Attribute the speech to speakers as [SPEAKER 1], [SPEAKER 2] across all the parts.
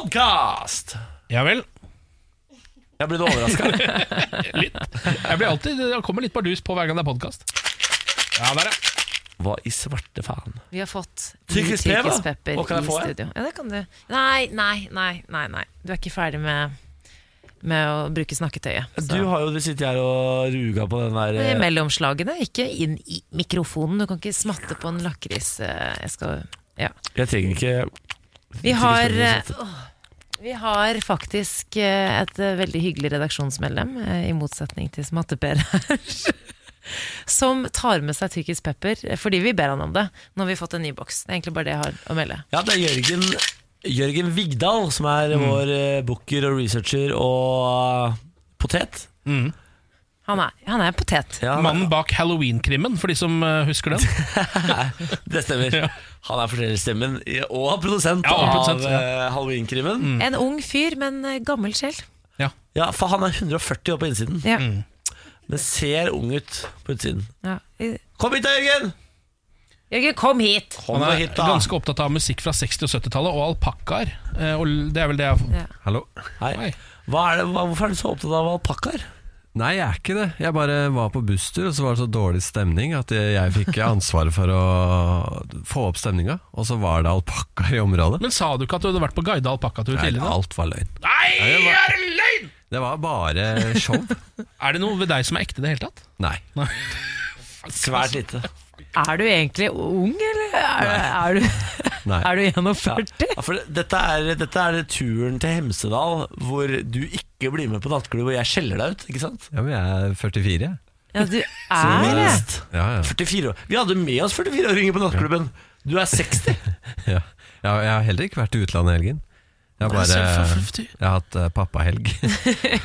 [SPEAKER 1] podkast!
[SPEAKER 2] Ja vel.
[SPEAKER 1] Jeg ble overraska.
[SPEAKER 2] Litt. Jeg blir alltid, det kommer litt bardus på hver gang det er podkast. Ja, der, ja.
[SPEAKER 1] Hva i svarte faen?
[SPEAKER 3] Vi har fått
[SPEAKER 1] Tyrkisk
[SPEAKER 3] ny
[SPEAKER 1] pepper, da?
[SPEAKER 3] tyrkisk pepper
[SPEAKER 1] Hva kan jeg
[SPEAKER 3] i
[SPEAKER 1] få, jeg?
[SPEAKER 3] studio. Ja, det kan du. Nei, nei, nei, nei, nei. Du er ikke ferdig med, med å bruke snakketøyet. Så.
[SPEAKER 1] Du har jo du sitter her og ruga på den der
[SPEAKER 3] Det er
[SPEAKER 1] eh,
[SPEAKER 3] mellomslagene, ikke inn i mikrofonen. Du kan ikke smatte på en lakris. eh, Jeg skal Ja.
[SPEAKER 1] Jeg trenger ikke
[SPEAKER 3] Vi har,
[SPEAKER 1] Tyrkisk
[SPEAKER 3] eh, åh, vi har faktisk eh, et eh, veldig hyggelig redaksjonsmedlem, eh, i motsetning til smatte-Per her, som tar med seg tyrkisk pepper eh, fordi vi ber han om det. Nå har vi fått en ny boks. Det er egentlig bare det jeg har å melde.
[SPEAKER 1] Ja, det er Jørgen Jørgen Vigdal som er
[SPEAKER 2] Mm.
[SPEAKER 1] vår eh, booker og researcher og eh, potet.
[SPEAKER 3] Han er, han er en potet.
[SPEAKER 1] Ja,
[SPEAKER 2] Mannen bak Halloween-krimmen, for de som eh, husker den.
[SPEAKER 1] det stemmer.
[SPEAKER 2] Ja.
[SPEAKER 1] Han er fortellerstemmen i- og produsent
[SPEAKER 2] Ja,
[SPEAKER 1] av
[SPEAKER 2] og produsent, ja. Mm.
[SPEAKER 1] eh, Halloween-krimen.
[SPEAKER 4] Mm.
[SPEAKER 3] En ung fyr, men eh, gammel sjel.
[SPEAKER 2] Ja.
[SPEAKER 1] Ja, for han er 140 år på innsiden,
[SPEAKER 3] Ja.
[SPEAKER 4] Mm.
[SPEAKER 1] men ser ung ut på utsiden.
[SPEAKER 3] Ja. I-
[SPEAKER 1] Kom hit da, Jørgen!
[SPEAKER 3] Jørgen, kom hit!
[SPEAKER 1] Kom
[SPEAKER 2] Han
[SPEAKER 1] da
[SPEAKER 2] er
[SPEAKER 1] hit, da.
[SPEAKER 2] ganske opptatt av musikk fra 60- og 70-tallet og alpakkaer. Eh, Og l- det er vel det jeg
[SPEAKER 3] Ja.
[SPEAKER 4] Hallo?
[SPEAKER 1] Hei.
[SPEAKER 2] Hei.
[SPEAKER 1] Hva er det, hva, hvorfor er du så opptatt av alpakkaer?
[SPEAKER 4] Nei, jeg er ikke det. Jeg bare var på busstur, og så var det så dårlig stemning at jeg, jeg fikk ansvaret for å få opp stemninga. Og så var det alpakkaer i området.
[SPEAKER 2] Men sa du ikke at du hadde vært på guida alpakkatur
[SPEAKER 4] Nei,
[SPEAKER 2] tidligere?
[SPEAKER 4] alt var løgn.
[SPEAKER 2] Nei,
[SPEAKER 4] det var-
[SPEAKER 2] er det løgn?!
[SPEAKER 4] Det var bare show.
[SPEAKER 2] Er det noe ved deg som er ekte i det hele tatt?
[SPEAKER 4] Nei.
[SPEAKER 1] Svært lite.
[SPEAKER 3] Er du egentlig ung, eller er, er, du,
[SPEAKER 4] Nei.
[SPEAKER 3] er du 41?
[SPEAKER 1] Ja, for det- dette er, dette er turen til Hemsedal hvor du ikke blir med på nattklubb, og jeg skjeller deg ut. ikke sant?
[SPEAKER 4] Ja, men jeg er 44, jeg.
[SPEAKER 3] Ja, du er det.
[SPEAKER 1] Minst.
[SPEAKER 4] Ja, ja.
[SPEAKER 1] 44 år. Vi hadde med oss 44-åringer på nattklubben. Du er 60.
[SPEAKER 4] ja. Jeg, har- jeg har heller ikke vært i utlandet i helgen. Jeg har bare jeg har hatt eh, pappahelg.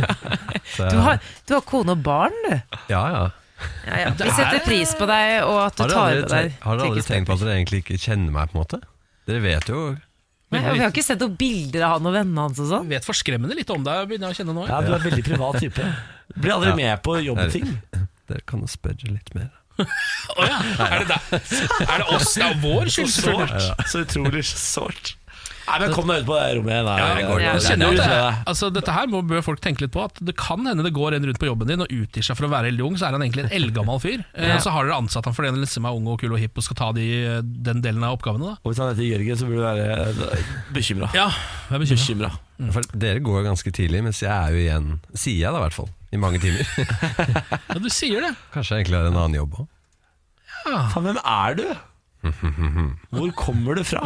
[SPEAKER 4] Så jeg-
[SPEAKER 3] Du har, du har kone og barn, du.
[SPEAKER 4] Ja, ja.
[SPEAKER 3] Ja, ja. Vi setter pris på deg, og at du
[SPEAKER 4] Har dere
[SPEAKER 3] tar
[SPEAKER 4] aldri,
[SPEAKER 3] med deg
[SPEAKER 4] tenkt- har dere aldri
[SPEAKER 3] tyrkisk
[SPEAKER 4] tenkt på at
[SPEAKER 3] pepper.
[SPEAKER 4] dere egentlig ikke kjenner meg, på en måte? Dere vet jo
[SPEAKER 3] Nei, og Vi har ikke sett noen bilder av han og vennene hans og sånn.
[SPEAKER 2] Jeg vet forskremmende litt om deg, begynner jeg å kjenne nå.
[SPEAKER 1] Ja, Du er en veldig privat type. Blir aldri med på jobbting.
[SPEAKER 4] Dere kan jo spørre litt mer.
[SPEAKER 2] Å ja. er, det deg? er det oss? Det er vår kjole, selvfølgelig.
[SPEAKER 1] Så utrolig sårt. Nei, men Kom deg ut på det rommet igjen. da.
[SPEAKER 2] Ja,
[SPEAKER 1] det
[SPEAKER 2] jeg
[SPEAKER 1] går
[SPEAKER 3] Ja.
[SPEAKER 1] ikke.
[SPEAKER 2] Jeg kjenner jo
[SPEAKER 1] Det er ut
[SPEAKER 2] at det,
[SPEAKER 1] med deg.
[SPEAKER 2] altså, dette her må, bør folk tenke litt på. At Det kan hende det går en rundt på jobben din og utgir seg for å være veldig ung, så er han egentlig en eldgammel fyr. Eh, Så har dere ansatt han fordi han liksom er ung og kul og hipp og skal ta de, eh, den delen av oppgavene. da
[SPEAKER 1] Og Hvis han heter Jørgen, så burde du eh, være bekymra.
[SPEAKER 2] Ja, jeg er bekymret.
[SPEAKER 1] Bekymra.
[SPEAKER 4] For dere går jo ganske tidlig, mens jeg er jo igjen, sier jeg da i hvert fall, i mange timer.
[SPEAKER 2] Ja, du sier det.
[SPEAKER 4] Kanskje jeg egentlig har en annen jobb òg.
[SPEAKER 1] Faen, hvem er du? Hvor kommer du fra?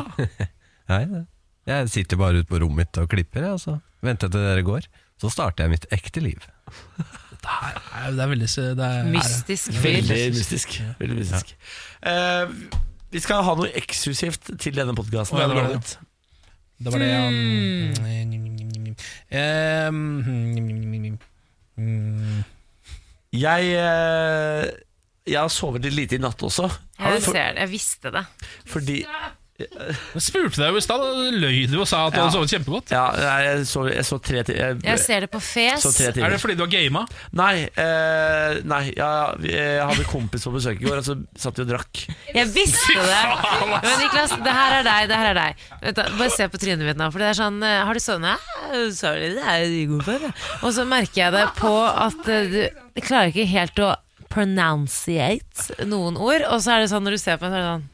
[SPEAKER 4] Nei, det- jeg sitter bare ute på rommet mitt og klipper, jeg, og så venter jeg til dere går. Så starter jeg mitt ekte liv.
[SPEAKER 2] Det er, det er veldig det er,
[SPEAKER 3] Mystisk fyr.
[SPEAKER 1] Veldig mystisk. Veldig mystisk. Eh, vi skal ha noe eksklusivt til denne podkasten.
[SPEAKER 2] Å, ja, det var det. Det var det han Ehm,
[SPEAKER 1] Jeg, eh, jeg har sovet litt lite i natt også.
[SPEAKER 3] Jeg ser det, jeg visste det.
[SPEAKER 1] Fordi
[SPEAKER 2] Jeg spurte deg jo i stad, da løy du og sa at du
[SPEAKER 1] Ja.
[SPEAKER 2] hadde sovet kjempegodt.
[SPEAKER 1] Ja, nei, jeg sov, jeg sov tre ti- jeg-
[SPEAKER 3] Jeg ser det på fes.
[SPEAKER 1] sov tre timer.
[SPEAKER 2] Er det fordi du har gama?
[SPEAKER 1] Nei, eh, nei ja, vi- jeg hadde en kompis på besøk i går, og så satt vi og drakk.
[SPEAKER 3] Jeg visste det! Men Niklas, det her er deg. det her er deg Vet du, Bare se på trynet mitt nå. For det er sånn eh, Har du sånn «Ja, sorry, det er jeg god for. jeg». Og så merker jeg det på at eh, du klarer ikke helt å pronunciate noen ord. Og så er det sånn når du ser på meg, så er det sånn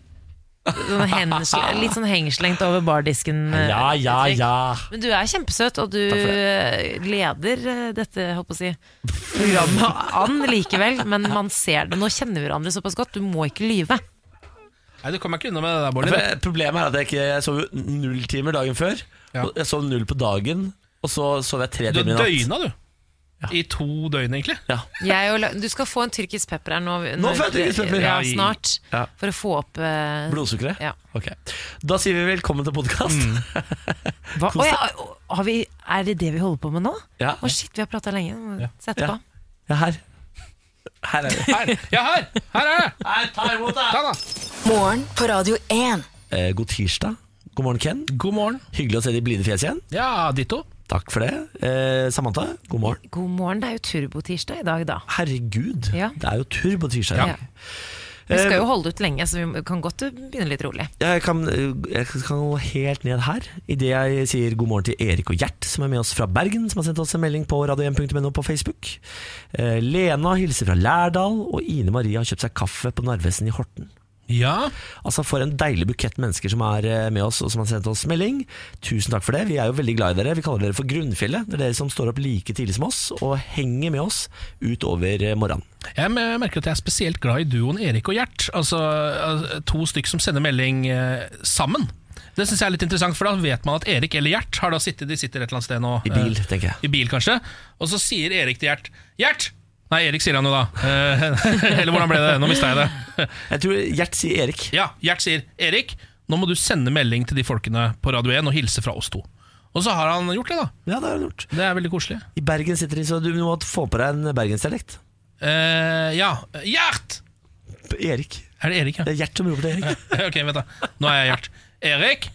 [SPEAKER 3] Sånn hensle, litt sånn hengeslengt over bardisken. eh,
[SPEAKER 1] Ja, ja,
[SPEAKER 3] uttrykk.
[SPEAKER 1] ja.
[SPEAKER 3] Men du er kjempesøt, og du
[SPEAKER 1] for
[SPEAKER 3] leder eh, dette holdt på å si, programmet an likevel. Men man ser det. Nå kjenner vi hverandre såpass godt, du må ikke lyve.
[SPEAKER 2] Nei, Du kommer ikke unna med det der,
[SPEAKER 1] For
[SPEAKER 2] Bård.
[SPEAKER 1] jeg- Problemet er at jeg, ikke, jeg sov jo null timer dagen før.
[SPEAKER 2] Ja.
[SPEAKER 1] Og jeg sov null på dagen, og så sov jeg tre
[SPEAKER 2] Du
[SPEAKER 1] timer
[SPEAKER 2] har
[SPEAKER 1] i natt.
[SPEAKER 2] døgna, du. I to døgn, egentlig.
[SPEAKER 1] Ja.
[SPEAKER 3] Jeg og, La- du skal få en tyrkisk pepper her nå.
[SPEAKER 1] Nå får jeg tyrkisk pepper.
[SPEAKER 3] Ja, snart.
[SPEAKER 1] Ja.
[SPEAKER 3] For å få opp eh,
[SPEAKER 1] Blodsukkeret?
[SPEAKER 3] Ja. Mm.
[SPEAKER 1] Ok. Da sier vi velkommen til podkast.
[SPEAKER 3] Hva? Å, ja, å, har vi, er det det vi holder på med nå?
[SPEAKER 1] Ja.
[SPEAKER 3] Å shit, vi har prata lenge. Nå må vi Sette
[SPEAKER 1] Ja.
[SPEAKER 3] på.
[SPEAKER 1] ja, her. Her er vi.
[SPEAKER 2] Her. Ja, her! Her er det!
[SPEAKER 1] Her, ta imot deg!
[SPEAKER 2] Ta, da.
[SPEAKER 5] Morgen på Radio 1.
[SPEAKER 1] Eh, god tirsdag. God morgen, Ken.
[SPEAKER 2] God morgen.
[SPEAKER 1] Hyggelig å se de blide fjes igjen.
[SPEAKER 2] Ja, ditto.
[SPEAKER 1] Takk for det. Eh, Samantha, god morgen.
[SPEAKER 3] God morgen, det er jo turbotirsdag i dag, da.
[SPEAKER 1] Herregud,
[SPEAKER 3] Ja.
[SPEAKER 1] det er jo tur på tirsdag. i dag.
[SPEAKER 3] Vi skal jo holde ut lenge, så vi kan godt begynne litt rolig.
[SPEAKER 1] Eh, Jeg kan, jeg kan gå helt ned her idet jeg sier god morgen til Erik og Gjert, som er med oss fra Bergen, som har sendt oss en melding på radio1.no på Facebook. Eh, Lena hilser fra Lærdal, og Ine Marie har kjøpt seg kaffe på Narvesen i Horten.
[SPEAKER 2] Ja,
[SPEAKER 1] Altså For en deilig bukett mennesker som er eh, med oss og som har sendt oss melding. Tusen takk for det. Vi er jo veldig glad i dere. Vi kaller dere for Grunnfjellet. Det er dere som står opp like tidlig som oss og henger med oss utover eh, morgenen.
[SPEAKER 2] Jeg me- merker at jeg er spesielt glad i duoen Erik og Gjert. Altså eh, to stykk som sender melding eh, sammen. Det syns jeg er litt interessant, for da vet man at Erik eller Gjert har da sittet, de sitter et eller annet sted nå.
[SPEAKER 1] I bil,
[SPEAKER 2] eh,
[SPEAKER 1] tenker jeg.
[SPEAKER 2] I bil, kanskje. Og så sier Erik til Gjert Gjert! Nei, Erik sier han jo da. Eh, eller hvordan ble det? Nå mista jeg det.
[SPEAKER 1] Jeg tror Gjert sier Erik.
[SPEAKER 2] Ja, Gjert sier Erik, nå må du sende melding til de folkene på Radio 1 og hilse fra oss to. Og så har han gjort det, da.
[SPEAKER 1] Ja, det har han gjort.
[SPEAKER 2] Det er veldig koselig.
[SPEAKER 1] I Bergen sitter de, så du må få på deg en bergensdialekt.
[SPEAKER 2] Eh, ja. Gjert!
[SPEAKER 1] Erik.
[SPEAKER 2] Er det Erik, ja?
[SPEAKER 1] Det er Gjert som roper til Erik.
[SPEAKER 2] Ok, vent da Nå er jeg Gjert Erik?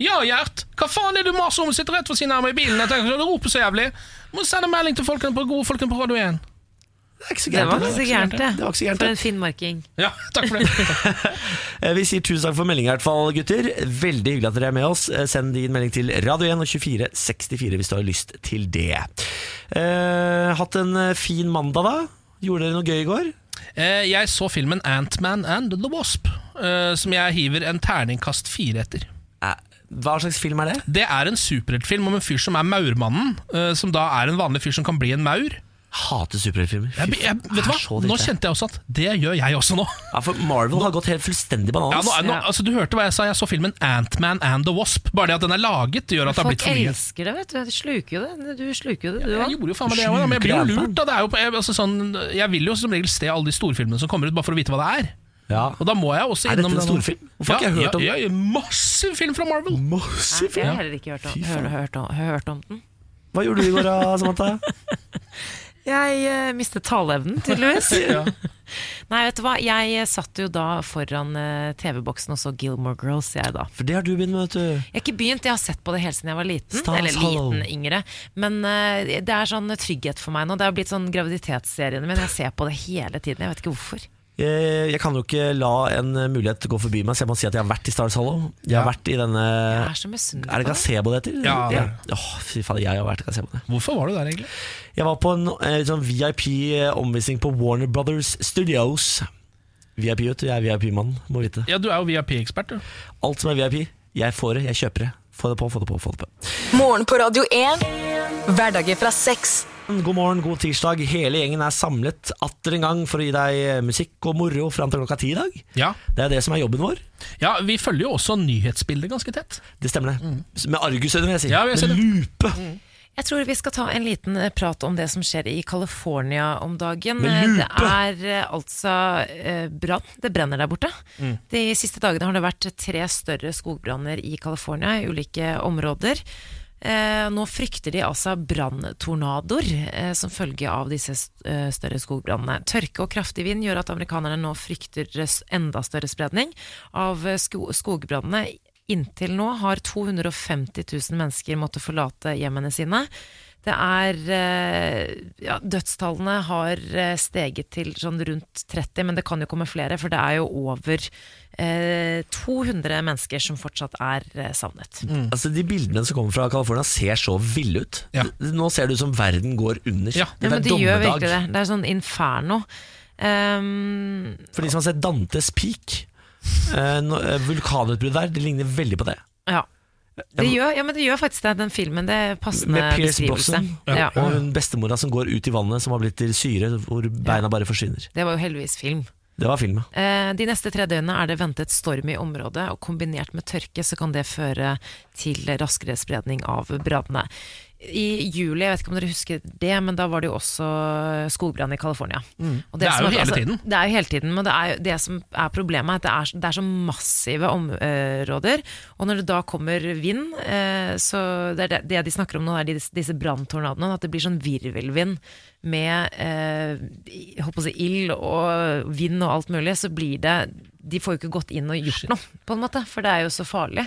[SPEAKER 2] Ja, Gjert Hva faen er det du maser om? Sitter rett for sin arm i bilen Jeg tenker, du roper så jævlig Må sende melding til folkene på gode folkene på Radio 1
[SPEAKER 1] Det er ikke så
[SPEAKER 3] Det var
[SPEAKER 1] gærent.
[SPEAKER 3] ikke så gærent,
[SPEAKER 1] Det var ikke så
[SPEAKER 3] det.
[SPEAKER 1] gærent,
[SPEAKER 3] For
[SPEAKER 1] det.
[SPEAKER 3] en finnmarking.
[SPEAKER 2] Ja, takk for det
[SPEAKER 1] Eh, Vi sier tusen takk for meldingen i hvert fall, gutter. Veldig hyggelig at dere er med oss. Eh, Send din melding til Radio 1 og 2464 hvis du har lyst til det. Eh, hatt en eh, fin mandag, da? Gjorde dere noe gøy i går?
[SPEAKER 2] eh, Jeg så filmen Ant-Man and the Wasp eh, Som jeg hiver en terningkast fire etter
[SPEAKER 1] Eh, Hva slags film er det?
[SPEAKER 2] Det er en superheltfilm om en fyr som er maurmannen eh, Som da er en vanlig fyr som kan bli en maur
[SPEAKER 1] Hater superheltfilmer. Fy
[SPEAKER 2] jeg, jeg, Vet
[SPEAKER 1] faen,
[SPEAKER 2] du hva?
[SPEAKER 1] er så
[SPEAKER 2] Nå
[SPEAKER 1] dritt,
[SPEAKER 2] kjente jeg også at det gjør jeg også nå
[SPEAKER 1] jeg. ja, For Marvel har gått helt fullstendig
[SPEAKER 2] ja,
[SPEAKER 1] bananas.
[SPEAKER 2] nå, nå, altså, Du hørte hva jeg sa Jeg så filmen Ant-Man and the Wasp Bare det at den er laget gjør at det
[SPEAKER 3] Folk
[SPEAKER 2] har blitt for mye
[SPEAKER 3] elsker det, vet du. De sluker jo det. Du sluker jo det, du
[SPEAKER 2] Jeg
[SPEAKER 3] òg.
[SPEAKER 2] gjorde jo faen meg det også, da, men jeg blir jo
[SPEAKER 1] Sjuke
[SPEAKER 2] lurt. Da. Det er jo, på- jeg, altså, sånn, jeg vil jo som regel se alle de storfilmene som kommer ut, bare for å vite hva det er.
[SPEAKER 1] Ja.
[SPEAKER 2] Og da må jeg også
[SPEAKER 1] Er dette
[SPEAKER 2] innom
[SPEAKER 1] en
[SPEAKER 2] den-
[SPEAKER 1] storfilm? Hvorfor har
[SPEAKER 2] ja,
[SPEAKER 1] ikke jeg hørt om
[SPEAKER 2] ja, ja, massiv film fra Marvel!
[SPEAKER 1] Masse
[SPEAKER 3] Jeg
[SPEAKER 1] film.
[SPEAKER 3] har heller ikke hørt om, hørt, hørt, om, hørt om den.
[SPEAKER 1] Hva gjorde du i går, da, Samantha?
[SPEAKER 3] Jeg eh, mistet taleevnen, tydeligvis.
[SPEAKER 2] Ja.
[SPEAKER 3] Nei, vet du hva. Jeg eh, satt jo da foran eh, TV-boksen og så Gilmore Girls, jeg da.
[SPEAKER 1] For det har du begynt med, vet du.
[SPEAKER 3] Jeg har ikke begynt, jeg har sett på det hele siden jeg var liten.
[SPEAKER 1] Stas,
[SPEAKER 3] eller
[SPEAKER 1] hallo.
[SPEAKER 3] liten, yngre. Men eh, det er sånn trygghet for meg nå. Det har blitt sånn graviditetsseriene mine. Jeg ser på det hele tiden. Jeg vet ikke hvorfor.
[SPEAKER 1] Eh, Jeg, jeg kan jo ikke la en mulighet gå forbi meg, så jeg må si at jeg har vært i Stars Hollow. Jeg har vært i denne
[SPEAKER 3] Jeg er
[SPEAKER 1] Er
[SPEAKER 3] så
[SPEAKER 1] det
[SPEAKER 3] misunnelig på det.
[SPEAKER 1] gazebo det heter?
[SPEAKER 2] Ja, det er
[SPEAKER 1] Åh, fy faen, jeg har vært i gazebo.
[SPEAKER 2] Hvorfor var du der, egentlig?
[SPEAKER 1] Jeg var på en eh, sånn VIP-omvisning på Warner Brothers Studios. VIP, vet du. Jeg er VIP-mann, må vite.
[SPEAKER 2] Ja, Du er jo VIP-ekspert, du.
[SPEAKER 1] Alt som er VIP, jeg får det, jeg kjøper det. Få det på, få det på, få det på.
[SPEAKER 5] Morgen på Radio 1. Hverdager fra seks.
[SPEAKER 1] God morgen, god tirsdag. Hele gjengen er samlet atter en gang for å gi deg eh, musikk og moro fram til klokka ti i dag.
[SPEAKER 2] Ja.
[SPEAKER 1] Det er det som er jobben vår.
[SPEAKER 2] ja, Vi følger jo også nyhetsbildet ganske tett.
[SPEAKER 1] Det stemmer det. Med argusøyne, vil jeg si.
[SPEAKER 2] Mm. Ja, vi har
[SPEAKER 1] Med
[SPEAKER 2] sett det. Mm,
[SPEAKER 1] lupe.
[SPEAKER 3] Jeg tror vi skal ta en liten eh, prat om det som skjer i California om dagen.
[SPEAKER 1] Med
[SPEAKER 3] Eh,
[SPEAKER 1] lupe!
[SPEAKER 3] Det er eh, altså eh, brann. Det brenner der borte. De siste dagene har det vært tre større skogbranner i California i ulike områder. Eh, nå frykter de altså branntornadoer eh, som følge av disse st- eh, større skogbrannene. Tørke og kraftig vind gjør at amerikanerne nå frykter s- enda større spredning av eh, sko skogbrannene. Inntil nå har 250 000 mennesker måttet forlate hjemmene sine. Det er eh, ja, Dødstallene har eh, steget til sånn rundt 30, men det kan jo komme flere, for det er jo over eh, 200 mennesker som fortsatt er eh, savnet.
[SPEAKER 1] Altså, de bildene som kommer fra California, ser så ville ut.
[SPEAKER 2] mm. Ja.
[SPEAKER 1] D- Nå ser det ut som verden går under.
[SPEAKER 2] Ja.
[SPEAKER 1] Dette
[SPEAKER 3] Ja,
[SPEAKER 1] er
[SPEAKER 3] men de gjør
[SPEAKER 1] dommedag.
[SPEAKER 3] virkelig det. Det er sånn inferno. Ehm,
[SPEAKER 1] For de som har sett Dantes Peak, eh, nå- eh, vulkanutbruddet der, det ligner veldig på det.
[SPEAKER 3] ja. Det
[SPEAKER 1] men-
[SPEAKER 3] gjør, ja, men det gjør faktisk det, den filmen. Det er passende
[SPEAKER 1] Med Pierce
[SPEAKER 3] Sånn, eh, beskrivelse.
[SPEAKER 1] Brosnan
[SPEAKER 3] Ja.
[SPEAKER 1] og hun bestemora som går ut i vannet, som har blitt til syre, hvor beina bare forsvinner.
[SPEAKER 3] Det var jo heldigvis film.
[SPEAKER 1] Det var filmen.
[SPEAKER 3] Eh, De neste tre døgnene er det ventet storm i området, og kombinert med tørke så kan det føre til raskere spredning av brannene. I juli, jeg vet ikke om dere husker det, men da var det jo også skogbrann i California. Og
[SPEAKER 2] Mm. Det er
[SPEAKER 3] som
[SPEAKER 2] jo hele tiden.
[SPEAKER 3] Det er altså, jo hele tiden, men det, er, jo- det som er problemet er at det er, så- det er så massive områder, og når det da kommer vind, eh, så det er det, det de snakker om nå er disse, disse branntornadoene, at det blir sånn virvelvind med eh, i- holdt på å si ild og vind og alt mulig, så blir det De får jo ikke gått inn og gjort noe, på en måte, for det er jo så farlig.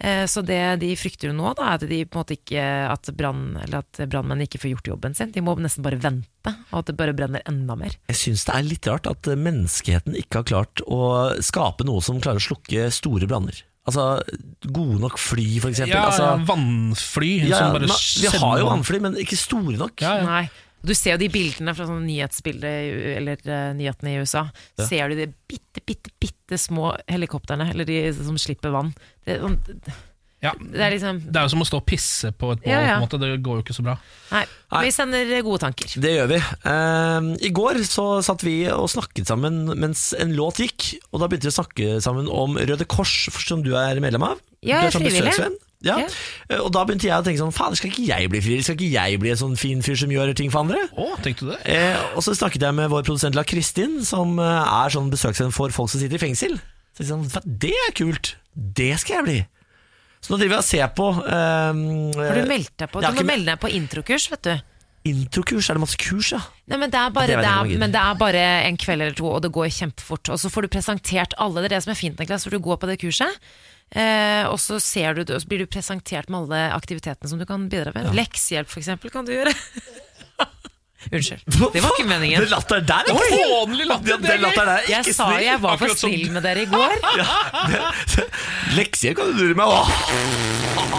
[SPEAKER 3] Eh, Eh, Så det de frykter jo nå, da, er at, de på en måte ikke, at, brann, eller at brannmenn ikke får gjort jobben sin. De må nesten bare vente, og at det bare brenner enda mer.
[SPEAKER 1] Jeg syns det er litt rart at eh, menneskeheten ikke har klart å skape noe som klarer å slukke store branner. Altså gode nok fly, for eksempel.
[SPEAKER 2] Ja,
[SPEAKER 1] altså,
[SPEAKER 2] vannfly
[SPEAKER 1] ja,
[SPEAKER 2] som bare
[SPEAKER 1] men vi har jo
[SPEAKER 2] sender-
[SPEAKER 1] vannfly, men ikke store nok.
[SPEAKER 2] Ja, ja.
[SPEAKER 3] Nei. Du ser jo de bildene fra sånne nyhetsbilder i- eller eh, nyhetene i USA. Ser du de bitte, bitte, bitte små helikoptrene, eller de som slipper vann. Det,
[SPEAKER 2] Ja.
[SPEAKER 3] det er liksom
[SPEAKER 2] Det er jo som å stå og pisse på et bål.
[SPEAKER 3] Ja, ja.
[SPEAKER 2] på en måte. Det går jo ikke så bra.
[SPEAKER 3] Nei. Vi sender gode tanker.
[SPEAKER 1] Det gjør vi. Eh, I går så satt vi og snakket sammen mens en låt gikk, og da begynte vi å snakke sammen om Røde Kors, som du er medlem av.
[SPEAKER 3] Ja,
[SPEAKER 1] du
[SPEAKER 3] jeg er
[SPEAKER 1] sånn
[SPEAKER 3] frivillig.
[SPEAKER 1] besøksvenn. Ja.
[SPEAKER 3] Ja.
[SPEAKER 1] Eh, Og da begynte jeg å tenke sånn, faen, skal ikke jeg bli frivillig? Skal ikke jeg bli en sånn fin fyr som gjør ting for andre?
[SPEAKER 2] Å, tenkte du det?
[SPEAKER 1] Eh, og så snakket jeg med vår produsent La Kristin, som eh, er sånn besøksvenn for folk som sitter i fengsel. Så jeg sa, "Hva, det er kult, det skal jeg bli. Så nå driver jeg og ser på eh,
[SPEAKER 3] Har du meldt deg på?
[SPEAKER 1] Jeg har ikke
[SPEAKER 3] Du må melde deg på introkurs, vet du.
[SPEAKER 1] eh, introkurs, er det masse kurs, ja?
[SPEAKER 3] Nei, men det, er bare,
[SPEAKER 1] Det
[SPEAKER 3] det,
[SPEAKER 1] vet jeg ikke om jeg
[SPEAKER 3] er,
[SPEAKER 1] gidder.
[SPEAKER 3] men det er bare en kveld eller to, og det går kjempefort. Og så får du presentert alle. Det er det som er fint, Niklas, for du går på det kurset. Eh, og så, ser du, det, og så blir du presentert med alle aktivitetene som du kan bidra med. Leksehjelp, for eksempel, kan du gjøre. Unnskyld. Det var ikke meningen.
[SPEAKER 1] Den latteren der er ikke snill!
[SPEAKER 2] Hånlig latter!
[SPEAKER 1] Den- Den latteren der er
[SPEAKER 3] Jeg
[SPEAKER 1] ikke
[SPEAKER 3] sa
[SPEAKER 1] snill.
[SPEAKER 3] jeg var for
[SPEAKER 2] akkurat som
[SPEAKER 3] snill med dere i går.
[SPEAKER 1] Lekser kan du lure meg Åh.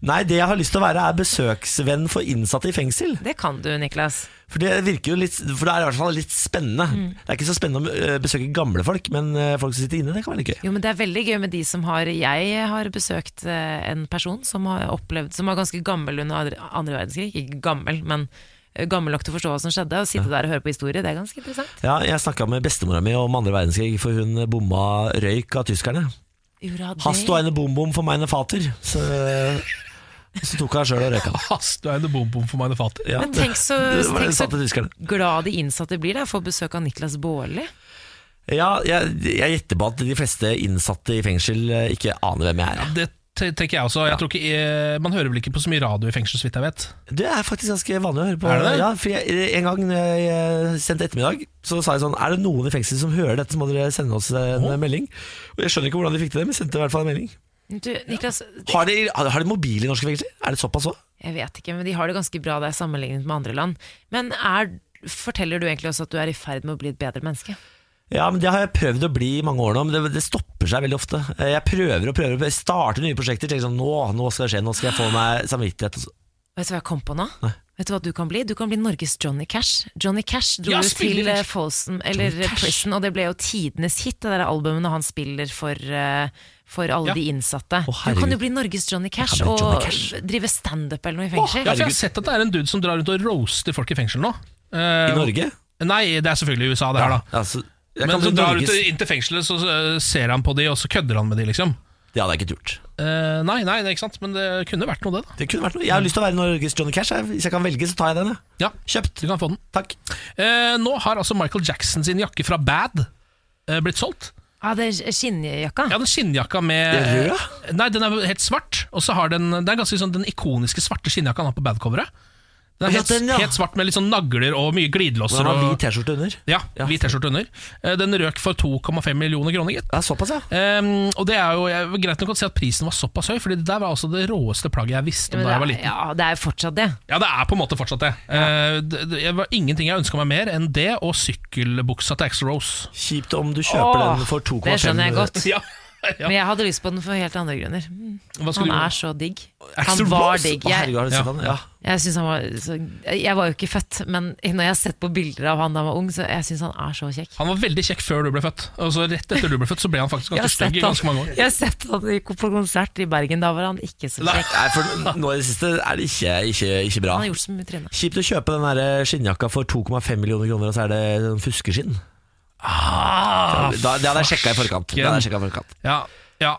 [SPEAKER 1] Nei, det jeg har lyst til å være er besøksvenn for innsatte i fengsel.
[SPEAKER 3] Det kan du, Niklas.
[SPEAKER 1] For det virker jo litt For det er i hvert fall litt spennende.
[SPEAKER 3] Mm.
[SPEAKER 1] Det er ikke så spennende å eh, besøke gamle folk, men eh, folk som sitter inne, det kan være litt gøy.
[SPEAKER 3] Jo, men Det er veldig gøy med de som har Jeg har besøkt eh, en person som har opplevd Som var ganske gammel under andre- andre verdenskrig. Ikke gammel, men eh, gammel nok til å forstå hva som skjedde. Å sitte der og høre på historie, det er ganske interessant.
[SPEAKER 1] Ja, jeg snakka med bestemora mi om andre verdenskrig, for hun bomma røyk av tyskerne.
[SPEAKER 3] Gjorde det?
[SPEAKER 1] Hast og eine bom-bom for meine fater. Så, eh, så tok hun sjøl og røyka.
[SPEAKER 2] Hast, du er en bom-bom for meg, det fatter.
[SPEAKER 1] Ja,
[SPEAKER 3] Men tenk så,
[SPEAKER 1] det var det
[SPEAKER 3] tenk
[SPEAKER 1] de
[SPEAKER 3] så
[SPEAKER 1] sa til tyskerne.
[SPEAKER 3] glad de innsatte blir da, for besøk av Niklas Baarli.
[SPEAKER 1] Ja, jeg jeg gjetter på at de fleste innsatte i fengsel eh, ikke aner hvem jeg er.
[SPEAKER 2] Det te- tenker jeg også. Jeg tror ikke, eh, man hører vel ikke på så mye radio i fengsel, så vidt jeg vet.
[SPEAKER 1] Det er faktisk ganske vanlig å høre på.
[SPEAKER 2] Er det det?
[SPEAKER 1] Ja, for jeg, eh, En gang når jeg eh, sendte ettermiddag, så sa jeg sånn Er det noen i fengsel som hører dette, så må dere sende oss eh, en melding. Og Jeg skjønner ikke hvordan de fikk til det, men sendte i hvert fall en melding.
[SPEAKER 3] Du, Niklas,
[SPEAKER 1] Har de, har de mobil i norske fengsler? Er det såpass òg?
[SPEAKER 3] jeg vet ikke, men de har det ganske bra der sammenlignet med andre land. Men er, forteller du egentlig også at du er i ferd med å bli et bedre menneske?
[SPEAKER 1] Ja, men Det har jeg prøvd å bli i mange år nå, men det, det stopper seg veldig ofte. Eh, Jeg prøver og prøver, jeg starter nye prosjekter. tenker sånn, nå, nå skal det skje, nå skal jeg få meg samvittighet. og så-
[SPEAKER 3] Vet du hva jeg kom på nå? Vet du hva du kan bli? Du kan bli Norges Johnny Cash. Johnny Cash dro
[SPEAKER 2] Ja,
[SPEAKER 3] jo til
[SPEAKER 2] spiller-
[SPEAKER 3] eh, Folsom, eller Prison, og det ble jo tidenes hit, det der albumet når han spiller for, eh, for alle
[SPEAKER 2] Ja.
[SPEAKER 3] de innsatte.
[SPEAKER 1] herregud.
[SPEAKER 3] du kan jo bli Norges Johnny Cash
[SPEAKER 1] bli
[SPEAKER 3] og
[SPEAKER 1] Johnny Cash.
[SPEAKER 3] drive standup eller noe i fengsel.
[SPEAKER 2] Ja, for jeg har sett at det er en dude som drar rundt og roaster folk i fengsel nå. Eh,
[SPEAKER 1] I Norge?
[SPEAKER 2] Nei, det er selvfølgelig i USA, det her, da.
[SPEAKER 1] Altså, jeg
[SPEAKER 2] Men
[SPEAKER 1] kan
[SPEAKER 2] så
[SPEAKER 1] bli
[SPEAKER 2] drar han
[SPEAKER 1] Norges-
[SPEAKER 2] ut inn til fengselet, så eh, ser han på de, og så kødder han med de, liksom.
[SPEAKER 1] Det hadde jeg ikke turt.
[SPEAKER 2] Eh, nei, nei, det er ikke sant, men det kunne vært noe, det, da.
[SPEAKER 1] Det kunne vært noe. Jeg har lyst til å være Norges Johnny Cash. jeg. Hvis jeg kan velge, så tar jeg den. jeg.
[SPEAKER 2] Ja,
[SPEAKER 1] Kjøpt.
[SPEAKER 2] du kan få den.
[SPEAKER 1] Takk.
[SPEAKER 2] Eh, nå har altså Michael Jackson sin jakke fra Bad eh, blitt solgt.
[SPEAKER 3] Ja, det er skinnjakka.
[SPEAKER 2] Ja, den skinnjakka med
[SPEAKER 1] Den røde?
[SPEAKER 2] Nei, den er helt svart. Og så har den Det er ganske sånn den ikoniske svarte skinnjakka han har på Bad-coveret. Den er
[SPEAKER 1] Ja,
[SPEAKER 2] helt,
[SPEAKER 1] den, ja.
[SPEAKER 2] helt svart med litt sånn nagler og mye glidelåser.
[SPEAKER 1] Den har
[SPEAKER 2] og-
[SPEAKER 1] hvit T-skjorte under.
[SPEAKER 2] Ja,
[SPEAKER 1] Ja.
[SPEAKER 2] hvit T-skjorte under. Eh, Den røk for 2,5 millioner kroner, gitt.
[SPEAKER 1] Ja, såpass, ja.
[SPEAKER 2] Ehm, og det er jo jeg, Greit nok å si at prisen var såpass høy, Fordi det der var altså det råeste plagget jeg visste om
[SPEAKER 3] Men
[SPEAKER 2] da jeg var
[SPEAKER 3] det, er,
[SPEAKER 2] liten. Ja.
[SPEAKER 3] ja, det er jo fortsatt det.
[SPEAKER 2] det er på en måte fortsatt det. Eh, det, det jeg var ingenting jeg ønska meg mer enn det og sykkelbuksa til Axl Rose.
[SPEAKER 1] Kjipt om du kjøper
[SPEAKER 3] Åh,
[SPEAKER 1] den for 2,5
[SPEAKER 3] Det skjønner jeg godt.
[SPEAKER 2] Ja, ja.
[SPEAKER 3] Men jeg hadde lyst på den for helt andre grunner.
[SPEAKER 2] Hva skulle
[SPEAKER 3] Han
[SPEAKER 2] du gjøre?
[SPEAKER 3] er så digg.
[SPEAKER 2] Axl
[SPEAKER 3] Han var
[SPEAKER 2] Rose?
[SPEAKER 3] digg.
[SPEAKER 1] Å,
[SPEAKER 3] Jeg,
[SPEAKER 1] herregud, har du sett
[SPEAKER 2] Ja.
[SPEAKER 1] den? Ja.
[SPEAKER 3] jeg, synes han var, så, jeg var jo ikke født, men når jeg har sett på bilder av han da han var ung, så jeg syns han er så kjekk.
[SPEAKER 2] Han var veldig kjekk før du ble født. Og så rett etter du ble født, så ble han faktisk
[SPEAKER 3] Jeg har
[SPEAKER 2] ganske
[SPEAKER 3] sett
[SPEAKER 2] stygg i
[SPEAKER 3] han-
[SPEAKER 2] ganske mange år.
[SPEAKER 3] Jeg har sett han i- på konsert i Bergen, da var han ikke så
[SPEAKER 2] Nei.
[SPEAKER 3] kjekk.
[SPEAKER 1] Nei, for nå i det siste er det ikke, ikke, ikke bra.
[SPEAKER 3] Han har gjort så mye tryne.
[SPEAKER 1] Kjipt å kjøpe den der eh, skinnjakka for 2,5 millioner kroner, og så er det sånn fuskeskinn.
[SPEAKER 2] Ah,
[SPEAKER 1] Da, det hadde jeg sjekka i forkant. Det hadde jeg sjekket i forkant.
[SPEAKER 2] ja, ja.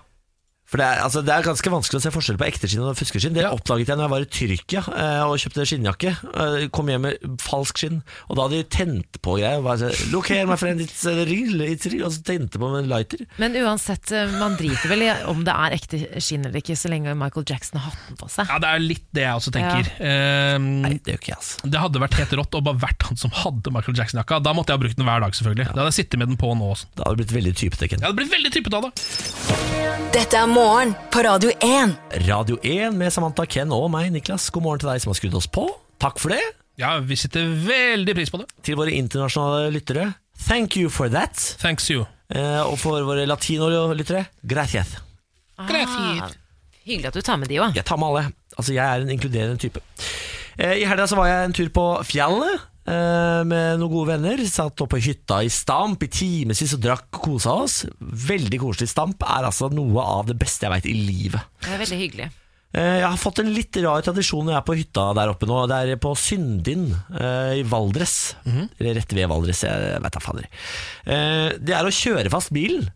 [SPEAKER 1] For det er, altså, det er ganske vanskelig å se forskjell på ekte skinn og fuskeskinn. Det
[SPEAKER 2] Ja.
[SPEAKER 1] oppdaget jeg når jeg var i Tyrkia eh, og kjøpte skinnjakke. Eh, Kom hjem med falsk skinn, og da hadde de tent på greier. og bare så, Look here, my friend, it's a real, it's real. Og så tente på med en lighter.
[SPEAKER 3] Men uansett, eh, man driter vel i om det er ekte skinn eller ikke, så lenge Michael Jackson har hatt den på seg.
[SPEAKER 2] ja, det er litt det jeg også tenker. Ehm,
[SPEAKER 1] Nei, det gjør ikke jeg, altså.
[SPEAKER 2] det hadde vært helt rått å bare vært han som hadde Michael Jackson-jakka. Da måtte jeg ha brukt den hver dag, selvfølgelig. Da hadde jeg sittet med den på nå også.
[SPEAKER 1] Det hadde blitt veldig typete, Ken.
[SPEAKER 2] Jeg hadde blitt veldig typet av det.
[SPEAKER 5] Dette er Morgen på Radio 1.
[SPEAKER 1] Radio 1 med Samantha, Ken og meg, Niklas. God morgen til deg som har skrudd oss på. Takk for det.
[SPEAKER 2] Ja, vi setter veldig pris på det.
[SPEAKER 1] Til våre internasjonale lyttere, thank you for that.
[SPEAKER 2] Thanks you.
[SPEAKER 1] Eh, og for våre latinolyttere, gracias.
[SPEAKER 3] Ah, hyggelig at du tar med de òg.
[SPEAKER 1] Jeg tar med alle. Altså, jeg er en inkluderende type. Eh, I helga så var jeg en tur på fjellet eh, med noen gode venner. Satt oppe på hytta i Stamp i timevis og drakk og kosa oss. Veldig koselig. Stamp er altså noe av det beste jeg veit i livet.
[SPEAKER 3] Det er veldig hyggelig.
[SPEAKER 1] Eh, Jeg har fått en litt rar tradisjon når jeg er på hytta der oppe nå. Det er på Syndin eh, i Valdres. Eller rett ved Valdres, jeg veit da fader. Eh, Det er å kjøre fast bilen.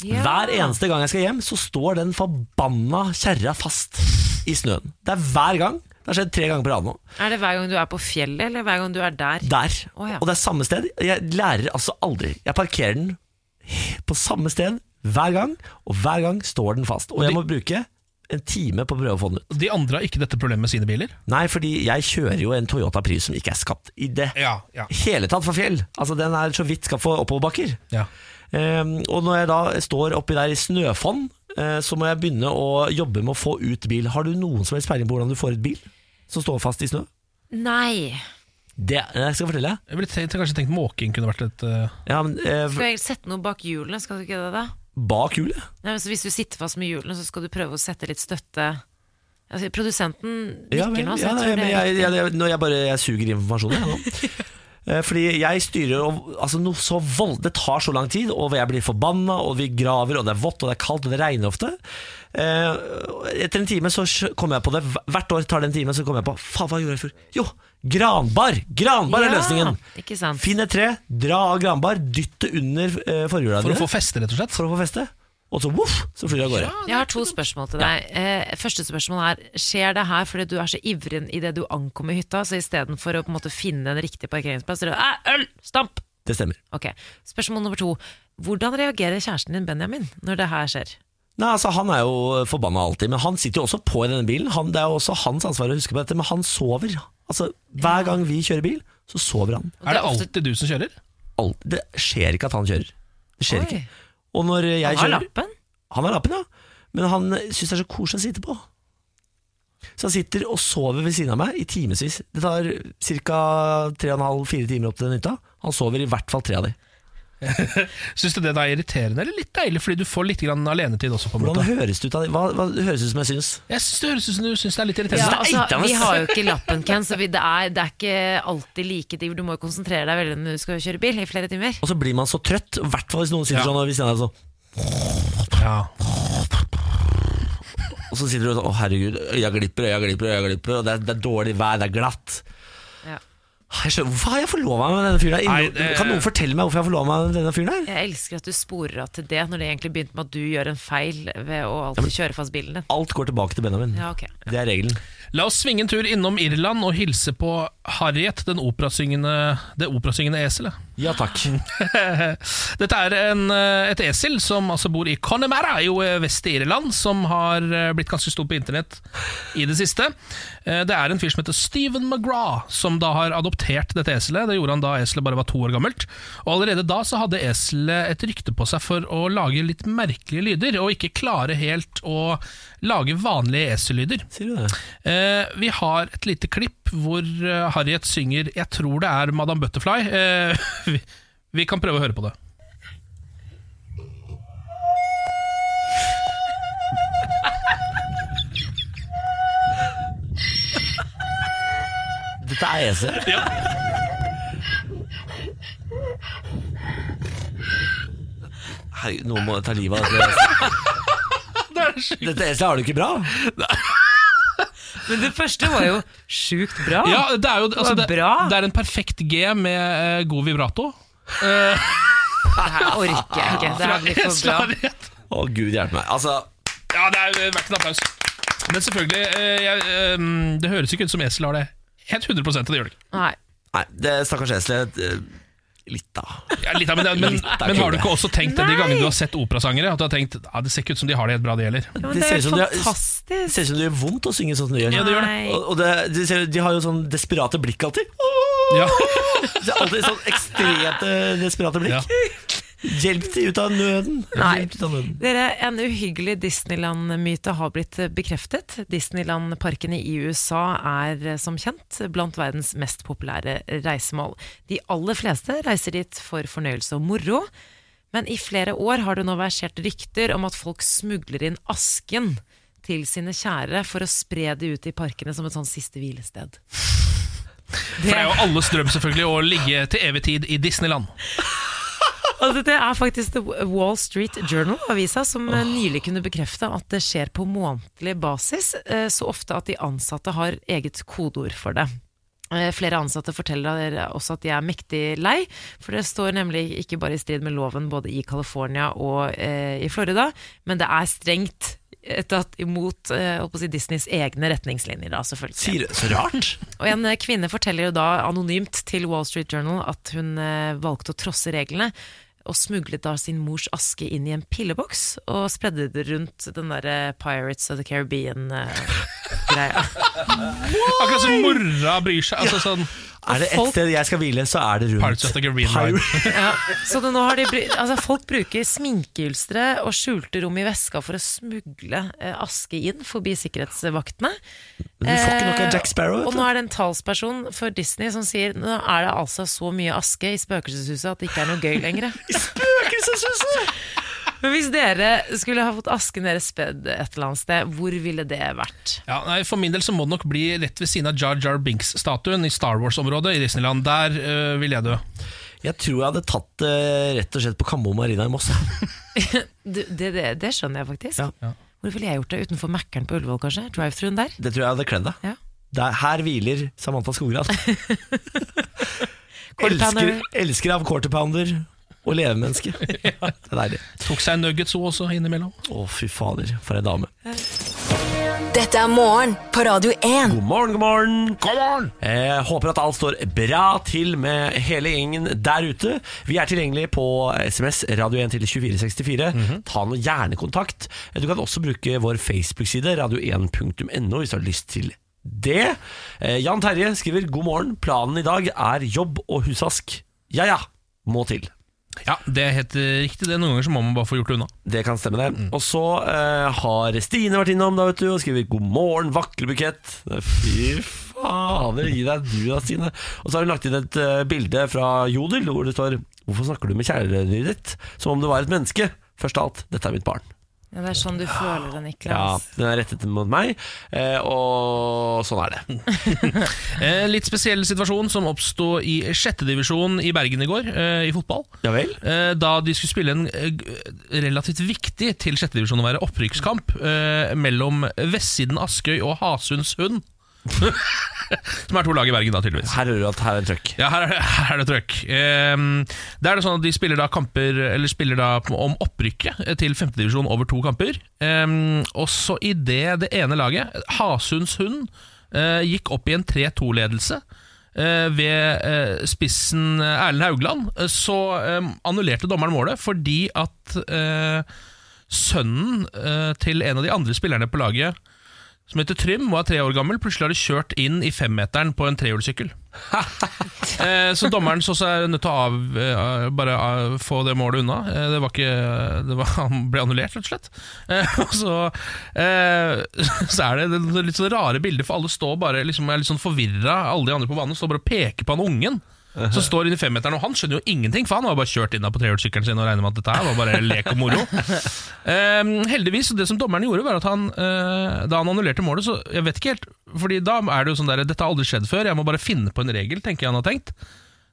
[SPEAKER 3] Ja.
[SPEAKER 1] Hver eneste gang jeg skal hjem, så står den forbanna kjerra fast i snøen. Det er hver gang. Det har skjedd tre ganger på rad nå.
[SPEAKER 3] Er det hver gang du er på fjellet, eller hver gang du er der?
[SPEAKER 1] Der.
[SPEAKER 3] Å, ja.
[SPEAKER 1] Og det er samme sted. Jeg lærer altså aldri. Jeg parkerer den på samme sted hver gang, og hver gang står den fast. Og jeg må bruke en time på å prøve å få den ut.
[SPEAKER 2] De andre har ikke dette problemet med sine biler.
[SPEAKER 1] Nei, fordi jeg kjører jo en Toyota Prius som ikke er skapt i det
[SPEAKER 2] Ja, ja.
[SPEAKER 1] hele tatt for fjell. Altså, den er så vidt skapt for oppoverbakker.
[SPEAKER 2] Ja.
[SPEAKER 1] Ehm, og når jeg da står oppi der i snøfonn, eh, så må jeg begynne å jobbe med å få ut bil. Har du noen som helst peiling på hvordan du får et bil som står fast i snø?
[SPEAKER 3] Nei.
[SPEAKER 1] Det jeg skal fortelle.
[SPEAKER 2] Jeg ville te- kanskje tenkt måking kunne vært et eh,
[SPEAKER 1] Ja, men, eh,
[SPEAKER 3] Skal jeg sette noe bak hjulene? Skal du ikke det, da?
[SPEAKER 1] bak hjulet?
[SPEAKER 3] Nei, men så Hvis du sitter fast med hjulene, så skal du prøve å sette litt støtte altså, Produsenten nikker
[SPEAKER 1] Ja, vel,
[SPEAKER 3] nå,
[SPEAKER 1] ja,
[SPEAKER 3] så jeg
[SPEAKER 1] nei,
[SPEAKER 3] tror
[SPEAKER 1] men
[SPEAKER 3] det
[SPEAKER 1] jeg,
[SPEAKER 3] er
[SPEAKER 1] jeg, jeg, nå jeg bare jeg suger informasjonen jeg, nå. Eh, Fordi jeg styrer og, altså, noe så vold, Det tar så lang tid, og jeg blir forbanna, og vi graver, og det er vått, og det er kaldt, og det regner ofte. Eh, Etter en time så skj- kommer jeg på det. Hver- Hvert år tar det en time, så kommer jeg på Faen, hva gjorde jeg før? Jo, granbar! Granbar er
[SPEAKER 3] Ja,
[SPEAKER 1] løsningen.
[SPEAKER 3] ikke sant.
[SPEAKER 1] Finn et tre, dra av granbar, dytt det under eh, forhjula
[SPEAKER 2] For å
[SPEAKER 1] dine
[SPEAKER 2] få feste, rett og slett.
[SPEAKER 1] for å få feste, og så voff, så flyr det av gårde.
[SPEAKER 3] Jeg har to spørsmål til deg. Eh, Første spørsmål er Skjer det her fordi du er så ivrig i det du ankommer hytta, så istedenfor å på en måte finne en riktig parkeringsplass, så er det «Æ, øl! Stamp!
[SPEAKER 1] Det stemmer.
[SPEAKER 3] Ok, Spørsmål nummer to. Hvordan reagerer kjæresten din Benjamin når det her skjer?
[SPEAKER 1] Nei, altså Han er jo forbanna alltid, men han sitter jo også på i denne bilen. Han, det er jo også hans ansvar å huske på dette, men han sover. Altså, Hver gang vi kjører bil, så sover han.
[SPEAKER 3] det
[SPEAKER 2] Er det
[SPEAKER 3] er ofte-
[SPEAKER 2] alltid du som kjører?
[SPEAKER 1] Alt, det skjer ikke at han kjører. Det skjer
[SPEAKER 3] Oi.
[SPEAKER 1] ikke. Og når jeg
[SPEAKER 3] Han har
[SPEAKER 1] kjører
[SPEAKER 3] lappen?
[SPEAKER 1] Han har lappen, ja. Men han syns det er så koselig å sitte på. Så han sitter og sover ved siden av meg i timevis. Det tar ca. 3,5-4 timer opp til den hytta. Han sover i hvert fall tre av de.
[SPEAKER 2] Syns du det da er irriterende, eller litt deilig, fordi du får litt grann alenetid også? på en
[SPEAKER 1] Hvordan
[SPEAKER 2] måte
[SPEAKER 1] høres det ut av det? Hva, hva høres det ut som jeg syns?
[SPEAKER 2] Jeg synes Det høres ut som du syns det er litt
[SPEAKER 3] Ja,
[SPEAKER 2] irriterende.
[SPEAKER 3] altså,
[SPEAKER 1] eitrende.
[SPEAKER 3] vi har jo ikke lappen, Ken, så vi, det, er, det er ikke alltid like div. Du må jo konsentrere deg veldig når du skal kjøre bil i flere timer.
[SPEAKER 1] Og så blir man så trøtt, i hvert fall hvis noen sitter
[SPEAKER 2] Ja.
[SPEAKER 1] sånn ved siden av deg sånn.
[SPEAKER 2] Ja.
[SPEAKER 1] Og så sitter du og sånn, å herregud, øya glipper, øya glipper, øya glipper, og det er, det er dårlig vær, det er glatt.
[SPEAKER 3] Ja.
[SPEAKER 1] Jeg skjønner, Hvorfor har jeg forlova meg med denne fyren her?
[SPEAKER 2] Nei,
[SPEAKER 1] Ingen-
[SPEAKER 2] det-
[SPEAKER 1] Kan noen fortelle meg hvorfor jeg har forlova meg med denne fyren her?
[SPEAKER 3] Jeg elsker at du sporer av til det, når det egentlig begynte med at du gjør en feil ved å alltid kjøre fast bilen din.
[SPEAKER 1] Alt går tilbake til Benjamin.
[SPEAKER 3] Ja, ok.
[SPEAKER 1] Det er regelen.
[SPEAKER 2] La oss svinge en tur innom Irland og hilse på Harriet, den operasyngende, det operasyngende eselet.
[SPEAKER 1] Ja takk.
[SPEAKER 2] Dette er en, eh, et esel som altså bor i Connemara i jo, eh, vest i Irland, som har eh, blitt ganske stor på internett i det siste. Eh, Det er en fyr som heter Stephen McGraw, som da har adoptert dette eselet. Det gjorde han da eselet bare var to år gammelt. Og Allerede da så hadde eselet et rykte på seg for å lage litt merkelige lyder, og ikke klare helt å lage vanlige esellyder.
[SPEAKER 1] Sier du det?
[SPEAKER 2] Eh, vi har et lite klipp hvor eh, Harriet synger 'Jeg tror det er Madame Butterfly'. Eh, vi, vi kan prøve å høre på det.
[SPEAKER 1] Dette er esel. Herregud, noen må ta livet av dette eselet.
[SPEAKER 2] Det er sjukt.
[SPEAKER 1] Dette eselet har det ikke bra.
[SPEAKER 3] Men det første var jo sjukt bra.
[SPEAKER 2] Ja, det er jo altså, det,
[SPEAKER 3] bra.
[SPEAKER 2] det er en perfekt G med eh, god vibrato.
[SPEAKER 3] Det her orker jeg ikke. Det her blir for
[SPEAKER 2] Esla
[SPEAKER 3] bra.
[SPEAKER 2] Harriet.
[SPEAKER 1] Å gud hjelpe meg. Altså,
[SPEAKER 2] Ja, det er eh, verdt en applaus. Men selvfølgelig, eh, jeg, eh, det høres ikke ut som esel har det. Helt 100 av det gjør det ikke.
[SPEAKER 3] Nei.
[SPEAKER 1] nei, det stakkars eselet eh, Litt, da.
[SPEAKER 2] Ja, litt av, men, men,
[SPEAKER 1] Litt av
[SPEAKER 2] men har du
[SPEAKER 1] kule.
[SPEAKER 2] ikke også tenkt det de
[SPEAKER 3] Nei.
[SPEAKER 2] gangene du har sett operasangere? At du har tenkt ja, det ser ikke ut som de har det helt bra, det heller.
[SPEAKER 3] Ja,
[SPEAKER 1] Det ser ut som de har- Det
[SPEAKER 3] fantastisk.
[SPEAKER 1] ser ut som det gjør vondt å synge sånn som de gjør.
[SPEAKER 2] Ja, det gjør det.
[SPEAKER 3] Nei.
[SPEAKER 1] Og, og det, de, ser, de har jo sånn desperate blikk alltid.
[SPEAKER 2] Ja.
[SPEAKER 1] Det er alltid sånn ekstremt eh, desperate blikk.
[SPEAKER 2] Ja.
[SPEAKER 1] Hjelp de ut av nøden!
[SPEAKER 3] Nei.
[SPEAKER 1] Hjelp de ut av nøden.
[SPEAKER 3] Dere, En uhyggelig Disneyland-myte har blitt bekreftet. Disneyland-parkene i USA er eh, som kjent blant verdens mest populære reisemål. De aller fleste reiser dit for fornøyelse og moro, men i flere år har det nå versert rykter om at folk smugler inn asken til sine kjære for å spre det ut i parkene som et sånn siste hvilested.
[SPEAKER 2] For det er jo alles drøm selvfølgelig å ligge til evig tid i Disneyland.
[SPEAKER 3] Altså, det er faktisk The Wall Street Journal, avisa, som eh, nylig kunne bekrefte at det skjer på månedlig basis, eh, så ofte at de ansatte har eget kodeord for det. Eh, Flere ansatte forteller også at de er mektig lei, for det står nemlig ikke bare i strid med loven både i California og eh, i Florida, men det er strengt eh, tatt imot eh, holdt på å si, Disneys egne retningslinjer, da, selvfølgelig.
[SPEAKER 1] Sier det så rart!
[SPEAKER 3] Og en eh, kvinne forteller jo da anonymt til Wall Street Journal at hun eh, valgte å trosse reglene og smuglet da sin mors aske inn i en pilleboks og spredde det rundt den der eh, Pirates of the eh, Caribbean-greia.
[SPEAKER 2] Akkurat som mora bryr seg. Altså sånn
[SPEAKER 1] Er det ett
[SPEAKER 3] folk-
[SPEAKER 1] sted jeg skal hvile, så er det rundt
[SPEAKER 2] Pirates of the Caribbean
[SPEAKER 1] Pir-
[SPEAKER 2] Line.
[SPEAKER 3] ja, så det nå har de, bry- altså folk bruker sminkeylstre og skjulte rom i veska for å smugle eh, aske inn forbi sikkerhetsvaktene.
[SPEAKER 1] Du
[SPEAKER 3] Eh,
[SPEAKER 1] får ikke nok av Jack Sparrow.
[SPEAKER 3] Og
[SPEAKER 1] vet du.
[SPEAKER 3] nå er det en talsperson for Disney som sier nå er det altså så mye aske i spøkelseshuset at det ikke er noe gøy lenger.
[SPEAKER 1] Spøkelseshuset!
[SPEAKER 3] Men hvis dere skulle ha fått asken deres spedd et eller annet sted, hvor ville det vært?
[SPEAKER 2] Ja, nei, For min del så må det nok bli rett ved siden av Jar Jar Binks-statuen i Star Wars-området i Disneyland. Der øh, vil jeg dø.
[SPEAKER 1] Jeg tror jeg hadde tatt det rett og slett på Kambo Marina i Moss.
[SPEAKER 3] Det, det, det, det skjønner jeg faktisk.
[SPEAKER 1] Ja.
[SPEAKER 2] Ja.
[SPEAKER 3] Hvor ville jeg gjort det? Utenfor Mækkern på Ullevål, kanskje? Drive-thruen der?
[SPEAKER 1] Det tror jeg hadde kledd deg.
[SPEAKER 3] Ja.
[SPEAKER 1] Der, her hviler Samantha Skogran.
[SPEAKER 3] Quarter
[SPEAKER 1] elsker,
[SPEAKER 3] pounder.
[SPEAKER 1] elsker av quarter pounder og levemenneske. Det er deilig.
[SPEAKER 2] Tok seg en nuggets hun også innimellom.
[SPEAKER 1] Å, fy fader, for ei dame.
[SPEAKER 5] Dette er morgen på Radio 1.
[SPEAKER 1] God morgen, god morgen.
[SPEAKER 2] Come on!
[SPEAKER 1] Eh, håper at alt står bra til med hele gjengen der ute. Vi er tilgjengelig på SMS radio 1 til 2464. Ta nå gjerne kontakt. Du kan også bruke vår Facebook-side radio1.no hvis du har lyst til det. Eh, Jan Terje skriver god morgen. Planen i dag er jobb og husask. Ja ja, må til.
[SPEAKER 2] Ja, det er helt eh, riktig. det Noen ganger så må man bare få gjort det unna.
[SPEAKER 1] Det kan stemme, det. Og så eh, har Stine vært innom da, vet du, og skriver 'God morgen, vaklebukett'. Fy fader, gi deg du da, Stine. Og så har hun lagt inn et eh, bilde fra Jodel hvor det står 'Hvorfor snakker du med kjæledyret ditt som om det var et menneske?' Først av alt, dette er mitt barn.
[SPEAKER 3] Ja, det er sånn du føler det,
[SPEAKER 1] Ja,
[SPEAKER 3] Niklas.
[SPEAKER 1] Den er rettet mot meg, eh, og sånn er det.
[SPEAKER 2] Eh, litt spesiell situasjon som oppsto i sjette divisjon i Bergen i går, eh, i fotball.
[SPEAKER 1] Ja vel?
[SPEAKER 2] Eh, Da de skulle spille en eh, relativt viktig til sjette divisjon å være opprykkskamp eh, mellom Vestsiden Askøy og Hasunds Hund. Som er to lag i Bergen, da, tydeligvis.
[SPEAKER 1] Her hører du at her er en trøkk.
[SPEAKER 2] Ja, her er det, her er det trøkk. Ehm, det er det sånn at De spiller da kamper Eller spiller da på- om opprykket eh, til femtedivisjon over to kamper. Ehm, og så i det det ene laget, Hasunds Hund, eh, gikk opp i en 3-2-ledelse eh, ved eh, spissen eh, Erlend Haugland, eh, så eh, annullerte dommeren målet fordi at eh, sønnen eh, til en av de andre spillerne på laget, som heter Trym, var tre år gammel, plutselig har de kjørt inn i femmeteren på en trehjulssykkel. Eh, så dommeren så seg nødt til å av, eh, bare av, få det målet unna. Eh, det var ikke det var, Han ble annullert, rett og slett. Eh, og så, eh, så er det, det litt sånn rare bilder, for alle står bare liksom, er litt sånn forvirra. Alle de andre på banen står bare og peker på han ungen. Som står inne i femmeteren, og han skjønner jo ingenting, for han har bare kjørt inn da på trehjulssykkelen sin og regner med at dette her var bare lek og moro. Ehm, heldigvis, det som dommeren gjorde var at han eh, Da han annullerte målet Så jeg vet ikke helt Fordi da er det jo sånn der Dette har aldri skjedd før Jeg må bare finne på en regel Tenker jeg han har tenkt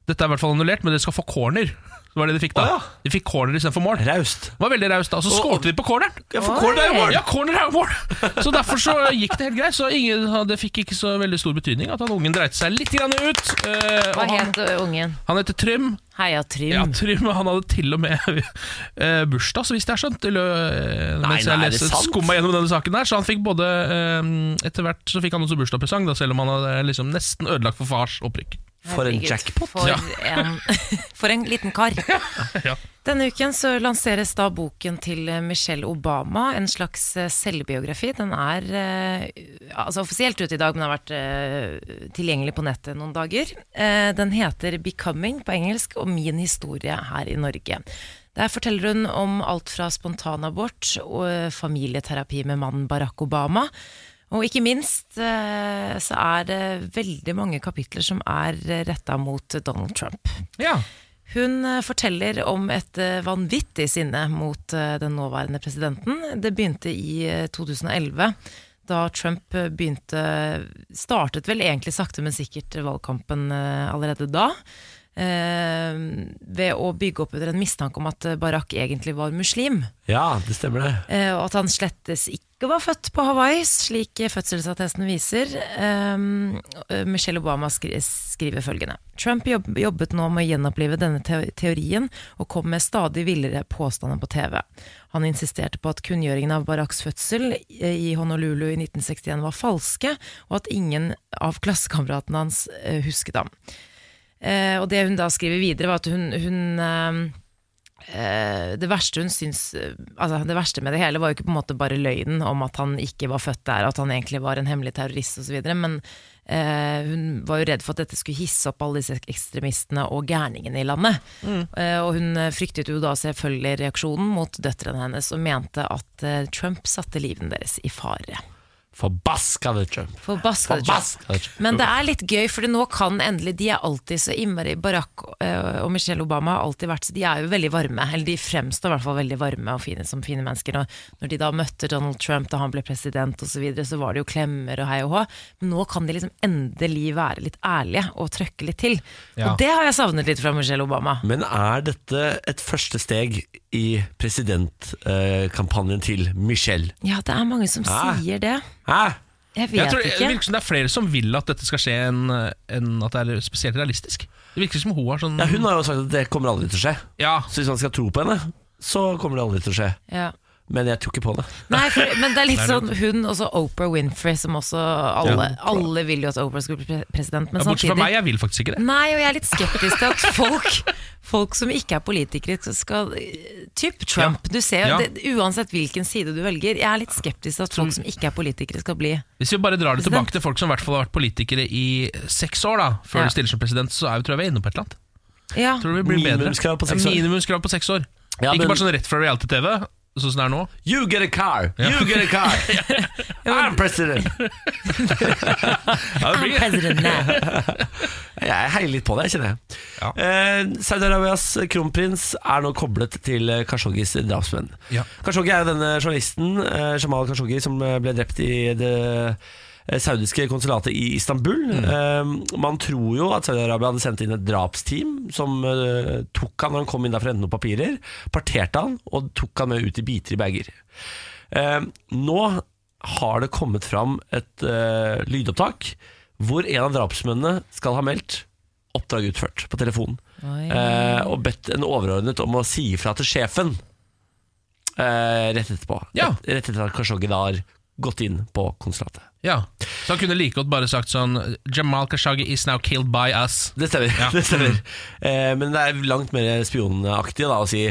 [SPEAKER 2] Dette er i hvert fall annullert Men dere skal få corner Det var det de fikk da
[SPEAKER 1] Å, ja.
[SPEAKER 2] De fikk corner i stedet for mål Det
[SPEAKER 1] Raust.
[SPEAKER 2] var veldig raust da Og så skålte de på corneren
[SPEAKER 1] Ja, for corner er jo mål.
[SPEAKER 2] Ja, corner er jo mål Så derfor så gikk det helt greit Så ingen, det fikk ikke så veldig stor betydning At han ungen dreit seg litt grann ut eh,
[SPEAKER 3] Hva
[SPEAKER 2] og han,
[SPEAKER 3] het ø, ungen?
[SPEAKER 2] han heter Trym
[SPEAKER 3] Heia
[SPEAKER 1] Mm.
[SPEAKER 3] Trym.
[SPEAKER 2] ja, Trym, han hadde til og med eh, bursdag, så vidt jeg har skjønt. Til, eh,
[SPEAKER 1] Nei, nei,
[SPEAKER 2] mens jeg
[SPEAKER 1] er det
[SPEAKER 2] leste-
[SPEAKER 1] sant?
[SPEAKER 2] skumma gjennom denne saken her, så han fikk både eh, Etter hvert så fikk han også bursdagspresang, da, selv om han hadde liksom nesten ødelagt for fars opprykk.
[SPEAKER 1] For en
[SPEAKER 3] Herregud,
[SPEAKER 1] jackpot.
[SPEAKER 3] For,
[SPEAKER 2] Ja.
[SPEAKER 3] en, for en liten kar. Denne uken så lanseres da boken til Michelle Obama, en slags eh, selvbiografi. Den er eh, altså offisielt ute i dag, men har vært eh, tilgjengelig på nettet noen dager. Eh, Den heter 'Becoming' på engelsk og 'Min historie her i Norge'. Der forteller hun om alt fra spontanabort og eh, familieterapi med mannen Barack Obama. Og ikke minst eh, så er det veldig mange kapitler som er retta mot Donald Trump.
[SPEAKER 2] Ja.
[SPEAKER 3] Hun eh, forteller om et eh, vanvittig sinne mot eh, den nåværende presidenten. Det begynte i eh, 2011, da Trump eh, begynte Startet vel egentlig sakte, men sikkert valgkampen eh, allerede da. eh, Ved å bygge opp under en mistanke om at eh, Barack egentlig var muslim.
[SPEAKER 1] Ja, det stemmer det.
[SPEAKER 3] Eh, Og at han slettes ikke var født på Hawaii, slik fødselsattesten viser. Um, eh, Michelle Obama skri skriver følgende. Trump jobb jobbet nå med å gjenopplive denne te teorien, og kom med stadig villere påstander på TV. Han insisterte på at kunngjøringen av Baracks fødsel eh, i Honolulu i 1961 var falske, og at ingen av klassekameratene hans eh, husket ham. Eh, og det hun da skriver videre, var at hun, hun eh, Eh, det verste hun syns eh, altså Det verste med det hele var jo ikke på en måte bare løgnen om at han ikke var født der, og at han egentlig var en hemmelig terrorist osv., men eh, hun var jo redd for at dette skulle hisse opp alle disse ekstremistene og gærningene i landet. Eh, og hun eh, fryktet jo da selvfølgelig reaksjonen mot døtrene hennes, og mente at eh, Trump satte livene deres i fare.
[SPEAKER 1] Forbaskede Trump.
[SPEAKER 3] Forbaskede Trump.
[SPEAKER 1] Forbaskede Trump.
[SPEAKER 3] Men det er litt gøy, for nå kan endelig De er alltid så innmari Barack eh, og Michelle Obama har alltid vært så De er jo veldig varme, eller de fremstår i hvert fall veldig varme og fine som fine mennesker. Og når de da møtte Donald Trump da han ble president osv., så, videre, så var det jo klemmer og hei og hå. Men nå kan de liksom endelig være litt ærlige og trøkke litt til.
[SPEAKER 2] Ja.
[SPEAKER 3] Og det har jeg savnet litt fra Michelle Obama.
[SPEAKER 1] Men er dette et første steg i presidentkampanjen til Michelle?
[SPEAKER 3] Ja, det er mange som
[SPEAKER 1] Ja.
[SPEAKER 3] sier det.
[SPEAKER 1] Hæ?
[SPEAKER 3] Jeg vet
[SPEAKER 2] Jeg tror det, det
[SPEAKER 3] ikke.
[SPEAKER 2] virker som det er flere som vil at dette skal skje, enn enn at det er spesielt realistisk. Det virker som hun har sånn
[SPEAKER 1] Ja, hun har jo sagt at det kommer aldri til å skje.
[SPEAKER 2] Ja.
[SPEAKER 1] Så hvis man skal tro på henne, så kommer det aldri til å skje.
[SPEAKER 3] Ja.
[SPEAKER 1] Men jeg tror ikke på det.
[SPEAKER 3] Nei, for, men det er litt sånn hun og så Oprah Winfrey, som også alle, alle vil jo at Oprah skulle bli pre- president. Men
[SPEAKER 2] Ja, Bortsett fra
[SPEAKER 3] samtidig
[SPEAKER 2] meg, jeg vil faktisk ikke det.
[SPEAKER 3] Nei, og jeg er litt skeptisk til at folk, folk som ikke er politikere, skal Typ Trump. Du ser jo,
[SPEAKER 2] Ja.
[SPEAKER 3] det, uansett hvilken side du velger, jeg er litt skeptisk til at folk som ikke er politikere, skal bli
[SPEAKER 2] Hvis vi bare drar det
[SPEAKER 3] President.
[SPEAKER 2] tilbake til folk som i hvert fall har vært politikere i seks år, da før
[SPEAKER 3] Ja.
[SPEAKER 2] de stiller som president, så er vi, tror jeg vi er inne på et eller annet.
[SPEAKER 3] Ja,
[SPEAKER 2] Tror du vi blir bedre?
[SPEAKER 1] Minimumskrav på seks
[SPEAKER 2] Ja,
[SPEAKER 1] år.
[SPEAKER 2] Minimumskrav på seks år.
[SPEAKER 1] Ja, men-
[SPEAKER 2] ikke bare sånn rett fra reality-TV, sånn som det er nå.
[SPEAKER 1] You get a car! You get a car! I'm president!
[SPEAKER 2] Ja, det
[SPEAKER 3] I'm
[SPEAKER 2] blir,
[SPEAKER 3] president now.
[SPEAKER 1] Jeg heier litt på det, kjenner jeg.
[SPEAKER 2] Ja.
[SPEAKER 1] Eh, Saudi-Arabias kronprins er nå koblet til eh, Khashoggis drapsmenn.
[SPEAKER 2] Ja.
[SPEAKER 1] Khashoggi er jo denne journalisten, eh, Jamal Khashoggi, som eh, ble drept i det eh, saudiske konsulatet i Istanbul. Eh, man tror jo at Saudi-Arabia hadde sendt inn et drapsteam som eh, tok han når han kom inn der for å hente noen papirer, parterte han og tok han med ut i biter i bager. Eh, nå har det kommet fram et eh, lydopptak hvor en av drapsmennene skal ha meldt oppdrag utført på telefonen.
[SPEAKER 3] Oi.
[SPEAKER 1] eh, og bedt en overordnet om å si ifra til sjefen eh, rett etterpå.
[SPEAKER 2] Ja.
[SPEAKER 1] Rett, rett etter at Khashoggi da har gått inn på konsulatet.
[SPEAKER 2] ja. Så han kunne like godt bare sagt sånn Jamal Khashoggi is now killed by us.
[SPEAKER 1] Det stemmer.
[SPEAKER 2] Ja.
[SPEAKER 1] Det stemmer. Eh, men det er langt mer spionaktig da, å si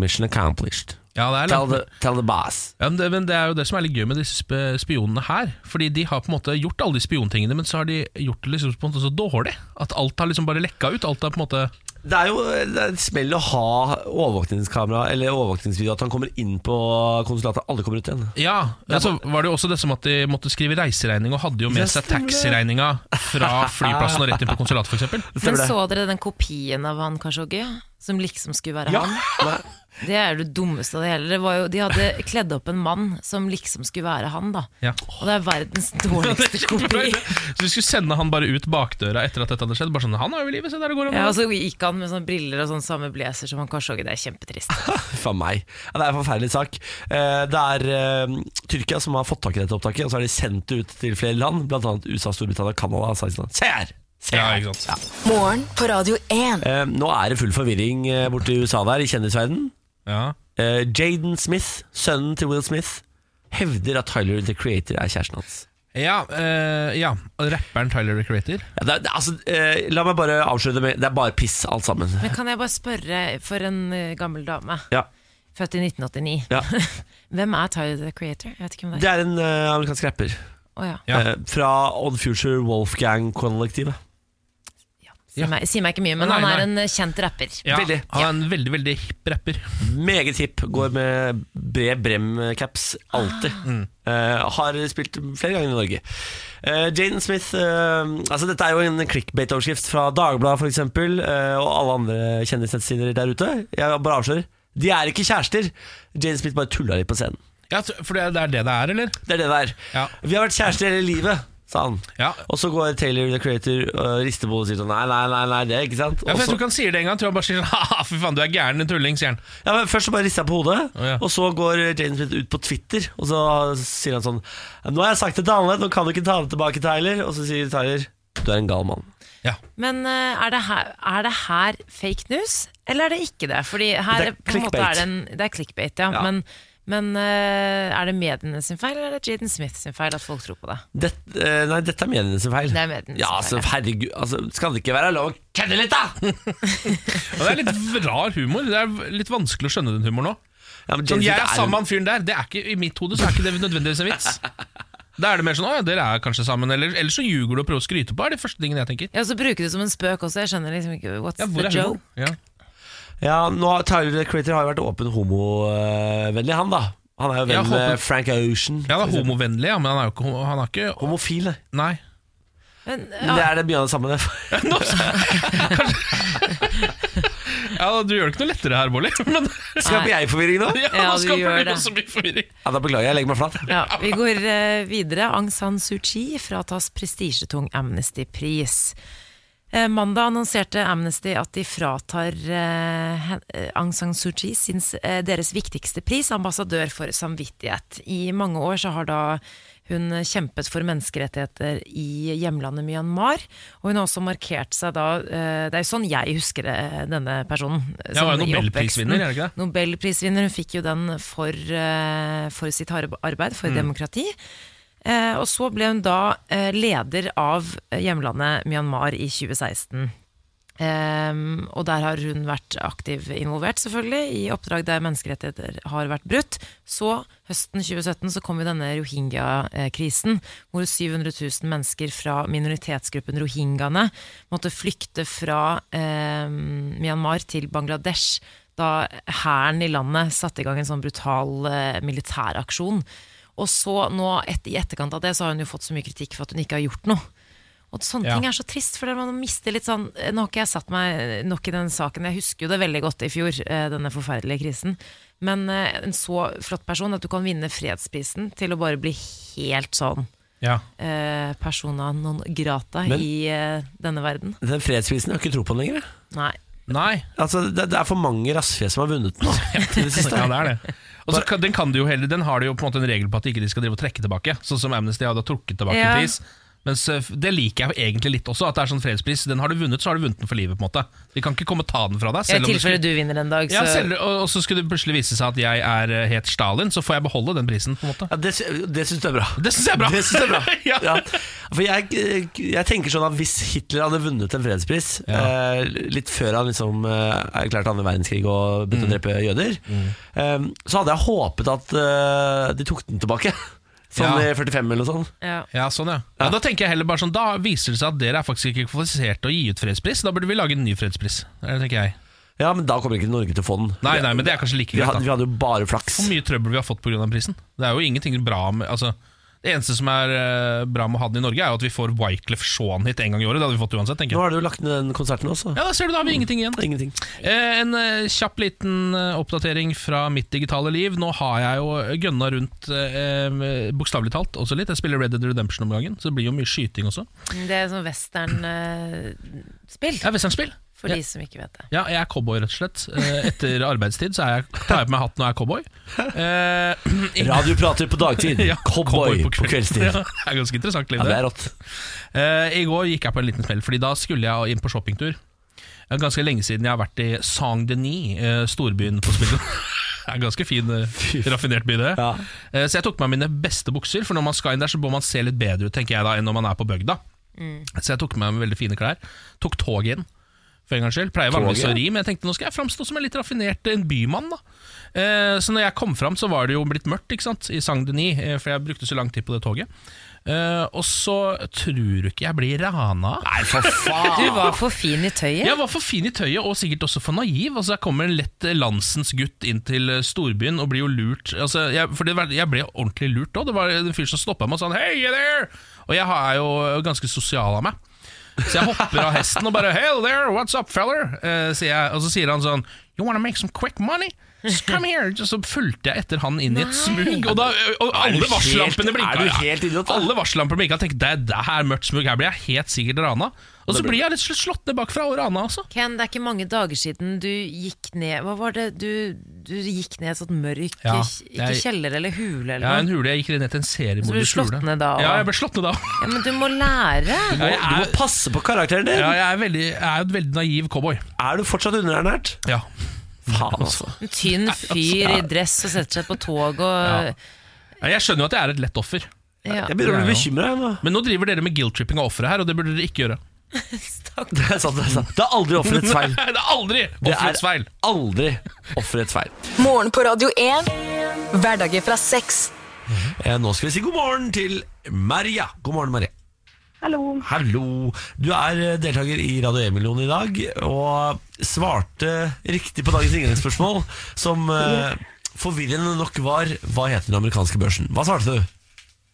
[SPEAKER 1] 'mission accomplished'.
[SPEAKER 2] Ja, det er
[SPEAKER 1] Tell
[SPEAKER 2] langt.
[SPEAKER 1] the, tell the boss.
[SPEAKER 2] Ja, men, det, men det er jo det som er litt gøy med disse sp- spionene her. Fordi de har på en måte gjort alle de spiontingene, men så har de gjort det liksom på en måte så dårlig. At alt har liksom bare lekka ut. Alt er på en måte
[SPEAKER 1] Det er jo det er et smell å ha overvåkningskamera Eller overvåkningsvideo at han kommer inn på konsulatet. Alle kommer ut igjen.
[SPEAKER 2] Ja, altså var det jo også det som at de måtte skrive reiseregning, og hadde jo med
[SPEAKER 1] Ja,
[SPEAKER 2] seg
[SPEAKER 1] stemmer det.
[SPEAKER 2] taxiregninga fra flyplassen og rett inn på konsulatet, f.eks.
[SPEAKER 1] Stemmer
[SPEAKER 3] Men
[SPEAKER 1] det?
[SPEAKER 3] så dere den kopien av han Khashoggi, som liksom skulle være han?
[SPEAKER 1] Nei.
[SPEAKER 3] Det er det dummeste av det hele. Det var jo, de hadde kledd opp en mann som liksom skulle være han, da.
[SPEAKER 2] Ja.
[SPEAKER 3] Og det er verdens dårligste kopi.
[SPEAKER 2] Så vi skulle sende han bare ut bakdøra etter at dette hadde skjedd. Bare sånn, han er jo i livet, se der det går an.
[SPEAKER 3] Ja, og så gikk han med sånne briller og sånn samme blazer som han Khashoggi. Det er kjempetrist.
[SPEAKER 1] Faen meg. Ja, det er en forferdelig sak. Eh, Det er eh, Tyrkia som har fått tak i dette opptaket, og så har de sendt det ut til flere land, bl.a. USA, Storbritannia, Canada og Island. Se her! Se
[SPEAKER 2] Ja,
[SPEAKER 1] her!
[SPEAKER 2] ikke sant.
[SPEAKER 5] Morgen på Radio 1.
[SPEAKER 1] Eh, Nå er det full forvirring eh, borte i USA der, i kjendisverden.
[SPEAKER 2] Ja.
[SPEAKER 1] Eh, Jaden Smith, sønnen til Will Smith, hevder at Tyler the Creator er kjæresten hans.
[SPEAKER 2] Ja, eh, ja, rapperen Tyler the Creator.
[SPEAKER 1] Ja, det er, det, er- altså, eh, la meg bare avsløre det med Det er bare piss, alt sammen.
[SPEAKER 3] Men kan jeg bare spørre, for en eh, gammel dame,
[SPEAKER 1] Ja,
[SPEAKER 3] født i 1989
[SPEAKER 1] ja.
[SPEAKER 3] Hvem er Tyler the Creator? Jeg vet ikke hvem det
[SPEAKER 1] Det
[SPEAKER 3] er.
[SPEAKER 1] er en eh, amerikansk rapper
[SPEAKER 3] Å ja.
[SPEAKER 2] Ja.
[SPEAKER 1] eh, fra Odd Future Wolfgang-kollektivet.
[SPEAKER 3] Sier,
[SPEAKER 2] Ja.
[SPEAKER 3] meg, sier meg ikke mye, men
[SPEAKER 2] Nei,
[SPEAKER 3] han
[SPEAKER 2] nei.
[SPEAKER 3] er en eh, kjent rapper.
[SPEAKER 2] Ja,
[SPEAKER 1] Veldig.
[SPEAKER 2] Han er en veldig, veldig hipp rapper.
[SPEAKER 1] Meget hipp. Går med bred brem-caps alltid.
[SPEAKER 2] Ah. Mm.
[SPEAKER 1] Eh, har spilt flere ganger i Norge. Eh, Jaden Smith eh, altså Dette er jo en clickbait-overskrift fra Dagbladet f.eks. Uh, og alle andre kjendisnettsider der ute. Jeg bare avslører. De er ikke kjærester! Jaden Smith bare tulla litt på scenen.
[SPEAKER 2] Ja, For det er det det er, eller?
[SPEAKER 1] Det er det det er.
[SPEAKER 2] Ja.
[SPEAKER 1] Vi har vært kjærester hele livet, sa han.
[SPEAKER 2] Ja.
[SPEAKER 1] Og så går Taylor the Creator og rister på hodet og sier sånn nei, nei, nei, nei, det, ikke sant? Og
[SPEAKER 2] Ja, for jeg
[SPEAKER 1] så-
[SPEAKER 2] tror ikke han sier det engang. Jeg tror han bare sier sånn «Haha, fy faen, du er gæren, din tulling, sier han.
[SPEAKER 1] Ja, men Først så bare rister jeg på hodet,
[SPEAKER 2] Å, ja.
[SPEAKER 1] og så går Jaden Smith ut på Twitter. Og så sier han sånn Nå har jeg sagt det til alle, nå kan du ikke ta det tilbake, Tyler. Og så sier Tyler du er en gal mann.
[SPEAKER 2] Ja.
[SPEAKER 3] Men eh, er det, her, er det her fake news, eller er det ikke det? Fordi her eh,
[SPEAKER 1] Det er
[SPEAKER 3] på en måte
[SPEAKER 1] clickbait.
[SPEAKER 3] er det, en, det er clickbait, ja.
[SPEAKER 1] Ja.
[SPEAKER 3] Men, men eh, er det mediene sin feil, eller er det Jaden Smith sin feil at folk tror på det?
[SPEAKER 1] Dette, eh, nei, dette er mediene sin feil.
[SPEAKER 3] Det er mediene sin
[SPEAKER 1] ja, altså,
[SPEAKER 3] feil, ja.
[SPEAKER 1] herregud, altså, skal det ikke være lov å kødde litt, da?!
[SPEAKER 2] Og det er litt rar humor. Det er litt vanskelig å skjønne den humoren nå.
[SPEAKER 1] Ja, men Jaden
[SPEAKER 2] Sånn, jeg
[SPEAKER 1] Smith
[SPEAKER 2] er
[SPEAKER 1] er
[SPEAKER 2] sammen
[SPEAKER 1] en-
[SPEAKER 2] med han fyren der. Det er ikke, I mitt hode så er ikke det nødvendigvis en vits. Da er det mer sånn 'Å ja, dere er kanskje sammen', eller, eller så ljuger du og prøver å skryte på. er de første tingene jeg tenker.
[SPEAKER 3] Ja, så bruker du det som en spøk også, jeg skjønner liksom ikke What's
[SPEAKER 2] Ja, hvor
[SPEAKER 3] the
[SPEAKER 2] er humoren?
[SPEAKER 3] joke?
[SPEAKER 2] Ja.
[SPEAKER 1] Ja, nå, har- Tyler the Creator har jo vært åpen homovennlig, han, da. Han er jo
[SPEAKER 2] Ja,
[SPEAKER 1] venn med
[SPEAKER 2] håper-
[SPEAKER 1] Frank Ocean.
[SPEAKER 2] ja, han er homovennlig, ja, men han er jo ikke, homo- han er ikke
[SPEAKER 1] Homofil, det.
[SPEAKER 2] Nei.
[SPEAKER 3] Men,
[SPEAKER 1] Men Det
[SPEAKER 3] ja,
[SPEAKER 1] er det mye av det samme, det.
[SPEAKER 2] Nå, ja, du gjør det ikke noe lettere her, Bolli. Men
[SPEAKER 1] Skaper jeg forvirring nå?
[SPEAKER 2] ja,
[SPEAKER 3] Ja,
[SPEAKER 2] nå
[SPEAKER 3] du
[SPEAKER 2] skaper
[SPEAKER 3] gjør
[SPEAKER 2] du
[SPEAKER 3] det.
[SPEAKER 2] også mye forvirring.
[SPEAKER 1] Ja, Da beklager jeg, jeg legger meg flat. jeg.
[SPEAKER 3] ja, vi går eh, videre. Aung San Suu Kyi fratas prestisjetung Amnesty-pris. Eh, mandag annonserte Amnesty at de fratar eh, hen- eh, Aung San Suu Kyi sin, s- eh, deres viktigste pris, ambassadør for samvittighet. I mange år så har da hun kjempet for menneskerettigheter i hjemlandet Myanmar. Og hun har også markert seg da eh, Det er jo sånn jeg husker eh, denne personen. eh,
[SPEAKER 2] Ja, hun er
[SPEAKER 3] sånn i
[SPEAKER 2] Nobelprisvinner,
[SPEAKER 3] oppveksten.
[SPEAKER 2] er det ikke det?
[SPEAKER 3] Nobelprisvinner. Hun fikk jo den for, eh, for sitt harde arbeid for demokrati. Eh, Og så ble hun da eh, leder av eh, hjemlandet Myanmar i 2016. Ehm, og der har hun vært aktiv involvert, selvfølgelig, i oppdrag der menneskerettigheter har vært brutt. Så, høsten 2017, så kom jo denne rohingya-krisen, hvor 700 000 mennesker fra minoritetsgruppen rohingyaene måtte flykte fra ehm, Myanmar til Bangladesh, da hæren i landet satte i gang en sånn brutal eh, militæraksjon. Og så, nå et, i etterkant av det, så har hun jo fått så mye kritikk for at hun ikke har gjort noe. Og sånne
[SPEAKER 2] Ja.
[SPEAKER 3] ting er så trist, for man mister litt sånn Nå har ikke jeg satt meg eh, nok i den saken, jeg husker jo det veldig godt i fjor, eh, denne forferdelige krisen. Men eh, en så flott person at du kan vinne fredsprisen til å bare bli helt sånn
[SPEAKER 2] Ja.
[SPEAKER 3] eh, persona non grata
[SPEAKER 1] Men-
[SPEAKER 3] i eh, denne verden.
[SPEAKER 1] Den fredsprisen, jeg har ikke tro på den lenger. jeg.
[SPEAKER 3] Nei.
[SPEAKER 2] Nei.
[SPEAKER 1] Altså, det, det er for mange rassfjes som har vunnet den. I det siste.
[SPEAKER 2] Ja, det er det. Og så kan- den, kan du jo heller, den har de jo på en måte en regel på at de ikke skal drive og trekke tilbake, sånn som Amnesty hadde trukket tilbake
[SPEAKER 3] Ja.
[SPEAKER 2] pris. Mens eh, det liker jeg egentlig litt også, at det er sånn fredspris. Den har du vunnet, så har du vunnet den for livet. på en måte Vi kan ikke komme og ta den fra deg.
[SPEAKER 3] I
[SPEAKER 2] Selv om du
[SPEAKER 3] tilfelle
[SPEAKER 2] skulle,
[SPEAKER 3] du vinner en dag, så
[SPEAKER 2] ja, selv, og, og så skulle det plutselig vise seg at jeg er eh, het Stalin, så får jeg beholde den prisen. på en måte
[SPEAKER 1] Ja, det, sy- det syns du er bra.
[SPEAKER 2] Det syns jeg er bra!
[SPEAKER 1] Det synes jeg er bra.
[SPEAKER 2] ja.
[SPEAKER 1] Ja. For jeg, jeg tenker sånn at hvis Hitler hadde vunnet en fredspris eh, litt før han liksom eh, erklærte andre verdenskrig og begynte å
[SPEAKER 2] Mm.
[SPEAKER 1] drepe jøder, eh, så hadde jeg håpet at eh, de tok den tilbake. Sånn
[SPEAKER 2] Ja.
[SPEAKER 1] i 45 eller noe sånt.
[SPEAKER 3] ja.
[SPEAKER 2] Ja, sånn ja. ja. Da tenker jeg heller bare sånn Da viser det seg at dere er faktisk ikke kvalifisert til å gi ut fredspris. Da burde vi lage en ny fredspris. Det tenker jeg
[SPEAKER 1] Ja, men da kommer ikke Norge til å få den.
[SPEAKER 2] Nei, nei, men det er kanskje like
[SPEAKER 1] Vi
[SPEAKER 2] greit.
[SPEAKER 1] hadde,
[SPEAKER 2] da
[SPEAKER 1] vi hadde jo bare flaks.
[SPEAKER 2] Hvor mye trøbbel vi har fått pga. den prisen. Det er jo ingenting bra med altså, Det eneste som er eh, bra med å ha den i Norge, er jo at vi får Wyclef Shaun hit en gang i året. Det hadde vi fått uansett, tenker
[SPEAKER 1] Nå
[SPEAKER 2] jeg.
[SPEAKER 1] har du jo lagt ned den konserten også.
[SPEAKER 2] Ja, da ser du, da har vi ingenting igjen.
[SPEAKER 1] Ingenting.
[SPEAKER 2] Eh, En eh, kjapp liten eh, oppdatering fra mitt digitale liv. Nå har jeg jo gønna rundt, eh, bokstavelig talt, også litt. Jeg spiller Red Dead Redemption om gangen, så det blir jo mye skyting også.
[SPEAKER 3] Det er sånn western-spill,
[SPEAKER 2] Ja, westernspill.
[SPEAKER 3] for de som ikke vet det.
[SPEAKER 2] Ja, jeg er cowboy, rett og slett. Eh, Etter arbeidstid så er jeg, tar jeg på meg hatten og er cowboy. Eh, i-
[SPEAKER 1] Radioprater på dagtid,
[SPEAKER 2] Ja,
[SPEAKER 1] cowboy på kveldstid.
[SPEAKER 2] Ja, det er ganske interessant, liv.
[SPEAKER 1] Ja, det
[SPEAKER 2] det.
[SPEAKER 1] er rått.
[SPEAKER 2] Eh, I går gikk jeg på en liten smell, Fordi da skulle jeg inn på shoppingtur. Det er Ganske lenge siden jeg har vært i Saint-Denis, eh, storbyen på Spillet. Det er en ganske fin, eh, raffinert by, det.
[SPEAKER 1] Ja.
[SPEAKER 2] Eh, Så jeg tok på meg mine beste bukser, for når man skal inn der, så må man se litt bedre ut tenker jeg da enn når man er på bygda. Så jeg tok med meg veldig fine klær. Tok toget inn. For en gangs skyld Pleier vanligvis å
[SPEAKER 1] Toget?
[SPEAKER 2] ri, men jeg tenkte nå skal jeg framstå som en litt raffinert eh, en bymann. da Eh, Så når jeg kom fram, så var det jo blitt mørkt ikke sant? i Saint-Denis, eh, for jeg brukte så lang tid på det toget. Eh, Eh, og så tror du ikke jeg blir rana.
[SPEAKER 1] Nei, for
[SPEAKER 3] Du
[SPEAKER 1] faen!
[SPEAKER 3] var for fin i tøyet.
[SPEAKER 2] Jeg var for fin i tøyet, og sikkert også for naiv. Altså, Jeg kommer en lett eh, landsens gutt inn til eh, storbyen og blir jo lurt. Altså, jeg, for det, var- jeg ble ordentlig lurt òg. Det var en fyr som stoppa meg og sa 'Hey you there!' Og jeg er jo ganske sosial av meg. Så jeg hopper av hesten og bare 'Hell there, what's up, feller?' Eh, sier jeg, og så sier han sånn 'You wanna make some quick money?' Just come here Så fulgte jeg etter han inn i et smug, og, da, og
[SPEAKER 1] Er du
[SPEAKER 2] alle
[SPEAKER 1] helt-
[SPEAKER 2] varsellampene blinka.
[SPEAKER 1] er du
[SPEAKER 2] ja.
[SPEAKER 1] helt idiot, da?
[SPEAKER 2] Alle varsellampene blinka. Jeg tenkte det, det her er mørkt smug, her blir jeg helt sikkert rana. Og så blir jeg litt slått ned bakfra og rana, altså.
[SPEAKER 3] Ken, det er ikke mange dager siden du gikk ned Hva var det? Du, du gikk ned i et sånt mørk
[SPEAKER 2] Ja,
[SPEAKER 3] ikke, ikke
[SPEAKER 2] jeg-
[SPEAKER 3] kjeller eller hule eller
[SPEAKER 2] Ja, en
[SPEAKER 3] noe.
[SPEAKER 2] hule. Jeg gikk ned til en
[SPEAKER 3] Så ble du
[SPEAKER 2] seriemorders
[SPEAKER 3] slått
[SPEAKER 2] hule.
[SPEAKER 3] ned da, og-
[SPEAKER 2] Ja, jeg ble slått ned da.
[SPEAKER 3] Ja, men du må lære!
[SPEAKER 1] Du må, du må passe på karakteren din!
[SPEAKER 2] Ja, jeg er, veldig, jeg er jo et veldig naiv cowboy.
[SPEAKER 1] Er du fortsatt underernært?
[SPEAKER 2] Ja.
[SPEAKER 1] Faen, altså.
[SPEAKER 3] En tynn fyr i dress og setter seg på tog
[SPEAKER 2] Ja.
[SPEAKER 3] og
[SPEAKER 2] Jeg skjønner jo at jeg er et lett offer,
[SPEAKER 3] ja.
[SPEAKER 1] Jeg begynner å bli bekymra. nå.
[SPEAKER 2] men nå driver dere med guilt-tripping av offeret her, og det burde dere ikke gjøre.
[SPEAKER 1] Det er sant, det er sant. Det er aldri offerets feil.
[SPEAKER 2] Nei, det er aldri
[SPEAKER 1] Det
[SPEAKER 2] offerets
[SPEAKER 1] er
[SPEAKER 2] feil.
[SPEAKER 1] aldri offerets feil.
[SPEAKER 5] Morgen på Radio 1. Hverdager fra seks.
[SPEAKER 1] Eh, Nå skal vi si god morgen til Maria. God morgen, Maria.
[SPEAKER 6] Hallo.
[SPEAKER 1] Hallo. Du er eh, deltaker i Radio E-millionen i dag, og svarte riktig på dagens inngangsspørsmål, som eh, forvirrende nok var hva heter den amerikanske børsen? Hva svarte du?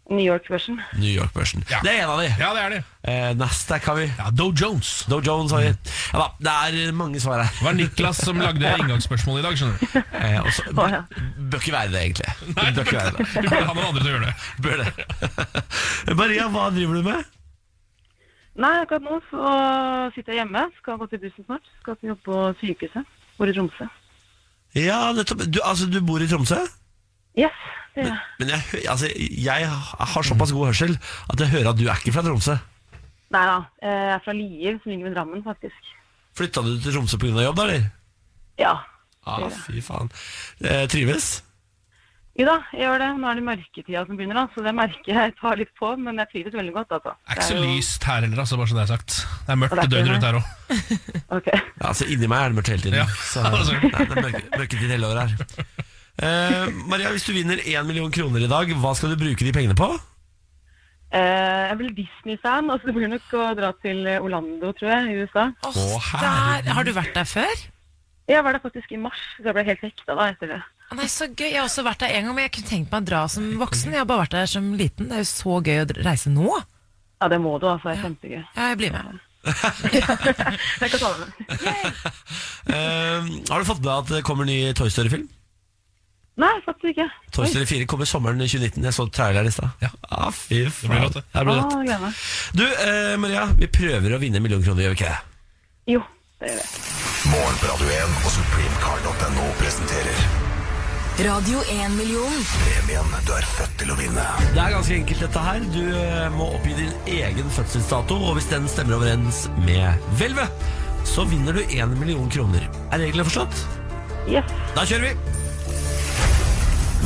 [SPEAKER 6] New York-børsen.
[SPEAKER 1] New York-børsen.
[SPEAKER 2] Ja.
[SPEAKER 1] Det er en av de.
[SPEAKER 2] Ja, det er det.
[SPEAKER 1] Eh, Nasdaq har vi.
[SPEAKER 2] Ja, Doe Jones.
[SPEAKER 1] Dow Jones har vi. Ja da, det er mange svar her.
[SPEAKER 2] Det var Niklas som lagde inngangsspørsmålet i dag, skjønner du.
[SPEAKER 1] Eh, og så-
[SPEAKER 6] Å, ja.
[SPEAKER 1] Bør ikke være det, egentlig.
[SPEAKER 2] Nei,
[SPEAKER 1] Bør ikke være det.
[SPEAKER 2] Vi burde ha noen andre til å gjøre det.
[SPEAKER 1] Bør det. Maria, hva driver du med?
[SPEAKER 6] Nei, akkurat nå så sitter jeg hjemme. Skal gå til bussen snart. Skal til jobb på sykehuset. Bor i Tromsø.
[SPEAKER 1] Ja, nettopp. Du, altså, du bor i Tromsø?
[SPEAKER 6] Yes, det gjør jeg.
[SPEAKER 1] Men jeg, hø- altså, jeg har såpass god hørsel at jeg hører at du er ikke fra Tromsø.
[SPEAKER 6] Nei da. Jeg er fra Lier, som ligger ved Drammen, faktisk.
[SPEAKER 1] Flytta du til Tromsø pga. jobb, da, eller?
[SPEAKER 6] Ja.
[SPEAKER 1] Ja, fy faen. Eh, trives?
[SPEAKER 6] Jo da, jeg gjør det. Nå er det mørketida som begynner, da, så det merker jeg tar litt på. Men jeg trives veldig godt, altså.
[SPEAKER 2] Det er ikke
[SPEAKER 6] Det
[SPEAKER 2] så
[SPEAKER 6] er jo-
[SPEAKER 2] lyst her heller, altså, bare så det er sagt. Det er mørkt
[SPEAKER 6] Og det er ikke
[SPEAKER 2] døgnet rundt her òg.
[SPEAKER 6] Ok.
[SPEAKER 1] Ja, altså, inni meg er det mørkt hele tiden.
[SPEAKER 2] Ja.
[SPEAKER 1] Så, nei, det er mørke- mørketid hele året her. Eh, Maria, hvis du vinner én million kroner i dag, hva skal du bruke de pengene på?
[SPEAKER 6] Eh, Jeg blir Disney-fan, og så det blir nok å dra til eh, Orlando, tror jeg, i USA.
[SPEAKER 1] Å, herregud.
[SPEAKER 3] Der, har du vært der før?
[SPEAKER 6] Jeg var der faktisk i mars, så jeg ble helt hekta da etter det.
[SPEAKER 3] Å, Nei, så gøy. Jeg har også vært der en gang, men jeg kunne tenkt meg å dra som voksen. Jeg har bare vært der som liten. Det er jo så gøy å dr- reise nå.
[SPEAKER 6] Ja, det må du, altså. Det er kjempegøy.
[SPEAKER 3] Ja, jeg blir med.
[SPEAKER 6] Jeg kan ta det med.
[SPEAKER 1] Eh, har du fått med deg at det kommer ny Toy Story-film?
[SPEAKER 6] Nei, faktisk ikke.
[SPEAKER 1] Toy Story 4 kommer sommeren 2019. Jeg så traileren i stad.
[SPEAKER 2] Ja.
[SPEAKER 1] Ah, fy
[SPEAKER 2] blir
[SPEAKER 1] faen.
[SPEAKER 2] rått, det.
[SPEAKER 1] Det blir rått.
[SPEAKER 6] Å, gleder meg.
[SPEAKER 1] Du, eh, Maria, vi prøver å vinne en million kroner, gjør vi ikke det?
[SPEAKER 6] Jo, det gjør jeg.
[SPEAKER 7] Morgen på Radio 1 og supremecard.no presenterer
[SPEAKER 5] Radio 1-million.
[SPEAKER 7] premien du er født til å vinne.
[SPEAKER 1] Det er ganske enkelt dette her. Du eh, må oppgi din egen fødselsdato, og hvis den stemmer overens med hvelvet, så vinner du én million kroner. Er reglene forstått?
[SPEAKER 6] Yes.
[SPEAKER 1] Da kjører vi!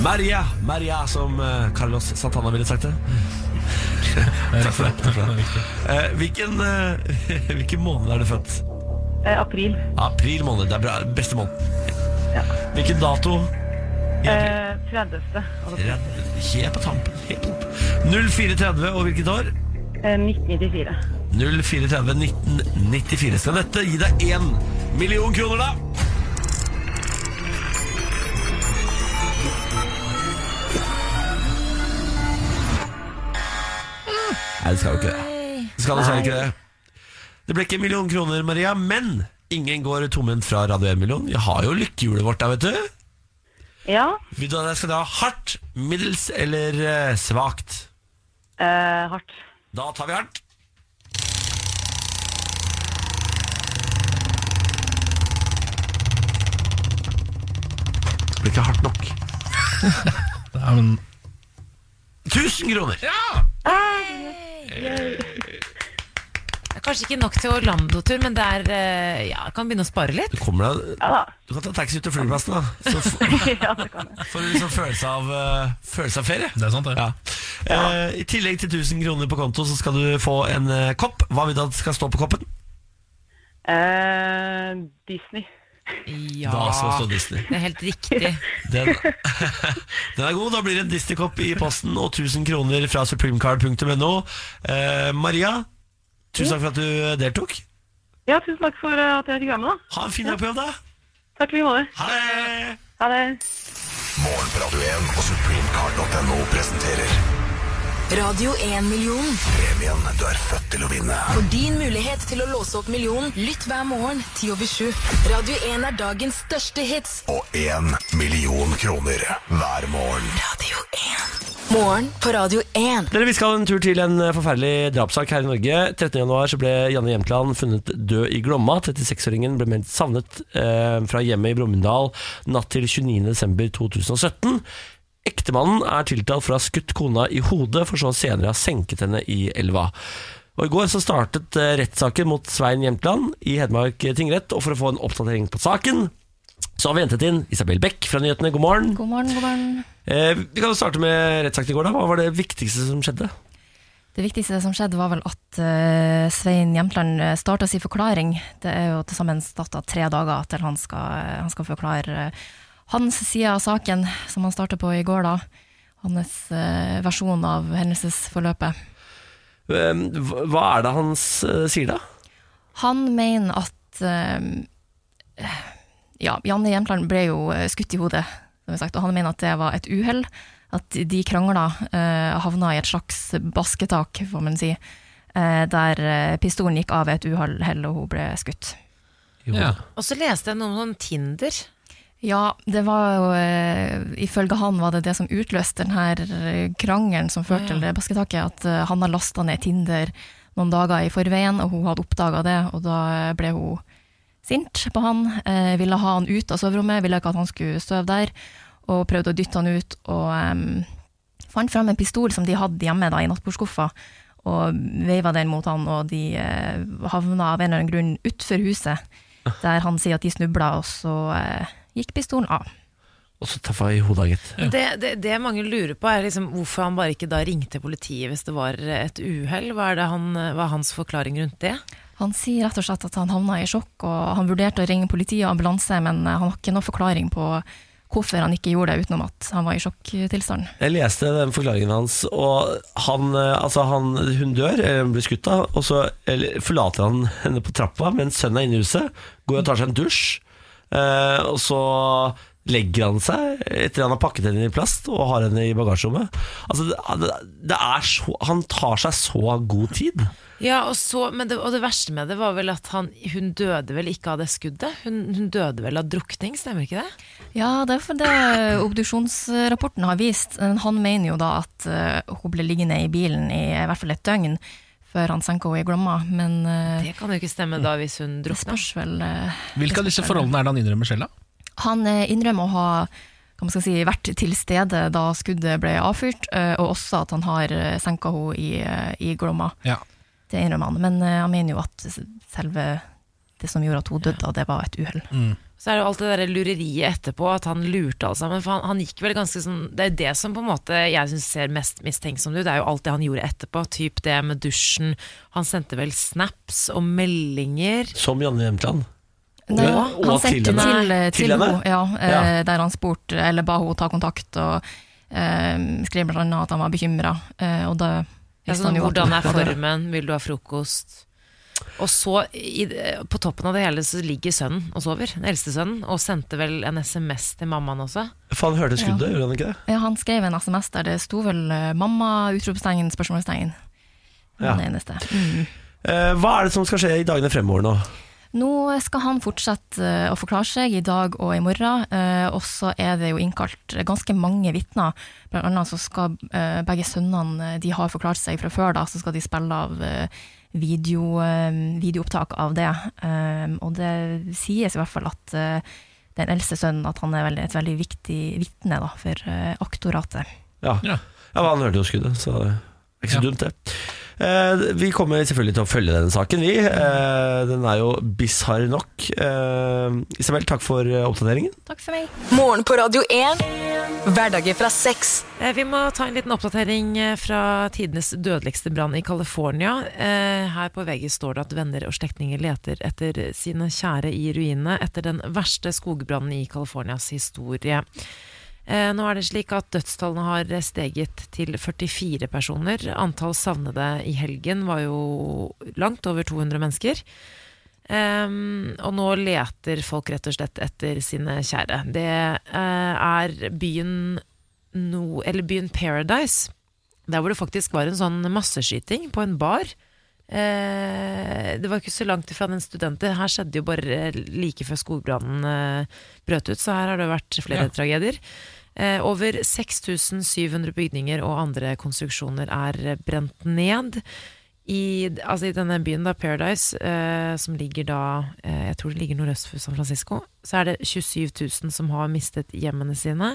[SPEAKER 1] Maria, Maria, som eh, Carlos Santana ville sagt det. Takk for det. Takk for det. Eh, hvilken, eh, hvilken måned er du født?
[SPEAKER 6] Eh, april.
[SPEAKER 1] April måned. Det er bra. Beste måned. Hvilken dato?
[SPEAKER 6] Eh, 30. Altså,
[SPEAKER 1] Rett, helt på tampen. Helt opp. 0430 og hvilket år?
[SPEAKER 6] eh, 1994.
[SPEAKER 1] 0430 1994. Skal dette gi deg én million kroner, da? Nei, det skal jo ikke det. Det skal dessverre ikke det. Det ble ikke en million kroner, Maria, men ingen går tomhendt fra Radio 1-million. Vi har jo lykkehjulet vårt der, vet du.
[SPEAKER 6] Ja.
[SPEAKER 1] Vil du at jeg skal dra hardt, middels eller eh, svakt?
[SPEAKER 6] Eh, hardt.
[SPEAKER 1] Da tar vi hardt. Det blir ikke hardt nok.
[SPEAKER 2] Det er en
[SPEAKER 1] 1000 kroner!
[SPEAKER 3] Det er kanskje ikke nok til Orlando-tur, men det er eh, Ja, jeg kan begynne å spare litt.
[SPEAKER 1] Du, kommer deg,
[SPEAKER 6] Ja da.
[SPEAKER 1] du kan ta taxi ut til flyplassen, da. Så f-
[SPEAKER 6] ja, det kan jeg.
[SPEAKER 1] får du liksom følelse av, eh, følelse av ferie.
[SPEAKER 2] Det er sant, det.
[SPEAKER 1] Ja. Eh, I tillegg til 1000 kroner på konto, så skal du få en eh, kopp. Hva vil du at skal stå på koppen?
[SPEAKER 6] Eh, Disney.
[SPEAKER 3] Ja.
[SPEAKER 1] Da skal det stå Disney.
[SPEAKER 3] Det er helt riktig.
[SPEAKER 1] Den, den er god. Da blir det en Disney-kopp i posten og 1000 kroner fra supremecard.no. Eh, Maria, tusen takk for at du deltok.
[SPEAKER 6] Ja, tusen takk for eh, at jeg fikk være med, da.
[SPEAKER 1] Ha en fin dag på jobb, da.
[SPEAKER 6] Takk i like måte.
[SPEAKER 1] Ha det!
[SPEAKER 6] Ha det.
[SPEAKER 7] Morgen på Radio 1 og supremecard.no presenterer
[SPEAKER 5] Radio 1 million.
[SPEAKER 7] premien du er født til å vinne.
[SPEAKER 5] For din mulighet til å låse opp millionen, lytt hver morgen 10 over 7. Radio 1 er dagens største hits.
[SPEAKER 7] Og én million kroner hver morgen.
[SPEAKER 5] Radio 1. Morgen på Radio 1.
[SPEAKER 1] Dere, Vi skal en tur til en eh, forferdelig drapssak her i Norge. 13.1 ble Janne Jemtland funnet død i Glomma. 36-åringen ble meldt savnet eh, fra hjemmet i Brumunddal natt til 29.12.2017. Ektemannen er tiltalt for å ha skutt kona i hodet, for så å senere ha senket henne i elva. Og I går så startet eh, rettssaken mot Svein Jemtland i Hedmark tingrett. Og For å få en oppdatering på saken, så har vi hentet inn Isabel Beck fra nyhetene. God morgen.
[SPEAKER 8] God morgen, god morgen.
[SPEAKER 1] Eh, vi kan jo starte med rettssaken i går. da. Hva var det viktigste som skjedde?
[SPEAKER 8] Det viktigste som skjedde var vel at eh, Svein Jemtland starta sin forklaring. Det er jo til sammen satt av tre dager til han skal, han skal forklare eh, hans side av saken, som han starta på i går, da. Hans eh, versjon av hendelsesforløpet.
[SPEAKER 1] Um, hva hva er det han s- eh, sier da?
[SPEAKER 8] Han mener at ehm, ja, Janne Jemtland ble jo eh, skutt i hodet, som vi sagt, og han mener at det var et uhell. At de krangla, eh, havna i et slags basketak, får man si, eh, der eh, pistolen gikk av ved et uhell og hun ble skutt.
[SPEAKER 2] Ja.
[SPEAKER 3] Og så leste jeg noe om sånn Tinder.
[SPEAKER 8] Ja, det var jo eh, Ifølge han var det det som utløste den her eh, krangelen som førte til det basketaket. At eh, han har lasta ned Tinder noen dager i forveien, og hun hadde oppdaga det. Og da eh, ble hun sint på han. eh, ville ha han ut av soverommet, ville ikke at han skulle sove der. Og prøvde å dytte han ut, og em, fant fram en pistol som de hadde hjemme da, i nattbordskuffa. Og veiva den mot han, og de eh, havna av en eller annen grunn utfor huset. Der han sier at de snubla, og så eh, gikk pistolen av.
[SPEAKER 1] Og så taffa i hodet, gitt.
[SPEAKER 3] Men Det, det, det mange lurer på, er liksom hvorfor han bare ikke da ringte politiet hvis det var et uhell. Hva, er det han- hva er hans forklaring rundt det?
[SPEAKER 8] Han sier rett og slett at han havna i sjokk, og han vurderte å ringe politi og ambulanse, men eh, han har ikke noen forklaring på hvorfor han ikke gjorde det, utenom at han var i sjokktilstand.
[SPEAKER 1] Jeg leste den forklaringen hans, og han, eh, altså han, hun dør, eller hun blir skutt av, og så eller, forlater han henne på trappa mens sønnen er inne i huset, går og tar seg en dusj, eh, og så legger han seg etter han har pakket henne i plast og har henne i bagasjerommet. Altså, det, det er så, han tar seg så god tid.
[SPEAKER 3] Ja, og, så, men det, og det verste med det var vel at han, hun døde vel ikke av det skuddet? Hun, hun døde vel av drukning, stemmer ikke det?
[SPEAKER 8] Ja, det er for det obduksjonsrapporten har vist. Men Han mener jo da at eh, hun ble liggende i bilen i, i hvert fall et døgn før han senka henne i Glomma, men eh,
[SPEAKER 3] Det kan jo ikke stemme da hvis hun
[SPEAKER 8] det
[SPEAKER 3] drukna.
[SPEAKER 8] spørs vel eh,
[SPEAKER 2] Hvilke av disse forholdene er det han innrømmer selv, da?
[SPEAKER 8] Han eh, innrømmer å ha hva man skal si, vært til stede da skuddet ble avfyrt, eh, og også at han har eh, senka henne i, eh, i Glomma.
[SPEAKER 2] Ja.
[SPEAKER 8] Det innrømmer han, men eh, han mener jo at selve det som gjorde at hun døde, det var et uhell.
[SPEAKER 1] Mm.
[SPEAKER 3] Så er det jo alt det der lureriet etterpå, at han lurte alt sammen. For han, han gikk vel ganske sånn Det er jo det som på en måte jeg syns ser mest mistenksomt ut, det er jo alt det han gjorde etterpå. Typ det med dusjen. Han sendte vel snaps og meldinger.
[SPEAKER 1] Som Janne Jemtland.
[SPEAKER 8] Nei,
[SPEAKER 1] Ja, og
[SPEAKER 8] han sendte
[SPEAKER 1] til henne.
[SPEAKER 8] til, til,
[SPEAKER 1] Til henne?
[SPEAKER 8] henne, ja, eh, der han spurte, eller ba henne ta kontakt, og eh, skrev blant annet at han var bekymra. Eh, og da
[SPEAKER 3] Ja,
[SPEAKER 8] visste
[SPEAKER 3] sånn,
[SPEAKER 8] han jo at
[SPEAKER 3] hvordan er
[SPEAKER 8] hun var død.
[SPEAKER 3] formen? Vil du ha frokost? Og så, i, på toppen av det hele, så ligger sønnen og sover. Den eldste sønnen. Og sendte vel en SMS til mammaen også.
[SPEAKER 1] For han hørte skuddet, gjorde han ikke det?
[SPEAKER 8] Ja, han skrev en SMS der det sto vel eh, 'mamma', utropstegn, spørsmålstegn.
[SPEAKER 1] Ja.
[SPEAKER 8] Ja. Den eneste. Mm.
[SPEAKER 1] Eh, hva er det som skal skje i dagene fremover nå?
[SPEAKER 8] Nå skal han fortsette eh, å forklare seg i dag og i morgen, eh, og så er det jo innkalt ganske mange vitner. Blant annet så skal eh, begge sønnene, eh, de har forklart seg fra før da, så skal de spille av eh, video, eh, videoopptak av det. Eh, Og det sies i hvert fall at eh, den eldste sønnen, at han er veldig, et veldig viktig vitne da, for eh, aktoratet.
[SPEAKER 1] Ja,
[SPEAKER 2] Ja.
[SPEAKER 1] ja men han hørte jo skuddet, så det er ikke så
[SPEAKER 2] Ja.
[SPEAKER 1] dumt det. Eh, Vi kommer selvfølgelig til å følge denne saken, vi. Eh, Den er jo bisarr nok. Eh, Isabel, takk for eh, oppdateringen.
[SPEAKER 8] Takk for meg.
[SPEAKER 5] Morgen på Radio 1. Hverdager fra seks.
[SPEAKER 3] Eh, Vi må ta en liten oppdatering eh, fra tidenes dødeligste brann i California. Eh, Her på VG står det at venner og slektninger leter etter sine kjære i ruinene etter den verste skogbrannen i Californias historie. Eh, Nå er det slik at dødstallene har steget til 44 personer. Antall savnede i helgen var jo langt over 200 mennesker. Ehm, og nå leter folk rett og slett etter sine kjære. Det eh, er byen no, eller byen Paradise, der hvor det faktisk var en sånn masseskyting på en bar. Eh, det var ikke så langt fra den studenten. Her skjedde jo bare eh, like før skogbrannen eh, brøt ut, så her har det vært flere tragedier. Eh, over 6700 bygninger og andre konstruksjoner er eh, brent ned. I, altså I denne byen, da, Paradise, eh, som ligger da eh, Jeg tror det ligger nordøst for San Francisco, så er det 27 000 som har mistet hjemmene sine.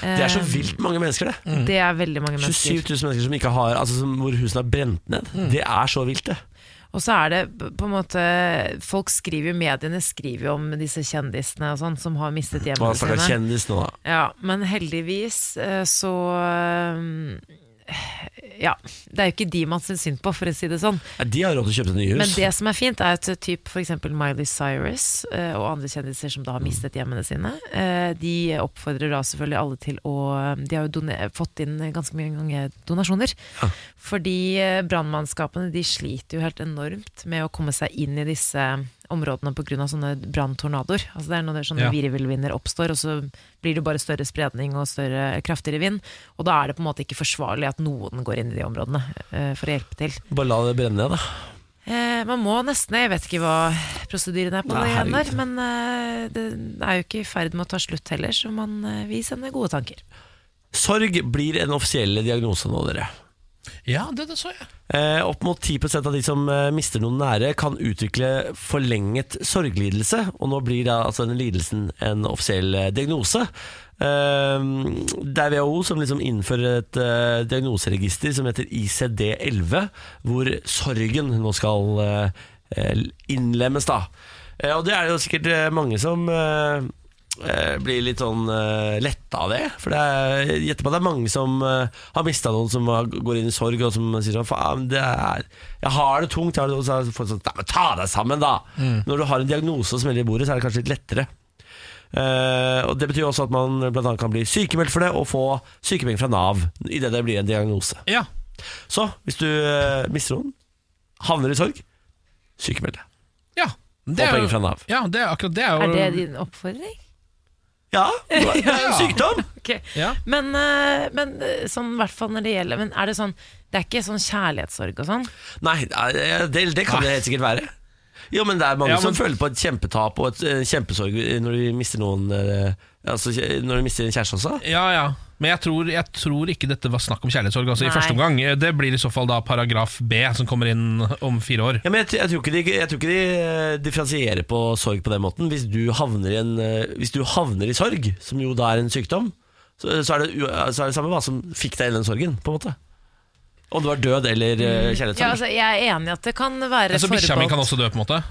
[SPEAKER 3] Eh.
[SPEAKER 1] Det er så vilt mange mennesker, det.
[SPEAKER 3] Det er veldig
[SPEAKER 1] 27
[SPEAKER 3] mange mennesker.
[SPEAKER 1] 000 mennesker som ikke har, altså som, hvor husene er brent ned.
[SPEAKER 3] Mm.
[SPEAKER 1] Det er så vilt, det.
[SPEAKER 3] Og så er det p- på en måte Folk skriver jo, mediene skriver jo om disse kjendisene og sånn, som har mistet
[SPEAKER 1] Hva
[SPEAKER 3] hjemmene
[SPEAKER 1] snakker
[SPEAKER 3] sine.
[SPEAKER 1] kjendis nå, da?
[SPEAKER 3] Ja, men heldigvis eh, så eh, Ja. Det er jo ikke de man syns synd på, for å si det sånn.
[SPEAKER 1] Ja, De har råd til å kjøpe seg nye
[SPEAKER 3] Men
[SPEAKER 1] hus.
[SPEAKER 3] det som er fint, er at typ for eksempel Miley Cyrus eh, og andre kjendiser som da har mistet hjemmene sine, eh, de oppfordrer da selvfølgelig alle til å eh, De har jo done fått inn ganske mye ganger donasjoner. Fordi eh, brannmannskapene de sliter jo helt enormt med å komme seg inn i disse områdene pga. sånne branntornadoer. Altså det er når det er sånne
[SPEAKER 2] Ja.
[SPEAKER 3] virvelvinder oppstår, og så blir det bare større spredning og større kraftigere vind. Og da er det på en måte ikke forsvarlig at noen går inn i de områdene eh, for å hjelpe til.
[SPEAKER 1] Bare la det brenne ned, da.
[SPEAKER 3] Eh, man må nesten Jeg vet ikke hva prosedyren er på
[SPEAKER 1] Nei,
[SPEAKER 3] det greiene der,
[SPEAKER 1] herregud.
[SPEAKER 3] men eh, det er jo ikke i ferd med å ta slutt heller, så man, eh, vi sender gode tanker.
[SPEAKER 1] Sorg blir en offisielle diagnose nå, dere.
[SPEAKER 2] Ja, det, det så jeg.
[SPEAKER 1] Eh, opp mot 10 av de som eh, mister noen nære, kan utvikle forlenget sorglidelse. Og nå blir da altså denne lidelsen en offisiell eh, diagnose. Eh, det er WHO som liksom innfører et eh, diagnoseregister som heter ICD-11, hvor sorgen nå skal eh, eh, innlemmes, da. Eh, og det er jo sikkert eh, mange som eh, eh, blir litt sånn eh, letta av det. For det er, jeg gjetter på at det er mange som eh, har mista noen som har, går inn i sorg, og som sier sånn Faen, det er Jeg har det tungt. Jeg har det, og så er det folk sånn «Nei, men Ta deg sammen, da!
[SPEAKER 2] Mm.
[SPEAKER 1] Når du har en diagnose som smeller i bordet, så er det kanskje litt lettere. Eh, og Det betyr også at man blant annet kan bli sykemeldt for det, og få sykepenger fra Nav idet det blir en diagnose.
[SPEAKER 2] Ja.
[SPEAKER 1] Så hvis du eh, mister noen, havner i sorg, sykemeld deg.
[SPEAKER 2] ja.
[SPEAKER 1] Få
[SPEAKER 2] Det er,
[SPEAKER 1] penger fra
[SPEAKER 2] jo-
[SPEAKER 1] Nav.
[SPEAKER 2] ja, det er akkurat det. Er jo,
[SPEAKER 3] Er det din oppfordring?
[SPEAKER 1] Ja, det er en sykdom!
[SPEAKER 3] Ok.
[SPEAKER 2] Ja.
[SPEAKER 3] Men, eh, men eh, sånn i hvert fall når det gjelder Men er det sånn Det er ikke sånn kjærlighetssorg og sånn?
[SPEAKER 1] Nei, eh, det, det kan det helt sikkert være. Jo, men det er mange
[SPEAKER 2] Ja, men-
[SPEAKER 1] som føler på et kjempetap og et eh, kjempesorg når de mister noen eh, Altså kje- når de mister en kjæreste også.
[SPEAKER 2] Ja, ja. Men jeg tror, jeg tror ikke dette var snakk om kjærlighetssorg. Altså, I
[SPEAKER 3] Nei.
[SPEAKER 2] første omgang Det blir i så fall da paragraf B, som kommer inn om fire år.
[SPEAKER 1] Ja, men jeg, tr- jeg, tror ikke de, jeg tror ikke de eh, differensierer på sorg på den måten. Hvis du havner i, en, eh, hvis du havner i sorg, som jo da er en sykdom, så, så, er det, u- så er det samme hva som fikk deg i den sorgen, på en måte. Om du var død eller eh,
[SPEAKER 3] Ja,
[SPEAKER 1] kjærlighetssorg.
[SPEAKER 3] altså, jeg er enig i at det kan være
[SPEAKER 2] Altså, sånn- Bikkja mi kan også dø, på en måte.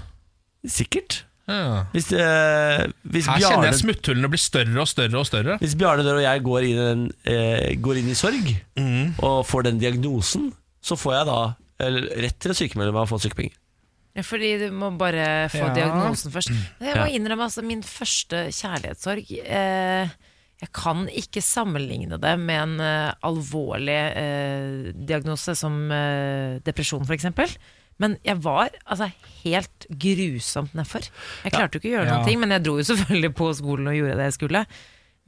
[SPEAKER 1] Sikkert.
[SPEAKER 2] Ja.
[SPEAKER 1] Hvis, eh, hvis
[SPEAKER 2] Her kjenner
[SPEAKER 1] Bjarne
[SPEAKER 2] jeg smutthullene blir større og større og større.
[SPEAKER 1] Hvis Bjarne Dør og jeg går inn, i den, eh, går inn i sorg og får den diagnosen, så får jeg da eller, rett til å sykemelde meg og få sykepenger.
[SPEAKER 3] Ja, fordi du må bare få
[SPEAKER 2] Ja.
[SPEAKER 3] diagnosen først.
[SPEAKER 1] Mm.
[SPEAKER 3] Men jeg må
[SPEAKER 1] Ja.
[SPEAKER 3] innrømme altså, min første kjærlighetssorg eh, Jeg kan ikke sammenligne det med en eh, alvorlig eh, diagnose som eh, depresjon, f.eks. Men jeg var altså, helt grusomt nedfor. Jeg klarte jo ikke å gjøre
[SPEAKER 2] Ja.
[SPEAKER 3] noen ting, men jeg dro jo selvfølgelig på skolen og gjorde det jeg skulle.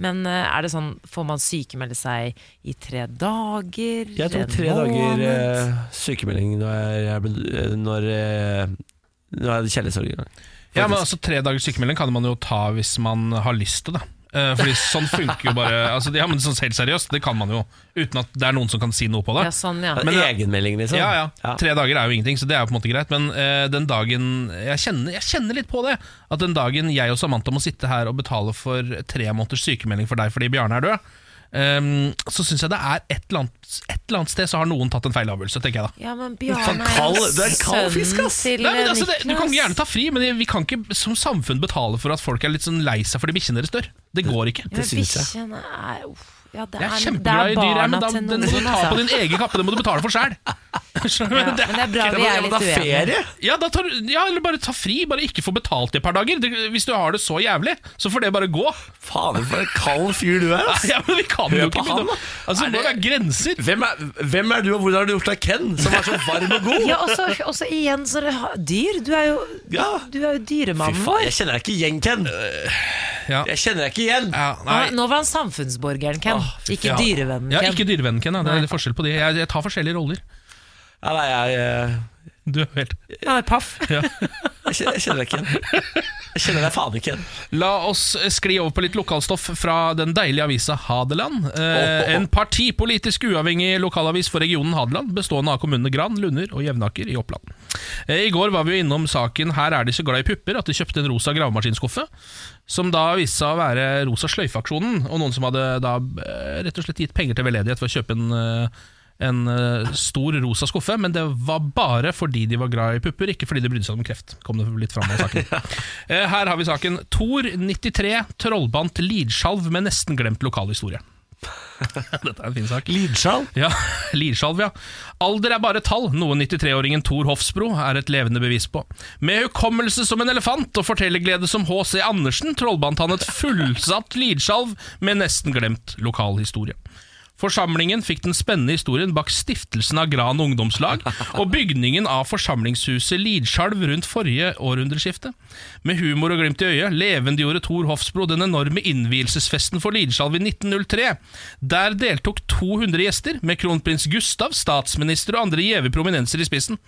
[SPEAKER 3] Men eh, er det sånn, får man sykemelde seg i tre dager?
[SPEAKER 1] Jeg tok
[SPEAKER 3] en
[SPEAKER 1] tre dager
[SPEAKER 3] måned?
[SPEAKER 1] eh, sykemelding når jeg, jeg, ble, eh, når, eh, når jeg hadde kjærlighetssorg. en gang.
[SPEAKER 2] Ja, men
[SPEAKER 1] Faktisk.
[SPEAKER 2] altså Tre dagers sykemelding kan man jo ta hvis man har lyst til det. Eh, Fordi sånn funker jo bare altså, Ja, men sånn Helt seriøst, det kan man jo. Uten at det er noen som kan si noe på det.
[SPEAKER 3] Ja, sånn, ja.
[SPEAKER 2] Men det-
[SPEAKER 1] Egenmelding, liksom.
[SPEAKER 2] Ja, ja. Tre dager er jo ingenting, så det er jo på en måte greit. Men eh, den dagen jeg kjenner, jeg kjenner litt på det. At den dagen jeg og Samantha må sitte her og betale for tre måneders sykemelding for deg fordi Bjarne er død, ehm, så syns jeg det er et eller, annet, et eller annet sted så har noen tatt en feil avgjørelse, tenker jeg da.
[SPEAKER 3] Ja, men
[SPEAKER 2] sånn
[SPEAKER 3] Bjarne
[SPEAKER 1] kald-
[SPEAKER 3] jo
[SPEAKER 1] det er kald fisk,
[SPEAKER 3] sønnen
[SPEAKER 1] ass.
[SPEAKER 3] til
[SPEAKER 2] Nei, men altså, det, du kan
[SPEAKER 3] Niklas.
[SPEAKER 2] gjerne ta fri, men vi kan ikke som samfunn betale for at folk er litt sånn lei seg fordi bikkjene deres dør. Det går ikke.
[SPEAKER 3] Ja, men
[SPEAKER 1] synes jeg.
[SPEAKER 3] bikkjene er uff, ja, det
[SPEAKER 2] Jeg er
[SPEAKER 3] er, det
[SPEAKER 2] kjempeglad
[SPEAKER 3] er
[SPEAKER 2] i dyr, jeg,
[SPEAKER 3] barna
[SPEAKER 2] men da,
[SPEAKER 3] til
[SPEAKER 2] den
[SPEAKER 3] noen,
[SPEAKER 2] må du ta på
[SPEAKER 3] altså.
[SPEAKER 2] din egen kappe. Den må du betale for sjæl.
[SPEAKER 3] Ja, men det er bra vi er
[SPEAKER 1] Men
[SPEAKER 3] litt
[SPEAKER 1] da
[SPEAKER 3] uenige.
[SPEAKER 1] ferie?
[SPEAKER 2] Ja, da tar, du- ja, eller bare ta fri. Bare ikke få betalt i et par dager. Det- Hvis du har det så jævlig, så får det bare gå.
[SPEAKER 1] Fader, for en kald fyr du er. ass.
[SPEAKER 2] Ja, men vi kan
[SPEAKER 1] Hør
[SPEAKER 2] jo
[SPEAKER 1] på
[SPEAKER 2] ikke
[SPEAKER 1] han,
[SPEAKER 2] begynne
[SPEAKER 1] da.
[SPEAKER 2] Altså, det må være grenser.
[SPEAKER 1] Hvem er, hvem er du, og hvordan har du gjort deg Ken, som er så varm og god?
[SPEAKER 3] Ja, også, også igjen så er det ha- dyr. Du er jo,
[SPEAKER 1] Ja.
[SPEAKER 3] du er jo
[SPEAKER 1] Fy
[SPEAKER 3] dyremannen
[SPEAKER 1] faen,
[SPEAKER 3] vår.
[SPEAKER 1] jeg kjenner deg ikke igjen, Ken.
[SPEAKER 2] ja.
[SPEAKER 1] Jeg kjenner deg ikke igjen.
[SPEAKER 2] Ja,
[SPEAKER 3] Ah, Nå var han samfunnsborgeren Ken, ikke
[SPEAKER 2] ja.
[SPEAKER 3] dyrevennen
[SPEAKER 2] Ja,
[SPEAKER 3] Ken.
[SPEAKER 2] ikke dyrevennen Ken. Ja. Det
[SPEAKER 3] Nei.
[SPEAKER 2] er litt forskjell på de. Jeg, jeg tar forskjellige roller.
[SPEAKER 1] Ja, nei, jeg, eh,
[SPEAKER 2] Du er helt
[SPEAKER 3] Han er paff.
[SPEAKER 1] jeg, kjenner, jeg kjenner deg ikke igjen. Jeg kjenner deg faen ikke igjen.
[SPEAKER 2] La oss eh, skli over på litt lokalstoff fra den deilige avisa Hadeland. Eh, en partipolitisk uavhengig lokalavis for regionen Hadeland, bestående av kommunene Gran, Lunder og Jevnaker i Oppland. Eh, I går var vi jo innom saken 'Her er de så glad i pupper' at de kjøpte en rosa gravemaskinskuffe. Som da viste seg å være Rosa sløyfe-aksjonen, og noen som hadde da eh, rett og slett gitt penger til veldedighet for å kjøpe en eh, en eh, stor rosa skuffe, men det var bare fordi de var glad i pupper, ikke fordi de brydde seg om kreft. Kom det litt frem av saken. Eh, Her har vi saken. Tor 93 trollbandt lidskjalv med nesten glemt lokalhistorie. Dette er en fin sak.
[SPEAKER 1] Lidskjal?
[SPEAKER 2] Ja, Lidskjalv, ja. Alder er bare tall, noe 93-åringen Thor Hofsbro er et levende bevis på. Med hukommelse som en elefant og fortellerglede som H.C. Andersen trollbandt han et fullsatt Lidskjalv med nesten glemt lokalhistorie. Forsamlingen fikk den spennende historien bak stiftelsen av Gran ungdomslag og bygningen av forsamlingshuset Lidskjalv rundt forrige århundreskifte. Med humor og glimt i øyet levendegjorde Thor Hofsbro den enorme innvielsesfesten for Lidskjalv i 1903. Der deltok 200 gjester, med kronprins Gustav, statsminister og andre gjeve prominenser i spissen.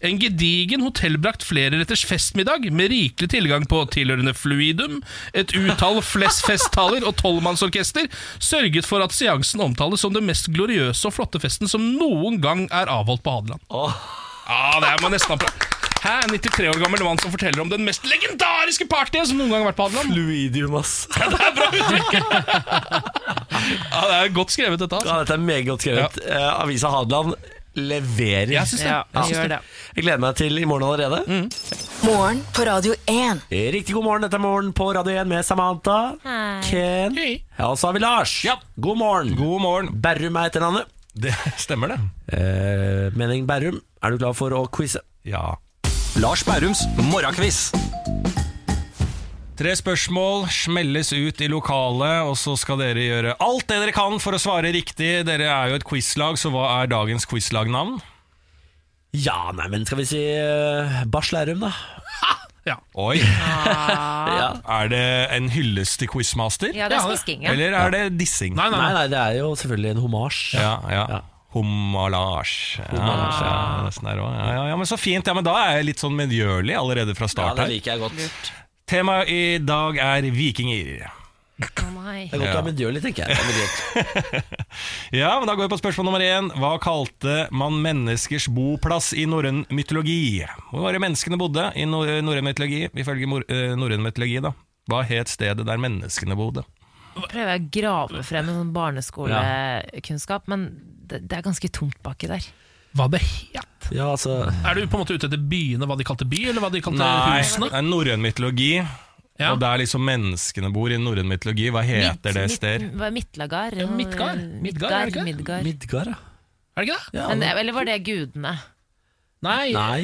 [SPEAKER 2] En gedigen hotellbrakt flereretters festmiddag med rikelig tilgang på tilhørende fluidum, et utall flest festtaler og tolvmannsorkester sørget for at seansen omtales som den mest gloriøse og flotte festen som noen gang er avholdt på Hadeland. Ja, det er man nesten applaus. Hæ, en 93 år gammel mann som forteller om den mest legendariske partyet som noen gang har vært på Hadeland.
[SPEAKER 1] Luidium, ass.
[SPEAKER 2] Ja, det er godt skrevet, dette. altså.
[SPEAKER 1] Ja, dette er meget godt skrevet. Eh, Avisa Hadeland leverer.
[SPEAKER 2] Jeg syns det.
[SPEAKER 3] Ja,
[SPEAKER 2] Jeg syns
[SPEAKER 3] gjør
[SPEAKER 2] det.
[SPEAKER 3] det.
[SPEAKER 1] Jeg gleder meg til i morgen allerede.
[SPEAKER 4] Mm.
[SPEAKER 5] Morgen på Radio 1.
[SPEAKER 1] Riktig god morgen, dette er morgen på Radio 1 med Samantha.
[SPEAKER 3] Hei.
[SPEAKER 1] Ken.
[SPEAKER 2] Hei.
[SPEAKER 1] Ja, og så har vi Lars.
[SPEAKER 4] Ja.
[SPEAKER 1] God morgen.
[SPEAKER 4] God morgen.
[SPEAKER 1] Berrum er etternavnet.
[SPEAKER 4] Det stemmer, det.
[SPEAKER 1] Eh, mening Berrum, er du klar for å quize?
[SPEAKER 4] Ja. Lars Bærums morgenkviss. Tre spørsmål smelles ut i lokalet, og så skal dere gjøre alt det dere kan for å svare riktig. Dere er jo et quizlag, så hva er dagens quizlagnavn?
[SPEAKER 1] Ja, nei, men skal vi si uh, Bars Lærum, da?
[SPEAKER 4] Oi,
[SPEAKER 1] Ja.
[SPEAKER 4] er det en hyllest til quizmaster?
[SPEAKER 3] Ja, det er smisking, ja.
[SPEAKER 4] Eller er det dissing?
[SPEAKER 2] Nei, nei,
[SPEAKER 1] Nei,
[SPEAKER 2] nei.
[SPEAKER 1] nei, det er jo selvfølgelig en homasj.
[SPEAKER 4] Ja, ja. Homalage. Ja, ja, nesten der også. ja, ja, ja, men så fint. Ja, men da er jeg litt sånn medgjørlig allerede fra
[SPEAKER 1] Ja,
[SPEAKER 4] start
[SPEAKER 1] det
[SPEAKER 4] her.
[SPEAKER 1] liker jeg godt. Det
[SPEAKER 4] Temaet i dag er vikinger.
[SPEAKER 3] Å, nei.
[SPEAKER 1] er godt å
[SPEAKER 4] Ja.
[SPEAKER 1] ha medgjørlig, tenker jeg. Det er medgjørlig.
[SPEAKER 4] Ja, men Da går vi på spørsmål nummer én. Hva kalte man menneskers boplass i norrøn mytologi? Hvor var det menneskene bodde i nor- norrøn mytologi? Ifølge mor- eh, norrøn mytologi, da. Hva het stedet der menneskene bodde?
[SPEAKER 3] Prøver jeg å grave frem en sånn barneskolekunnskap, men det, det er ganske tomt baki der.
[SPEAKER 2] Hva det het?
[SPEAKER 1] Ja, altså
[SPEAKER 2] Er du på en måte ute etter byene, hva de kalte by, eller hva de kalte husene?
[SPEAKER 4] det er norrøn mytologi.
[SPEAKER 2] Ja.
[SPEAKER 4] Og der liksom menneskene bor i norrøn mytologi. Hva heter det sted?
[SPEAKER 3] Hva er Midtlagar?
[SPEAKER 2] Ja, Midgard. Midgard, er det ikke det?
[SPEAKER 3] Midgard.
[SPEAKER 1] Midgard, ja.
[SPEAKER 2] Er det ikke det?
[SPEAKER 1] ja
[SPEAKER 3] Men,
[SPEAKER 1] men-
[SPEAKER 3] eller var det gudene?
[SPEAKER 2] Nei,
[SPEAKER 1] Nei,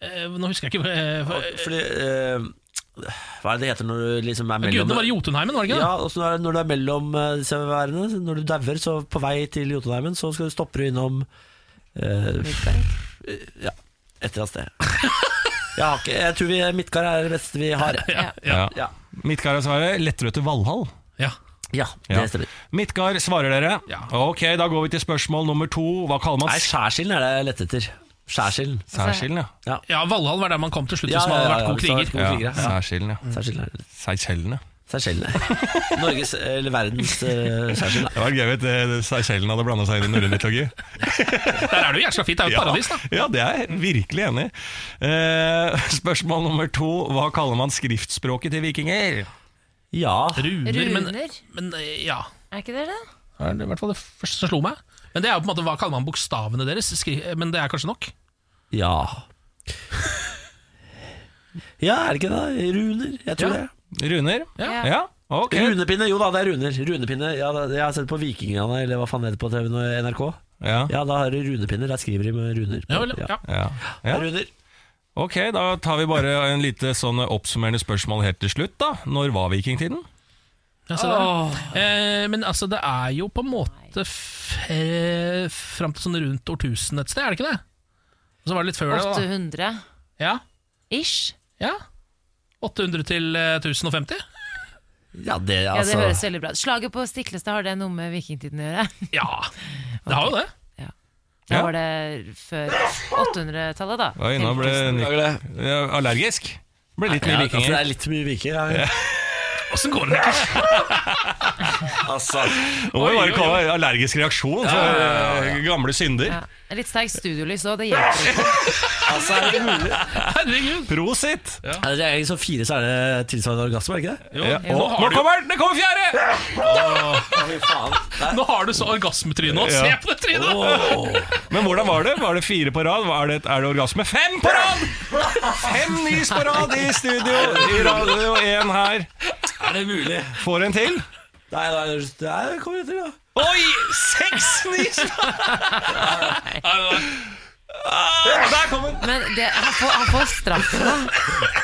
[SPEAKER 2] eh, nå husker jeg ikke. eh, for-
[SPEAKER 1] fordi eh, Hva er det det heter når du liksom er mellom
[SPEAKER 2] Gudene var i Jotunheimen, var det ikke det?
[SPEAKER 1] Ja, og så når, når du er mellom eh, disse værene, så når du dauer, så på vei til Jotunheimen, så skal du stoppe innom eh, Ja, et eller annet sted. Jeg, har ikke, jeg tror vi Midtgard er det beste vi har.
[SPEAKER 3] Ja.
[SPEAKER 4] Ja.
[SPEAKER 1] Ja,
[SPEAKER 4] Midtgard svarer Letterød til Valhall.
[SPEAKER 2] Ja.
[SPEAKER 1] ja
[SPEAKER 4] Ja.
[SPEAKER 1] det stemmer.
[SPEAKER 4] Midtgard svarer dere.
[SPEAKER 2] Ja.
[SPEAKER 4] Ok, da går vi til spørsmål nummer to. Hva kaller man
[SPEAKER 1] Nei, Skjærsilden er det jeg lette etter. Skjærsilden.
[SPEAKER 4] Særskilden, ja.
[SPEAKER 2] ja, Valhall var der man kom til slutt,
[SPEAKER 1] Ja,
[SPEAKER 2] hvis man hadde
[SPEAKER 1] ja,
[SPEAKER 2] vært
[SPEAKER 1] ja,
[SPEAKER 2] god
[SPEAKER 1] hvis man hadde vært
[SPEAKER 2] kriger.
[SPEAKER 4] ja. Særskilden, ja.
[SPEAKER 1] Skjærsilden er det.
[SPEAKER 4] Særskilden, ja.
[SPEAKER 1] Seychellen. Norges, eller verdens uh, Seychellen.
[SPEAKER 4] Det var gøy hvis eh, Seychellen hadde blanda seg inn i norrøn mytologi.
[SPEAKER 2] Der er du jævla fint, det er jo et paradis, da.
[SPEAKER 4] ja, det er jeg virkelig enig i. Eh, spørsmål nummer to. Hva kaller man skriftspråket til vikinger?
[SPEAKER 1] Ja.
[SPEAKER 2] Runer, men,
[SPEAKER 3] Runer?
[SPEAKER 2] men eh, ja.
[SPEAKER 3] Er ikke det det?
[SPEAKER 2] Det er i hvert fall det første som slo meg. Men det er jo på en måte, Hva kaller man bokstavene deres? Skri men det er kanskje nok?
[SPEAKER 1] Ja. Ja, er det ikke det? Runer. Jeg tror
[SPEAKER 2] Ja.
[SPEAKER 1] det.
[SPEAKER 4] Runer?
[SPEAKER 2] Ja.
[SPEAKER 4] ja. Ok.
[SPEAKER 1] Runepinne, jo da, det er runer. Runepinne, ja, da, Jeg har sett på Vikingene, eller hva faen det heter på TV nå, NRK.
[SPEAKER 4] Ja.
[SPEAKER 1] Ja, da har de runepinner. Der skriver de med runer. på.
[SPEAKER 2] Ja, vel, ja.
[SPEAKER 4] Ja.
[SPEAKER 1] Ja.
[SPEAKER 4] Ja.
[SPEAKER 1] Runer.
[SPEAKER 4] Ok, da tar vi bare en lite sånn oppsummerende spørsmål helt til slutt. da Når var vikingtiden?
[SPEAKER 2] Ja, se der. Eh, men altså, det er jo på en måte f- fram til sånn rundt årtusen et sted, er det ikke det? Og så var det litt før det,
[SPEAKER 3] 800
[SPEAKER 2] da. Ja,
[SPEAKER 3] ish.
[SPEAKER 2] ja. 800 til eh, 1050?
[SPEAKER 1] Ja, det,
[SPEAKER 3] Ja,
[SPEAKER 1] altså.
[SPEAKER 3] det høres veldig bra ut. Slaget på Stiklestad, har det noe med vikingtiden å gjøre?
[SPEAKER 2] Ja, det har jo det.
[SPEAKER 3] Da
[SPEAKER 4] Ja.
[SPEAKER 3] var det før 800-tallet, da.
[SPEAKER 4] Oi, nå ble Nick ja, allergisk. Ble litt
[SPEAKER 1] ja,
[SPEAKER 4] mye
[SPEAKER 1] altså, det
[SPEAKER 4] vikinger.
[SPEAKER 1] er litt mye viker. Ja.
[SPEAKER 2] Åssen går det? Nick?
[SPEAKER 4] Altså, det må jo
[SPEAKER 2] Oi, oi,
[SPEAKER 4] bare kalle det allergisk reaksjon for eh, gamle synder.
[SPEAKER 3] Ja. Litt sterkt studiolys òg, det hjelper ikke.
[SPEAKER 1] Altså, er det mulig? Altså,
[SPEAKER 2] Herregud.
[SPEAKER 4] Prosit!
[SPEAKER 1] Er det egentlig som fire, så er det tilsvarende orgasme, er det ikke det?
[SPEAKER 2] Jo,
[SPEAKER 4] Ja.
[SPEAKER 2] nå,
[SPEAKER 4] Og, nå
[SPEAKER 2] har du,
[SPEAKER 4] kommer den! Det kommer fjerde!
[SPEAKER 2] nå har du så orgasmetryne nå. Se
[SPEAKER 4] Ja.
[SPEAKER 2] på det trynet!
[SPEAKER 4] Men hvordan var det? Var det fire på rad? Er det, er det orgasme? Fem på rad! Fem nys på rad i studio, i radio én her.
[SPEAKER 1] Er det mulig?
[SPEAKER 4] Får en til.
[SPEAKER 1] Nei, nei, det er, kommer jeg til, da.
[SPEAKER 4] Oi! Seks nys! Ah, Der kom den!
[SPEAKER 3] Men det, han, får, han får straff, da.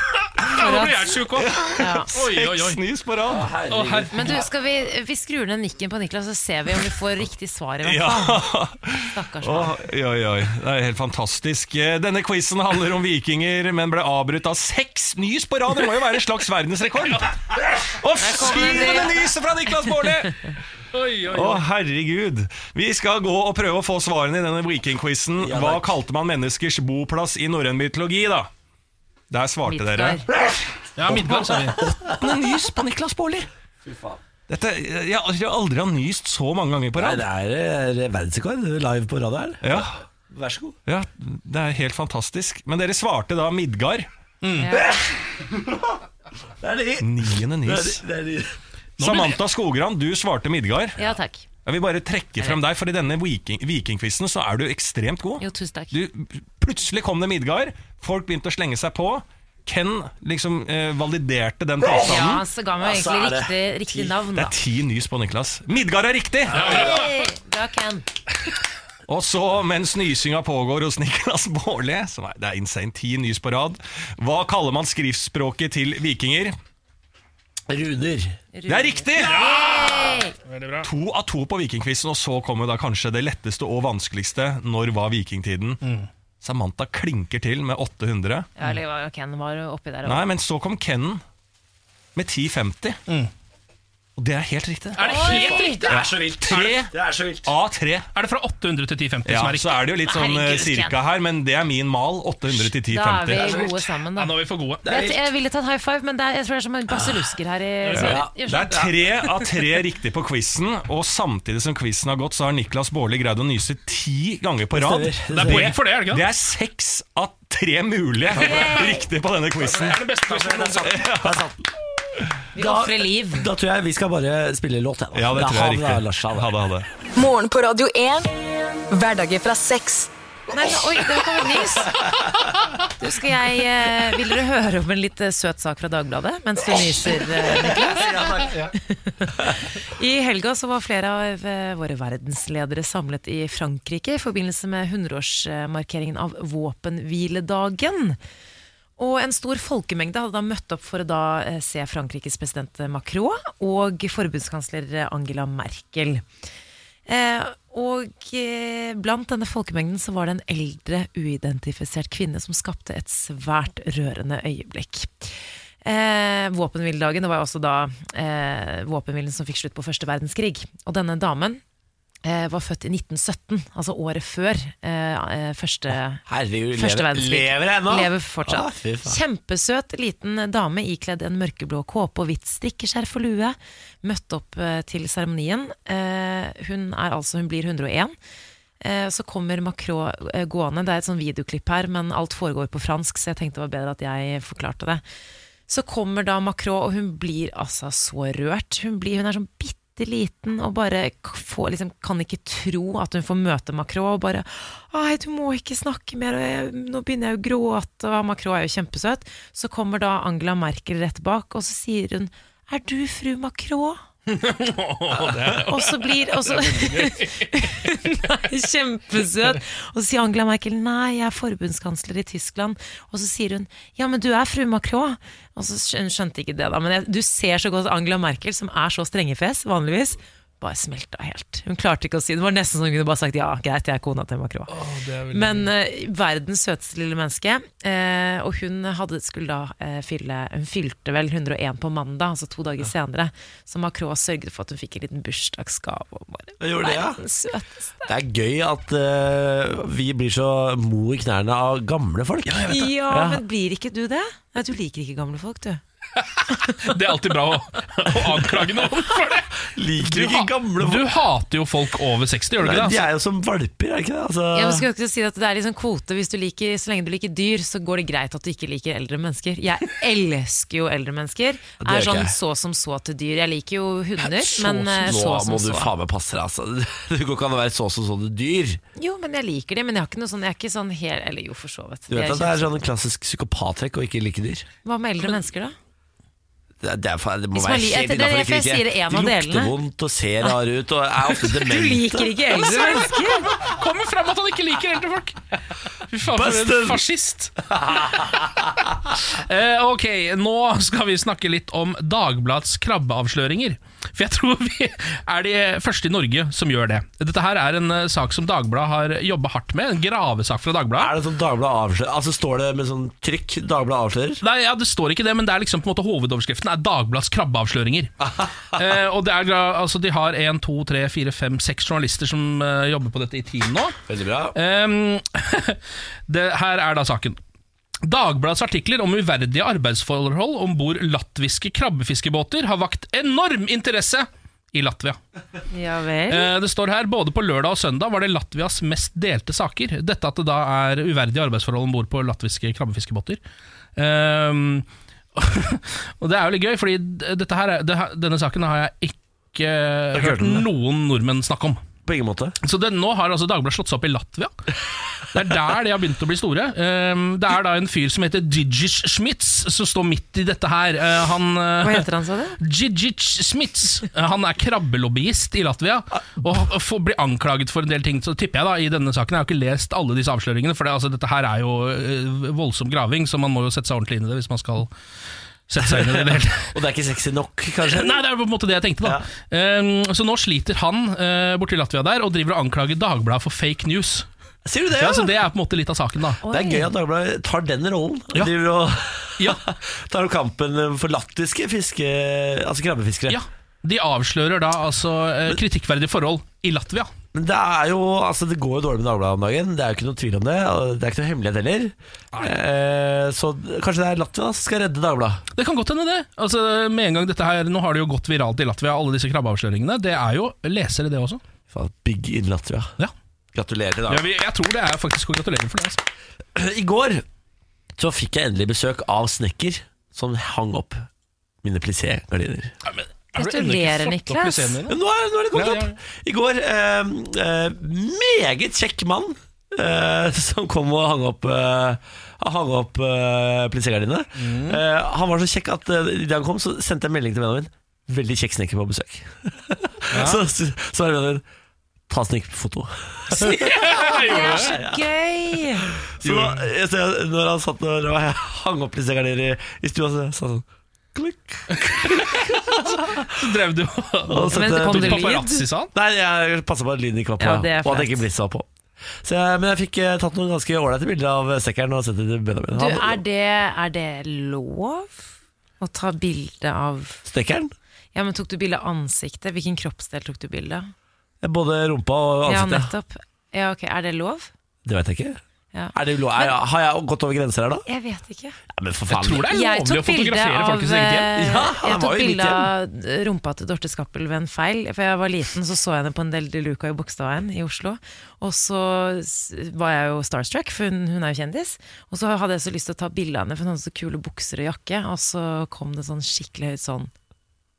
[SPEAKER 2] Nå
[SPEAKER 3] For
[SPEAKER 2] blir
[SPEAKER 3] at,
[SPEAKER 2] jeg sjuk òg.
[SPEAKER 3] ja.
[SPEAKER 2] Oi, oi,
[SPEAKER 4] Seks
[SPEAKER 2] oi.
[SPEAKER 4] nys på rad.
[SPEAKER 2] Å, her-
[SPEAKER 3] Men du, skal vi, vi skrur ned nikken på Niklas, så ser vi om vi får riktig svar. i hvert
[SPEAKER 4] Ja.
[SPEAKER 3] fall. Stakkars mann.
[SPEAKER 4] Oi, oi, oi. Det er helt fantastisk. Eh, Denne quizen handler om vikinger, men ble avbrutt av seks nys på rad. Det må jo være en slags verdensrekord. Og syvende nyset fra Niklas Baarli!
[SPEAKER 2] Oi, oi,
[SPEAKER 4] Å,
[SPEAKER 2] oi.
[SPEAKER 4] herregud. Vi skal gå og prøve å få svarene i denne vikingquizen.
[SPEAKER 1] Ja,
[SPEAKER 4] Hva
[SPEAKER 1] takk.
[SPEAKER 4] kalte man menneskers boplass i norrøn mytologi, da? Der svarte dere.
[SPEAKER 3] Midtgard.
[SPEAKER 2] Ja, Midtgard, sa vi.
[SPEAKER 4] Åttende nys på Niklas Baarli! Dette, jeg, jeg har aldri har nyst så mange ganger på
[SPEAKER 1] Nei,
[SPEAKER 4] rad.
[SPEAKER 1] det er eh, verdensrekord live på radioen.
[SPEAKER 4] Ja,
[SPEAKER 1] Vær så god.
[SPEAKER 4] ja, det er helt fantastisk. Men dere svarte da Midgard.
[SPEAKER 1] Det er de.
[SPEAKER 4] Niende
[SPEAKER 1] Det
[SPEAKER 4] nys.
[SPEAKER 1] er de. Det er de.
[SPEAKER 4] Samantha Skogran, du svarte Midgard.
[SPEAKER 3] Ja takk.
[SPEAKER 4] Jeg vil bare trekke frem deg, for i denne viking, vikingquizen så er du ekstremt god.
[SPEAKER 3] Jo, tusen takk.
[SPEAKER 4] du, plutselig kom det Midgard, folk begynte å slenge seg på. Ken liksom eh, validerte den
[SPEAKER 3] Ja,
[SPEAKER 4] påstanden.
[SPEAKER 3] så ga meg
[SPEAKER 1] Altså, er
[SPEAKER 3] egentlig
[SPEAKER 1] det
[SPEAKER 3] riktig, riktig navn,
[SPEAKER 4] Det
[SPEAKER 3] da.
[SPEAKER 4] er ti nys på Niklas. Midgard er riktig!
[SPEAKER 3] Hey, bra, Ken.
[SPEAKER 4] Og så, mens nysinga pågår hos Niklas Baarli, som er, det er insane, ti nys på rad, hva kaller man skriftspråket til vikinger?
[SPEAKER 1] Runer.
[SPEAKER 4] Det er riktig!
[SPEAKER 3] Hey.
[SPEAKER 2] Veldig bra.
[SPEAKER 4] To av to på vikingquizen, og så kommer da kanskje det letteste og vanskeligste. Når var vikingtiden? Samantha klinker til med 800.
[SPEAKER 3] Ja, eller var- Ken var jo oppi der òg.
[SPEAKER 4] Nei, men så kom Kennen med 10,50. Og det er helt riktig.
[SPEAKER 2] Er det helt riktig?
[SPEAKER 1] er så vilt.
[SPEAKER 4] Tre
[SPEAKER 1] Det er så vilt.
[SPEAKER 4] av tre.
[SPEAKER 2] Er det fra 800 til 1050
[SPEAKER 4] Ja,
[SPEAKER 2] som er
[SPEAKER 4] så
[SPEAKER 2] riktig?
[SPEAKER 4] er det jo litt sånn eh,
[SPEAKER 3] Herregud,
[SPEAKER 4] cirka her, men det er min mal. 800 til
[SPEAKER 3] Da er
[SPEAKER 4] 10,50.
[SPEAKER 3] vi gode sammen,
[SPEAKER 2] Ja,
[SPEAKER 3] da.
[SPEAKER 2] nå er vi for gode.
[SPEAKER 3] Jeg, jeg ville tatt high five, men det er, jeg tror det er som en basillusker her i
[SPEAKER 4] Det er tre av tre riktig på quizen, og samtidig som quizen har gått, så har Niklas Baarli greid å nyse ti ganger på rad.
[SPEAKER 1] Det stemmer.
[SPEAKER 2] Det er poeng for det, er det ikke
[SPEAKER 4] Det
[SPEAKER 2] det?
[SPEAKER 4] er seks av tre mulige riktige på denne quizen.
[SPEAKER 2] Det er det beste quizen noensinne.
[SPEAKER 3] Vi ofrer liv.
[SPEAKER 1] Da tror jeg vi skal bare spille låt. jeg, da.
[SPEAKER 4] Ja, det tror jeg
[SPEAKER 1] Ha
[SPEAKER 4] er
[SPEAKER 1] det, Lars,
[SPEAKER 4] riktig.
[SPEAKER 1] ha det.
[SPEAKER 4] Ha det, ha det.
[SPEAKER 5] Morgen på Radio 1. Hverdager fra seks.
[SPEAKER 3] Nei, men, oi, det kom et nys. Du, skal jeg, eh, vil dere høre om en litt eh, søt sak fra Dagbladet mens du nyser, eh, Niklas? I helga så var flere av eh, våre verdensledere samlet i Frankrike i forbindelse med 100-årsmarkeringen av våpenhviledagen. Og en stor folkemengde hadde da møtt opp for å da eh, se Frankrikes president Macron og forbudskansler Angela Merkel. Eh, og eh, blant denne folkemengden så var det en eldre, uidentifisert kvinne som skapte et svært rørende øyeblikk. Eh, våpenhviledagen det var jo også da eh, våpenhvilen som fikk slutt på første verdenskrig. Og denne damen eh, var født i 1917, altså året før eh, eh, første
[SPEAKER 1] Herregud,
[SPEAKER 3] Første
[SPEAKER 1] lever,
[SPEAKER 3] verdenskrig.
[SPEAKER 1] lever jeg ennå?
[SPEAKER 3] Lever fortsatt.
[SPEAKER 1] Ah, fy faen.
[SPEAKER 3] Kjempesøt liten dame ikledd en mørkeblå kåpe og hvitt strikkeskjerf og lue. Møtte opp eh, til seremonien. Eh, Hun, er altså, hun blir 101. Eh, Så kommer Macron eh, gående. Det er et sånn videoklipp her, men alt foregår på fransk, så jeg tenkte det var bedre at jeg forklarte det. Så kommer da Macron, og hun blir altså så rørt. Hun, blir, hun er sånn bitte bitte liten og bare k- får, liksom, kan ikke tro at hun får møte Macron. Og bare 'Ai, du må ikke snakke mer, og jeg, nå begynner jeg å gråte', og Macron er jo kjempesøt. Så kommer da Angela Merkel rett bak, og så sier hun 'Er du fru Macron?' Og så blir og så, Nei, kjempesøt. Og så sier Angela Merkel nei, jeg er forbundskansler i Tyskland. Og så sier hun ja, men du er fru Macron. Og så skjø- hun skjønte ikke det, da. Men jeg, du ser så godt Angela Merkel, som er så strengefes vanligvis, bare smelta helt. Hun klarte ikke å si det. var nesten som hun kunne bare sagt ja, greit, jeg er kona til Macron. men eh, verdens søteste lille menneske. eh, og hun hadde, skulle da eh, fylle Hun fylte vel 101 på mandag, altså to dager senere. Så Macron sørget for at hun fikk en liten bursdagsgave. Og bare
[SPEAKER 1] Jeg gjorde det, ja.
[SPEAKER 3] verdens søteste.
[SPEAKER 1] Det er gøy at eh, vi blir så mo i knærne av gamle folk.
[SPEAKER 3] Ja, men blir ikke du det? Nei, du liker ikke gamle folk, du.
[SPEAKER 2] Det er alltid bra å, å anklage noen for det.
[SPEAKER 1] Liker ikke
[SPEAKER 2] ha-
[SPEAKER 1] gamle
[SPEAKER 2] du
[SPEAKER 1] folk.
[SPEAKER 2] hater jo folk over 60, gjør du ikke
[SPEAKER 1] Nei, de
[SPEAKER 2] det?
[SPEAKER 1] er jo som valper, er det ikke det? Altså,
[SPEAKER 3] Jeg skal jo ikke si at det er liksom kvote hvis du liker, Så lenge du liker dyr, så går det greit at du ikke liker eldre mennesker. Jeg elsker jo eldre mennesker.
[SPEAKER 1] gjør
[SPEAKER 3] Er sånn
[SPEAKER 1] ikke jeg.
[SPEAKER 3] så som så til dyr. Jeg liker jo hunder,
[SPEAKER 1] Så
[SPEAKER 3] men eh,
[SPEAKER 1] som-
[SPEAKER 3] så
[SPEAKER 1] Nå
[SPEAKER 3] som
[SPEAKER 1] må du
[SPEAKER 3] så.
[SPEAKER 1] faen meg passe deg, altså. Det går ikke an å være så som sånne dyr.
[SPEAKER 3] Jo, men jeg liker de, men jeg, har ikke noe sånn, jeg er ikke sånn hel Eller jo, for så vidt.
[SPEAKER 1] Du
[SPEAKER 3] Det
[SPEAKER 1] vet at
[SPEAKER 3] er
[SPEAKER 1] det er sånn klassisk psykopattrekk å ikke like dyr?
[SPEAKER 3] kjempe- Hva med eldre mennesker, da?
[SPEAKER 1] Det, er- det, er, faen- det må
[SPEAKER 3] Hvis man
[SPEAKER 1] være
[SPEAKER 3] li-
[SPEAKER 1] helt
[SPEAKER 3] det er
[SPEAKER 1] innafor å
[SPEAKER 3] derfor jeg
[SPEAKER 1] ikke
[SPEAKER 3] sier
[SPEAKER 1] like.
[SPEAKER 3] en
[SPEAKER 1] De
[SPEAKER 3] av
[SPEAKER 1] lukter
[SPEAKER 3] delene.
[SPEAKER 1] vondt og ser rare ut og er ofte demente.
[SPEAKER 3] Du liker ikke eldre mennesker!
[SPEAKER 2] Kommer frem at han ikke liker eldre folk! Fy faen, for
[SPEAKER 1] Bastard!
[SPEAKER 2] en fascist! Eh, ok, nå skal vi snakke litt om Dagbladets krabbeavsløringer. For jeg tror vi er de første i Norge som gjør det. Dette her er en eh, sak som Dagbladet har jobba hardt med. En gravesak fra Dagbladet.
[SPEAKER 1] Er det sånn Dagbladet avslører? Altså Står det med sånn trykk 'Dagbladet avslører'?
[SPEAKER 2] Nei, ja, Det står ikke det, men det er liksom på en måte hovedoverskriften er Dagbladets krabbeavsløringer. eh, og det er, gra- altså, De har én, to, tre, fire, fem, seks journalister som eh, jobber på dette i team nå.
[SPEAKER 1] Veldig bra.
[SPEAKER 2] Ehm, det, her er da saken. Dagbladets artikler om uverdige arbeidsforhold om bord latviske krabbefiskebåter har vakt enorm interesse i Latvia.
[SPEAKER 3] Ja vel.
[SPEAKER 2] Eh, Det står her både på lørdag og søndag var det Latvias mest delte saker. Dette at det da er uverdige arbeidsforhold om bord på latviske krabbefiskebåter. Ehm, og det er jo litt gøy, fordi dette her, er- det her, denne saken har jeg ikke
[SPEAKER 1] ikke hørt
[SPEAKER 2] hørt
[SPEAKER 1] om det.
[SPEAKER 2] noen nordmenn snakke om.
[SPEAKER 1] På ingen måte.
[SPEAKER 2] Så det, nå har altså Dagbladet slått seg opp i Latvia. Det er der de har begynt å bli store. Ehm, det er da en fyr som heter Djidjic Schmitz, som står midt i dette her. Eh, han eh,
[SPEAKER 3] Hva heter han, sa du?
[SPEAKER 2] Djidjic Smits Han er krabbelobbyist i Latvia og får, blir anklaget for en del ting. Så tipper jeg da i denne saken Jeg har ikke lest alle disse avsløringene, for det, altså, dette her er jo eh, voldsom graving, så man må jo sette seg ordentlig inn i det hvis man skal sette seg inn i det. det hele.
[SPEAKER 1] Og det er ikke sexy nok, kanskje?
[SPEAKER 2] Nei, det er på en måte det jeg tenkte, da. Um, så nå sliter han uh, borti Latvia der og driver og anklager Dagbladet for fake news.
[SPEAKER 1] Sier du det,
[SPEAKER 2] Ja,
[SPEAKER 1] ja?
[SPEAKER 2] så Det er på en måte litt av saken, da.
[SPEAKER 1] Det er gøy at Dagbladet tar den rollen.
[SPEAKER 2] Ja.
[SPEAKER 1] Driver og
[SPEAKER 2] Ja.
[SPEAKER 1] tar opp kampen for latviske fiske... Altså krabbefiskere.
[SPEAKER 2] Ja, De avslører da altså eh, kritikkverdige forhold i Latvia.
[SPEAKER 1] Men det er jo Altså, det går jo dårlig med Dagbladet om dagen. Det er jo ikke noe tvil om det. Og det er ikke noe hemmelighet heller. Eh, så kanskje det er Latvia da, som skal redde Dagbladet.
[SPEAKER 2] Det kan godt hende, det. Altså, med en gang dette her, Nå har det jo gått viralt i Latvia, alle disse krabbeavsløringene. Det er jo lesere, det også.
[SPEAKER 1] Faen, Big in Latvia.
[SPEAKER 2] Ja.
[SPEAKER 1] Gratulerer til
[SPEAKER 2] Ja,
[SPEAKER 1] Dagbladet.
[SPEAKER 2] vi, jeg tror det er faktisk å gratulere for det. Altså.
[SPEAKER 1] I går så fikk jeg endelig besøk av snekker som hang opp mine plissé-gardiner.
[SPEAKER 2] Nei, men,
[SPEAKER 3] Gratulerer, Niklas.
[SPEAKER 1] Men Nå er, nå er det kommet
[SPEAKER 2] Ja, ja, ja.
[SPEAKER 1] opp! I går eh, eh, Meget kjekk mann eh, som kom og hang opp eh, Hang opp eh, plissegardinene.
[SPEAKER 2] Mm.
[SPEAKER 1] Eh, han var så kjekk at eh, idet han kom, så sendte jeg melding til vennen min. Veldig kjekk snekker på besøk. så så så var det vennen min Ta snikfoto. Så,
[SPEAKER 3] Det er så gøy!
[SPEAKER 1] da, jeg ser når han satt og og hang opp plissegardiner i, i stua, så sa han sånn Klikk.
[SPEAKER 2] Så drev du og
[SPEAKER 1] Og
[SPEAKER 3] Men det kom det lyd?
[SPEAKER 2] paparazzi, sa han.
[SPEAKER 1] Nei, jeg passa på at lyden ikke var på,
[SPEAKER 3] Ja, det er
[SPEAKER 1] og at
[SPEAKER 3] flaut.
[SPEAKER 1] ikke blitsa var på. Så jeg, men jeg fikk eh, tatt noen ganske ålreite bilder av sekkeren og sendt det til Benjamin.
[SPEAKER 3] Du,
[SPEAKER 1] Han-
[SPEAKER 3] er det, er det lov å ta bilde av
[SPEAKER 1] Snekkeren?
[SPEAKER 3] Ja, men Tok du bilde av ansiktet? Hvilken kroppsdel tok du bilde av?
[SPEAKER 1] Både rumpa og
[SPEAKER 3] Ja,
[SPEAKER 1] ansiktet.
[SPEAKER 3] nettopp. Ja, ok, Er det lov?
[SPEAKER 1] det veit jeg ikke.
[SPEAKER 3] Ja.
[SPEAKER 1] Er det ulo er, har jeg gått over grenser her, da?
[SPEAKER 3] Jeg vet ikke.
[SPEAKER 1] Ja, men for
[SPEAKER 2] Jeg
[SPEAKER 1] faen.
[SPEAKER 2] tror det er
[SPEAKER 3] Jeg
[SPEAKER 2] lovlig
[SPEAKER 3] tok
[SPEAKER 2] å
[SPEAKER 3] bilde av,
[SPEAKER 2] fotografere
[SPEAKER 3] eh,
[SPEAKER 2] folk i sitt eget
[SPEAKER 1] Ja,
[SPEAKER 2] hjem.
[SPEAKER 1] det
[SPEAKER 3] jeg
[SPEAKER 1] var
[SPEAKER 3] tok
[SPEAKER 1] jo mitt
[SPEAKER 3] bilde av rumpa til Dorte Skappel ved en feil. For jeg var liten, så så jeg henne på en del de Luca i Bogstadveien i Oslo. Og så s- var jeg jo starstruck, for hun, hun er jo kjendis. Og så hadde jeg så lyst til å ta bilde av henne, for hun hadde så kule bukser og jakke. Og så kom det sånn skikkelig høyt sånn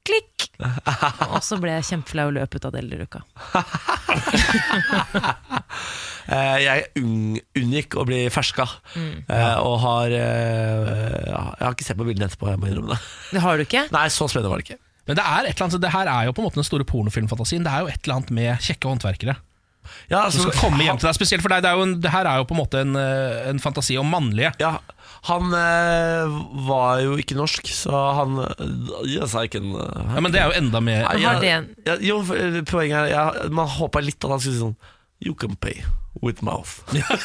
[SPEAKER 3] klikk! Og så ble jeg kjempeflau og løp ut av Delleruka.
[SPEAKER 1] Eh, jeg unng- unngikk å bli ferska,
[SPEAKER 3] Mm.
[SPEAKER 1] eh, og har eh, ja, Jeg har ikke sett på bildene etterpå, jeg må innrømme det.
[SPEAKER 3] Det har du ikke?
[SPEAKER 1] Nei, så spennende var det ikke.
[SPEAKER 2] Men det er et eller annet, det her er jo på en måte den store pornofilmfantasien. Det er jo et eller annet med kjekke håndverkere
[SPEAKER 1] Ja,
[SPEAKER 2] som skal komme hjem til deg. Spesielt for deg, det, er jo en, det her er jo på en måte en, eh, en fantasi om mannlige.
[SPEAKER 1] Ja, han eh, var jo ikke norsk, så han Jeg sa ikke en eh,
[SPEAKER 2] Ja, men det er jo enda mer
[SPEAKER 1] Nei,
[SPEAKER 3] har
[SPEAKER 1] jeg-
[SPEAKER 3] det en-
[SPEAKER 1] jeg- Jo, for, eh, poenget er jeg, Man håpa litt at han skulle si sånn You can pay with mouth.
[SPEAKER 3] Men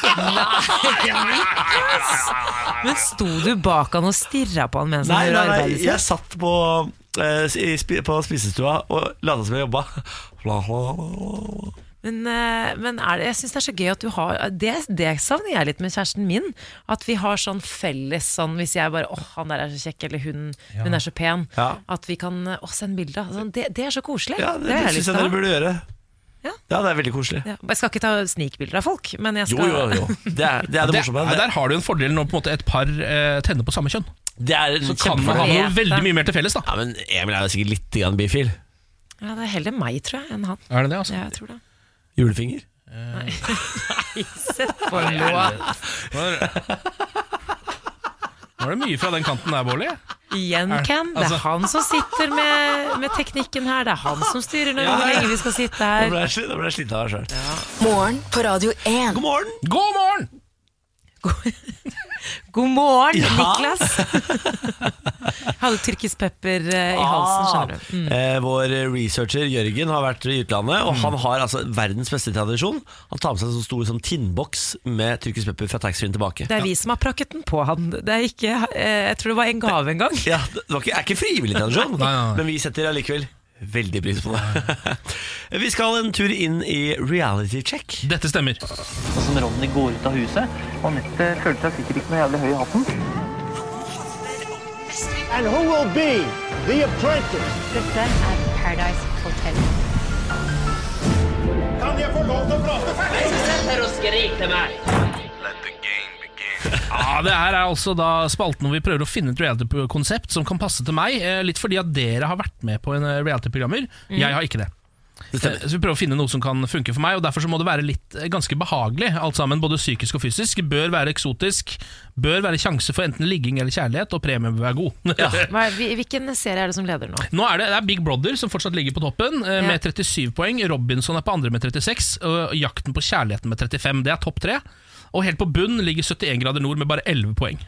[SPEAKER 3] sto du bak han og stirra på han mens han
[SPEAKER 1] Nei,
[SPEAKER 3] gjorde
[SPEAKER 1] nei, nei
[SPEAKER 3] arbeidet
[SPEAKER 1] jeg
[SPEAKER 3] sitt?
[SPEAKER 1] satt på, eh, i spi- på spisestua og lata som jeg jobba. Bla, bla, bla, bla.
[SPEAKER 3] Men, eh, men er det, jeg syns det er så gøy at du har Det, det savner jeg litt med kjæresten min. At vi har sånn felles sånn hvis jeg bare åh, han der er så kjekk, eller hun, hun er så pen.
[SPEAKER 1] Ja.
[SPEAKER 3] At vi kan åh, sende bilde. av». Sånn, det, det er så koselig.
[SPEAKER 1] Ja, det, det
[SPEAKER 3] har jeg lyst
[SPEAKER 1] syns jeg
[SPEAKER 3] til å
[SPEAKER 1] dere
[SPEAKER 3] ha.
[SPEAKER 1] burde gjøre.
[SPEAKER 3] Ja.
[SPEAKER 1] Ja, det er veldig koselig.
[SPEAKER 3] Ja, jeg skal ikke ta snikbilder av folk, men jeg
[SPEAKER 1] Jo,
[SPEAKER 3] skal
[SPEAKER 1] jo, jo. Det er det, er det
[SPEAKER 2] det,
[SPEAKER 1] morsomme.
[SPEAKER 2] ja,
[SPEAKER 1] Det,
[SPEAKER 2] Der har du en fordel når på en måte et par eh, tenner på samme kjønn.
[SPEAKER 1] det er en
[SPEAKER 2] Så kan man ha
[SPEAKER 1] kjempefordel.
[SPEAKER 2] noe
[SPEAKER 3] Vet
[SPEAKER 2] veldig
[SPEAKER 3] det.
[SPEAKER 2] mye mer til felles. da
[SPEAKER 1] Ja, men Emil er jo sikkert litt grann bifil.
[SPEAKER 3] Ja, Det er heller meg, tror jeg, enn han.
[SPEAKER 2] Er det det, altså?
[SPEAKER 3] Ja, jeg tror det.
[SPEAKER 1] Julefinger.
[SPEAKER 3] Sett på låa.
[SPEAKER 2] Var var det mye fra den kanten der, Bårli?
[SPEAKER 3] Igjen,
[SPEAKER 2] Er-
[SPEAKER 3] Ken. Det
[SPEAKER 2] altså-
[SPEAKER 3] er han som sitter med, med teknikken her. Det er han som styrer når hvor lenge vi skal sitte
[SPEAKER 1] Da
[SPEAKER 3] her.
[SPEAKER 1] ble jeg sli- da ble jeg sliten av meg sjøl.
[SPEAKER 5] Morgen på Radio 1.
[SPEAKER 1] God morgen!
[SPEAKER 2] God morgen!
[SPEAKER 3] God morgen,
[SPEAKER 1] Ja.
[SPEAKER 3] Niklas! Jeg hadde tyrkisk pepper eh, i
[SPEAKER 2] Ah.
[SPEAKER 3] halsen, skjønner du. Mm.
[SPEAKER 1] Eh, vår researcher Jørgen har vært i utlandet,
[SPEAKER 2] Mm.
[SPEAKER 1] og han har altså verdens beste tradisjon. Han tar med seg en sånn stor sånn tinnboks med tyrkisk pepper fra taxfree-en tilbake.
[SPEAKER 3] Det er vi som har prakket den på han. Det er ikke, eh, jeg tror det var en gave en gang.
[SPEAKER 1] Ja, det var ikke, er ikke frivillig tradisjon,
[SPEAKER 2] Nei, nei, nei.
[SPEAKER 1] men vi setter allikevel veldig pris på det. vi skal en tur inn i reality check.
[SPEAKER 2] Dette stemmer.
[SPEAKER 9] Som Ronny går ut av huset. Anette føler seg sikkert ikke noe jævlig høy i hatten.
[SPEAKER 10] And who will be the apprentice?
[SPEAKER 11] Dette er Paradise Hotel.
[SPEAKER 10] Kan jeg få lov til å prate ferdig?
[SPEAKER 2] Ja, Det her er altså da spalten hvor vi prøver å finne et reality-konsept som kan passe til meg. eh, Litt fordi at dere har vært med på en eh, reality-programmer. Jeg har ikke det. Eh, Så vi prøver å finne noe som kan funke for meg, og derfor så må det være litt eh, ganske behagelig. Alt sammen, både psykisk og fysisk. Bør være eksotisk. Bør være sjanse for enten ligging eller kjærlighet, og premien bør være god.
[SPEAKER 3] Hva er- hvil- Hvilken serie er det som leder nå?
[SPEAKER 2] Nå er det, det er Big Brother som fortsatt ligger på toppen eh,
[SPEAKER 3] Ja.
[SPEAKER 2] med 37 poeng. Robinson er på andre med 36, og Jakten på kjærligheten med 35. Det er topp tre. Og helt på bunn ligger 71 grader nord med bare 11 poeng.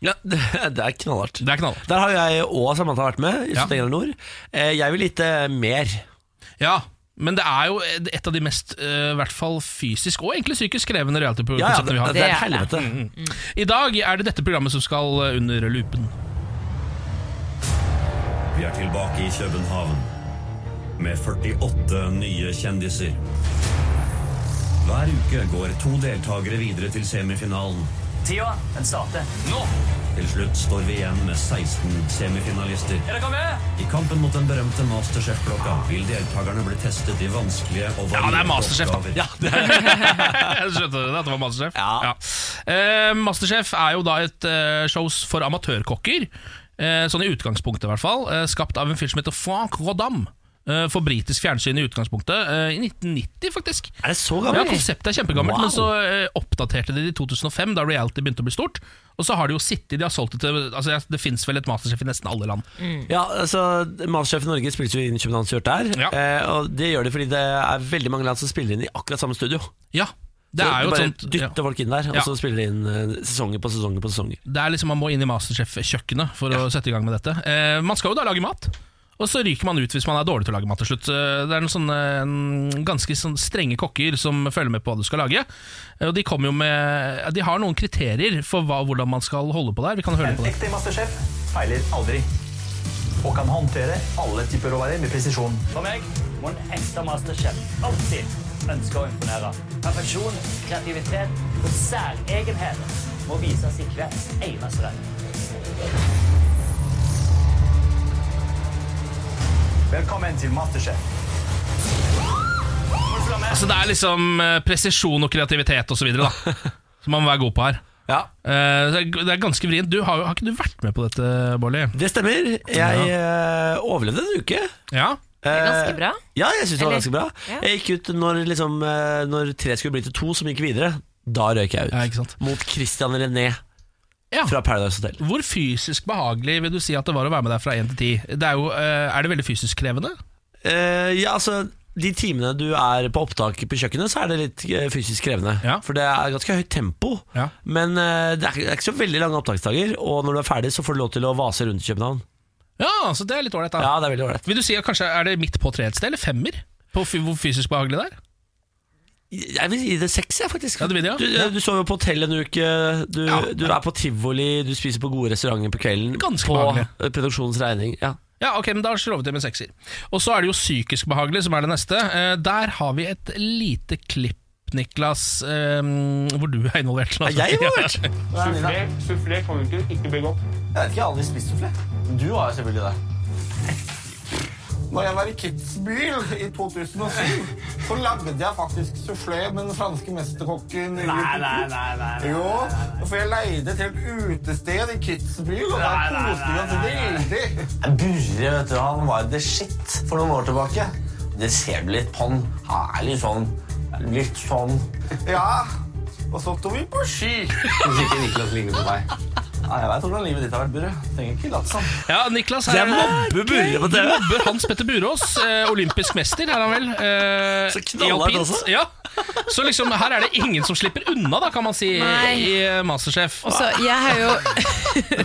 [SPEAKER 1] Ja, det, det er knallhardt.
[SPEAKER 2] Det er knall.
[SPEAKER 1] Der har jeg og Samantha vært med. i
[SPEAKER 2] Ja.
[SPEAKER 1] Stavanger Nord. Eh, Jeg vil lite mer.
[SPEAKER 2] Ja, men det er jo et av de mest, eh, i hvert fall fysisk og egentlig psykisk krevende
[SPEAKER 1] Ja, ja,
[SPEAKER 2] reality-konseptene
[SPEAKER 1] det,
[SPEAKER 2] vi har.
[SPEAKER 1] det er et
[SPEAKER 3] Det er det.
[SPEAKER 1] helvete.
[SPEAKER 2] I dag er det dette programmet som skal eh, under lupen.
[SPEAKER 10] Vi er tilbake i København med 48 nye kjendiser. Hver uke går to deltakere videre til semifinalen.
[SPEAKER 9] Tida, den starter. Nå!
[SPEAKER 10] Til slutt står vi igjen med 16 semifinalister.
[SPEAKER 9] Er dere med?
[SPEAKER 10] I kampen mot den berømte Masterchef-blokka vil deltakerne bli testet i vanskelige og
[SPEAKER 2] Ja, det er Masterchef, da.
[SPEAKER 10] oppgaver.
[SPEAKER 2] Ja, det er. Jeg skjønte det, at det var Masterchef.
[SPEAKER 1] Ja.
[SPEAKER 2] Eh, Masterchef er jo da et eh, shows for amatørkokker, eh, sånn i utgangspunktet i hvert fall, eh, skapt av en fyr som heter Frank Rodam. eh, For britisk fjernsyn i utgangspunktet, eh, i 1990 faktisk.
[SPEAKER 1] Er det så
[SPEAKER 2] Ja,
[SPEAKER 1] gammelt?
[SPEAKER 2] Konseptet er kjempegammelt,
[SPEAKER 1] Wow.
[SPEAKER 2] men så eh, oppdaterte de det i 2005, da reality begynte å bli stort. Og så har de jo sittet, de har solgt det til altså, Det fins vel et Masterchef i nesten alle land.
[SPEAKER 1] Ja, altså Masterchef i Norge spilles jo inn i København Sør der.
[SPEAKER 2] Ja.
[SPEAKER 1] Eh, og det gjør det fordi det er veldig mange land som spiller inn i akkurat samme studio.
[SPEAKER 2] Ja, det
[SPEAKER 1] Så du
[SPEAKER 2] er jo et
[SPEAKER 1] bare
[SPEAKER 2] sånt ja.
[SPEAKER 1] dytter folk inn der, og
[SPEAKER 2] Ja.
[SPEAKER 1] så spiller de inn eh, sesonger på sesonger på sesonger.
[SPEAKER 2] Det er liksom Man må inn i Masterchef-kjøkkenet for å sette i gang med dette. Eh, man skal jo da lage mat, og så ryker man ut hvis man er dårlig til å lage mat til slutt. Eh, det er noen sånne mm, ganske sånn strenge kokker som følger med på hva du skal lage. Eh, og de, kommer jo med, de har noen kriterier for hva, hvordan man skal holde på der. Vi kan høre på det.
[SPEAKER 9] Ekte Masterchef feiler aldri. Og kan håndtere alle typer råvarer med presisjon. For meg må en ekte Masterchef alltid ønske å imponere. Perfeksjon, kreativitet og særegenhet må vises i hvert eneste rett. Velkommen til Masterchef.
[SPEAKER 2] Altså Det er liksom eh, presisjon og kreativitet osv. som man må være god på her. Eh, så det er- det er ganske vrient. Du har, jo- har ikke du vært med på dette, Bårdli?
[SPEAKER 1] Det stemmer. Jeg eh, overlevde en uke. Eh,
[SPEAKER 2] Ja.
[SPEAKER 3] Ganske bra.
[SPEAKER 1] Ja, jeg synes det var
[SPEAKER 3] Eller?
[SPEAKER 1] ganske bra.
[SPEAKER 3] Ja.
[SPEAKER 1] Jeg gikk ut når, liksom, eh, når tre skulle bli til to som gikk videre. Da røyk jeg ut. Mot Christian René fra Paradise Hotel.
[SPEAKER 2] Hvor fysisk behagelig vil du si at det var å være med deg fra 1 til 10? Det er, jo, eh, er det veldig fysisk krevende?
[SPEAKER 1] Eh, ja, altså de timene du er på opptak på kjøkkenet, så er det litt eh, fysisk krevende. For det er ganske høyt tempo. Men eh, det er ikke- det er ikke så veldig lange opptaksdager, og når du er ferdig, så får du lov til å vase rundt i København.
[SPEAKER 2] Ja, så det er litt ålreit, da.
[SPEAKER 1] Ja, det er veldig ålreit.
[SPEAKER 2] Vil du si at kanskje er det midt på treet et sted, eller femmer? På fy- hvor fysisk behagelig det er?
[SPEAKER 1] Jeg vil gi det seks, jeg, faktisk.
[SPEAKER 2] Ja, du vil det, ja.
[SPEAKER 1] Du, eh,
[SPEAKER 2] Ja.
[SPEAKER 1] du sover jo på hotell en uke, du, du er på tivoli, du spiser på gode restauranter på kvelden.
[SPEAKER 2] Ganske
[SPEAKER 1] på
[SPEAKER 2] behagelig.
[SPEAKER 1] eh, produksjonens regning. Ja.
[SPEAKER 2] Ja, ok, men Da slår vi til med sekser. Og så er det jo psykisk behagelig, som er det neste. Eh, der har vi et lite klipp, Niklas, eh, hvor du er involvert.
[SPEAKER 1] Er jeg involvert?
[SPEAKER 2] Ja.
[SPEAKER 9] Sufflé kan du ikke bygge opp. Jeg vet ikke, jeg har aldri spist sufflé. Du har jo selvfølgelig det. Når jeg var i Kitzbühel i 2007, så lagde jeg faktisk sufflé med den franske mesterkokken. Nei, nei, nei, Jo, for jeg leide til et utested i Kitzbühel, og
[SPEAKER 12] Nei,
[SPEAKER 9] der
[SPEAKER 12] nei,
[SPEAKER 9] koste vi oss veldig.
[SPEAKER 12] Burre, vet du, han var the shit for noen år tilbake. Det ser du litt på han. Han er litt sånn Litt sånn
[SPEAKER 9] Ja, og så tok vi på ski.
[SPEAKER 12] Hvis ikke Niklas ligner på meg. Ja, jeg veit hvordan livet ditt har vært, Burre. Trenger ikke late som.
[SPEAKER 2] Niklas
[SPEAKER 12] Jeg mobber Burre på
[SPEAKER 2] Du
[SPEAKER 12] TV.
[SPEAKER 2] mobber Hans Petter Burås, eh, olympisk mester, er han vel. Eh, så
[SPEAKER 1] knallhardt også.
[SPEAKER 2] Ja. Så liksom, her er det ingen som slipper unna, da, kan man si,
[SPEAKER 3] Nei.
[SPEAKER 2] i eh, Masterchef.
[SPEAKER 3] Og så, jeg har jo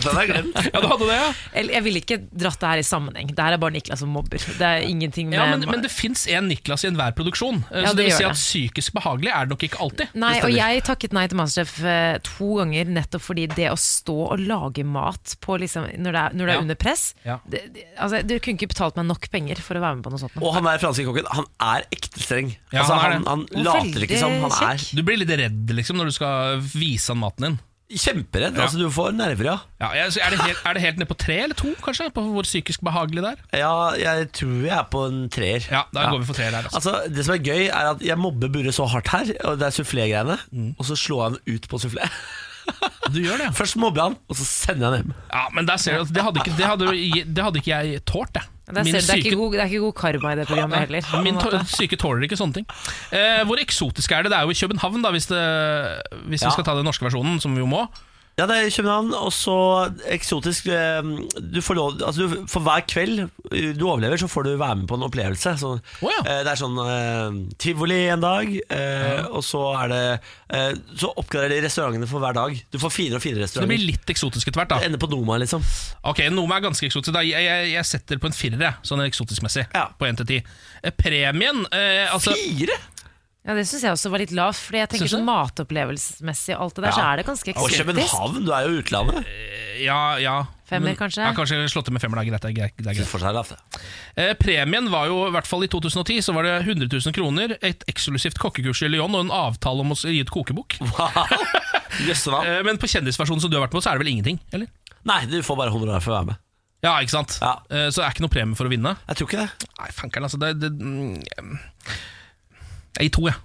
[SPEAKER 2] Den er glemt. Ja, du hadde det, ja.
[SPEAKER 3] Eller, Jeg ville ikke dratt det her i sammenheng. Det her er bare Niklas som mobber. Det er ingenting med
[SPEAKER 2] ja men, men det fins en Niklas i enhver produksjon. Eh,
[SPEAKER 3] Ja,
[SPEAKER 2] så
[SPEAKER 3] det
[SPEAKER 2] det vil
[SPEAKER 3] gjør
[SPEAKER 2] si
[SPEAKER 3] det.
[SPEAKER 2] at psykisk behagelig er det nok ikke alltid.
[SPEAKER 3] Nei,
[SPEAKER 2] Det
[SPEAKER 3] og
[SPEAKER 2] stemmer.
[SPEAKER 3] jeg takket nei til Masterchef eh, to ganger nettopp fordi det å stå og lage mat på liksom, når det er, når det er
[SPEAKER 1] Ja.
[SPEAKER 3] under press
[SPEAKER 1] Ja.
[SPEAKER 3] det, det, altså, Du kunne ikke betalt meg nok penger for å være med på noe sånt. nå.
[SPEAKER 1] Og han der franske kokken, han er ekte streng.
[SPEAKER 2] Ja,
[SPEAKER 1] altså,
[SPEAKER 2] han er
[SPEAKER 1] han,
[SPEAKER 2] det.
[SPEAKER 1] han later ikke som han er.
[SPEAKER 2] Du blir litt redd liksom når du skal vise han maten din.
[SPEAKER 1] Kjemperedd. altså, Du får nerver, ja.
[SPEAKER 2] Ja, jeg- så er, det helt, er det helt ned på tre eller to, kanskje? På hvor psykisk behagelig det er?
[SPEAKER 1] Ja, jeg tror jeg er på en treer. Ja,
[SPEAKER 2] da går vi for treer der, altså.
[SPEAKER 1] Det som er gøy, er at jeg mobber Burre så hardt her, og det er sufflé-greiene, og så slår jeg han ut på sufflé.
[SPEAKER 2] Mm. Du gjør det
[SPEAKER 1] Først mobber jeg han, og så sender jeg han hjem.
[SPEAKER 3] Altså-
[SPEAKER 2] Ja, men der ser du at det hadde ikke, det hadde, det hadde ikke jeg tålt, jeg.
[SPEAKER 3] Der ser du, det, er ikke god, det er ikke god karma i det programmet heller. på en
[SPEAKER 2] Min tå-
[SPEAKER 3] måte.
[SPEAKER 2] syke tåler ikke sånne ting. Eh, hvor eksotisk er det? Det er jo i København, da, hvis, det, hvis
[SPEAKER 1] Ja.
[SPEAKER 2] vi skal ta den norske versjonen, som vi jo må.
[SPEAKER 1] Ja, det er i København, og så eksotisk eh, du får lov, altså du, For hver kveld eh, du overlever, så får du være med på en opplevelse. Så, eh, det er sånn eh, tivoli en dag, eh, og så er det eh, Så oppgraderer de restaurantene for hver dag. Du får finere og finere
[SPEAKER 2] Så det
[SPEAKER 1] restauranter.
[SPEAKER 2] blir litt eksotisk etter hvert, da.
[SPEAKER 1] Det ender på Noma, liksom.
[SPEAKER 2] Ok, Noma er ganske eksotisk. Da. Jeg, jeg, jeg setter på en firer, jeg, sånn eksotisk-messig. På 1 til 10. Eh, Premien eh, altså,
[SPEAKER 1] Fire?!
[SPEAKER 3] Ja, Det syns jeg også var litt lavt, Fordi jeg tenker
[SPEAKER 2] Synes du?
[SPEAKER 3] sånn matopplevelsesmessig og alt det der, så er det
[SPEAKER 1] Og
[SPEAKER 3] ganske eksotisk.
[SPEAKER 1] København, du er jo utlandet.
[SPEAKER 2] Ja, ja.
[SPEAKER 3] Femmer, kanskje?
[SPEAKER 2] Ja, kanskje slå til med femmer, da. Greit, det er greit. Det er greit. Eh, premien var jo, i hvert fall i 2010, så var det 100 000 kroner, et eksklusivt kokkekurs i Lyon og en avtale om å gi ut kokebok. Eh, Men på kjendisversjonen som du har vært på, så er det vel ingenting? eller?
[SPEAKER 1] Nei, du får bare honorar for å være med.
[SPEAKER 2] Ja, ikke sant? Eh, Så det er ikke noe premie for å vinne?
[SPEAKER 1] Jeg tror ikke det.
[SPEAKER 2] Nei, fanker'n, altså. Det, det, mm, jeg gir to, jeg.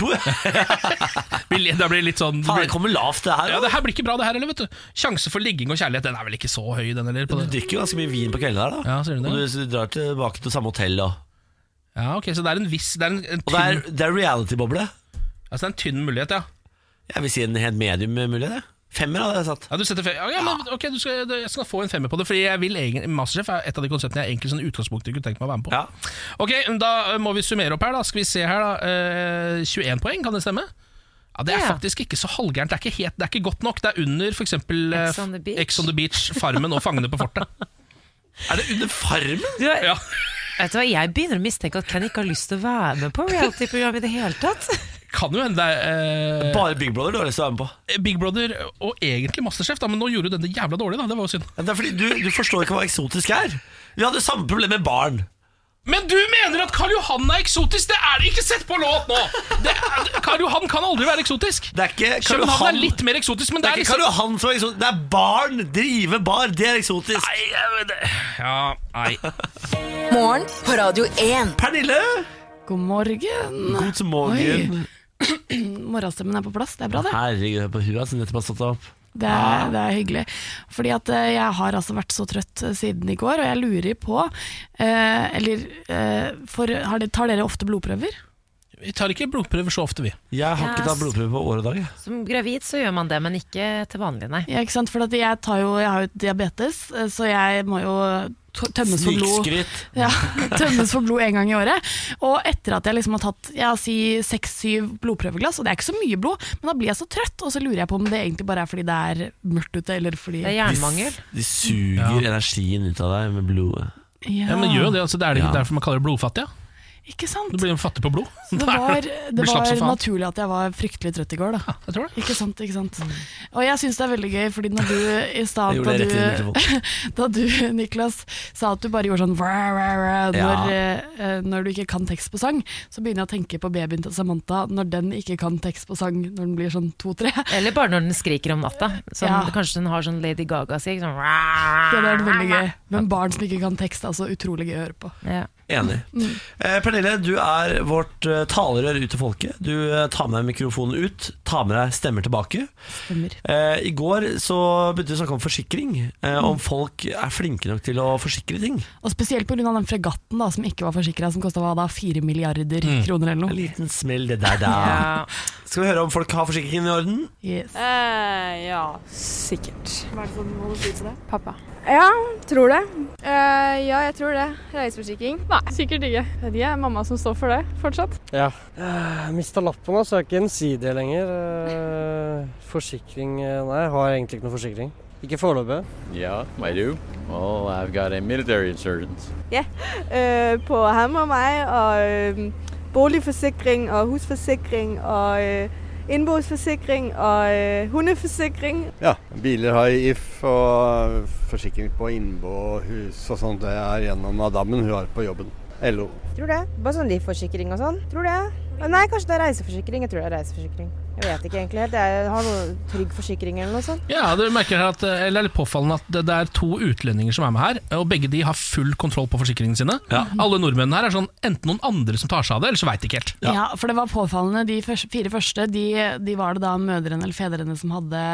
[SPEAKER 1] To?
[SPEAKER 2] det blir litt sånn
[SPEAKER 1] Faen, det kommer lavt, det her.
[SPEAKER 2] Ja, det her blir ikke bra, det her heller, vet du. Sjanse for ligging og kjærlighet, den er vel ikke så høy, den heller? på
[SPEAKER 1] Du
[SPEAKER 2] det.
[SPEAKER 1] drikker jo ganske mye vin på kvelden her, da.
[SPEAKER 2] Ja, sier du det?
[SPEAKER 1] Og du, du drar tilbake til samme hotell og
[SPEAKER 2] Ja, ok, så det er en viss Det er en, en
[SPEAKER 1] Og det er,
[SPEAKER 2] tynn-
[SPEAKER 1] det er reality-boble.
[SPEAKER 2] Altså det er en tynn mulighet, ja.
[SPEAKER 1] Jeg vil si en helt medium mulighet. jeg. Femmer hadde jeg satt.
[SPEAKER 2] Ja, du setter fe- ja, ja, men, ok, du skal, jeg skal få en femmer på det, Fordi jeg vil egen, Masterchef er et av de konseptene jeg egentlig sånn i utgangspunktet kunne tenkt meg å være med på. Ok, Da eh, må vi summere opp her. da Skal vi se her da eh, 21 poeng, kan det stemme? Ja, Det er faktisk ikke så halvgærent. Det er ikke, helt, det er ikke godt nok. Det er under f.eks.
[SPEAKER 3] Ex on the Beach.
[SPEAKER 2] Ex on the Beach, Farmen og Fangene på fortet.
[SPEAKER 1] Er det under Farmen?
[SPEAKER 3] Du, Vet du hva, Jeg begynner å mistenke at Ken ikke har lyst til å være med på reality-program i det hele tatt.
[SPEAKER 2] Kan jo hende det er eh,
[SPEAKER 1] Bare Big Brother du har lyst til å være med på.
[SPEAKER 2] Big Brother og egentlig Masterchef, da, men nå gjorde du denne jævla dårlig. da Det var jo synd.
[SPEAKER 1] Det er fordi du, du forstår ikke hva eksotisk er. Vi hadde samme problem med barn.
[SPEAKER 2] Men du mener at Karl Johan er eksotisk? Det er det ikke sett på låt nå! Det er, Karl Johan kan aldri være eksotisk.
[SPEAKER 1] Det er ikke Karl
[SPEAKER 2] København
[SPEAKER 1] Johan-
[SPEAKER 2] er litt mer eksotisk, men
[SPEAKER 1] det er
[SPEAKER 2] det
[SPEAKER 1] ikke
[SPEAKER 2] liksom-
[SPEAKER 1] Karl Johan som er eksotisk, det er barn! Drive bar, det er eksotisk.
[SPEAKER 2] Nei, Ja, nei.
[SPEAKER 5] Morgen på Radio 1.
[SPEAKER 1] Pernille!
[SPEAKER 13] God morgen.
[SPEAKER 1] God
[SPEAKER 13] Oi.
[SPEAKER 1] morgen.
[SPEAKER 13] morgenstemmen er på plass. Det er bra, det.
[SPEAKER 1] Herregud, hør på hun altså, nettopp har stått opp.
[SPEAKER 13] Det er, det er hyggelig. Fordi at eh, jeg har altså vært så trøtt eh, siden i går, og jeg lurer på eh, Eller eh, for, har de, tar dere ofte blodprøver?
[SPEAKER 2] Vi tar ikke blodprøver så ofte, vi.
[SPEAKER 1] Jeg
[SPEAKER 13] har ikke Yes. tatt
[SPEAKER 1] blodprøve på år og dag.
[SPEAKER 3] Som gravid så gjør man det, men ikke til vanlig, nei.
[SPEAKER 13] Ja, ikke sant? For at jeg, tar jo, jeg har jo diabetes, eh, så jeg må jo t- tømmes for blod.
[SPEAKER 1] Snikskryt.
[SPEAKER 13] Ja, tømmes for blod en gang i året. Og etter at jeg liksom har tatt ja, si seks-syv blodprøveglass, og det er ikke så mye blod, men da blir jeg så trøtt, og så lurer jeg på om det egentlig bare er fordi det er mørkt ute, eller fordi
[SPEAKER 1] De, de suger energien ut av deg med blodet.
[SPEAKER 13] Ja.
[SPEAKER 2] Ja, men gjør jo det, altså, det er det ikke
[SPEAKER 1] Ja.
[SPEAKER 2] derfor man kaller det blodfattig.
[SPEAKER 13] Ikke sant?
[SPEAKER 2] Du blir jo fattig på blod.
[SPEAKER 13] Så det var, det
[SPEAKER 2] Blir slapp som
[SPEAKER 13] var
[SPEAKER 2] faen.
[SPEAKER 13] naturlig at jeg var fryktelig trøtt i går, da. Ikke sant, ikke sant.
[SPEAKER 2] Mm.
[SPEAKER 13] Og jeg syns det er veldig gøy, fordi når du i stad
[SPEAKER 14] Jeg
[SPEAKER 13] da,
[SPEAKER 14] gjorde det rett inn i
[SPEAKER 13] du- da du, Niklas, sa at du bare gjorde sånn wah, wah, wah,
[SPEAKER 14] Ja.
[SPEAKER 13] når, eh, når du ikke kan tekst på sang, så begynner jeg å tenke på babyen til Samantha når den ikke kan tekst på sang når den blir sånn to-tre.
[SPEAKER 3] Eller bare når den skriker om natta. Sånn,
[SPEAKER 13] Ja.
[SPEAKER 3] Kanskje den har sånn Lady Gaga-skrik. Sånn,
[SPEAKER 13] Det hadde vært veldig gøy. Men barn som ikke kan tekst, er altså utrolig gøy å høre på.
[SPEAKER 3] Ja.
[SPEAKER 1] Enig.
[SPEAKER 13] Mm.
[SPEAKER 1] Eh, Pernille, du er vårt eh, talerør ut til folket. Du eh, tar med deg mikrofonen ut, tar med deg stemmer tilbake.
[SPEAKER 13] Stemmer.
[SPEAKER 1] Eh, I går så begynte vi å snakke om forsikring. Eh, om folk er flinke nok til å forsikre ting.
[SPEAKER 13] Mm. Og spesielt pga. den fregatten da, som ikke var forsikra, som kosta fire milliarder
[SPEAKER 1] Mm.
[SPEAKER 13] kroner eller noe.
[SPEAKER 1] En liten smell, det der, da.
[SPEAKER 13] Ja.
[SPEAKER 1] Skal vi høre om folk har forsikringen i orden?
[SPEAKER 15] Eh, ja, sikkert.
[SPEAKER 16] Hva er det som holder styr på det?
[SPEAKER 15] Pappa.
[SPEAKER 16] Ja, tror det.
[SPEAKER 15] Eh, ja, jeg tror det. Reiseforsikring? Nei, sikkert ikke. Det er mamma som står for det, fortsatt.
[SPEAKER 17] Ja. Uh, Mista lappen, altså. Jeg er ikke gjensidig lenger. Eh, forsikring eh, Nei, jeg har egentlig ikke noe forsikring. Ikke foreløpig.
[SPEAKER 18] Yeah, I do. Well, I've got a military insurance.
[SPEAKER 16] Ja, øh, på ham og mig, og øh, boligforsikring og husforsikring og øh, indbogsforsikring og øh, hundeforsikring.
[SPEAKER 19] Ja, biler har IF og forsikring på innbo og hus og sånt. Det er gjennom madammen hun har på jobben. LO.
[SPEAKER 20] Tror det. Bare sånn livforsikring og sånn. Tror det. Ah, Nei, kanskje det er reiseforsikring. Jeg tror det er reiseforsikring. Jeg vet ikke egentlig helt. Jeg har noe trygg forsikring eller noe sånt.
[SPEAKER 2] Ja, du merker her at, eh, eller er litt påfallende at det, det er to utlendinger som er med her, og begge de har full kontroll på forsikringene sine. Alle nordmennene her er sånn enten noen andre som tar seg av det, eller så veit de ikke helt.
[SPEAKER 13] Ja. for det var påfallende. De først- fire første de, de var det da mødrene eller fedrene som hadde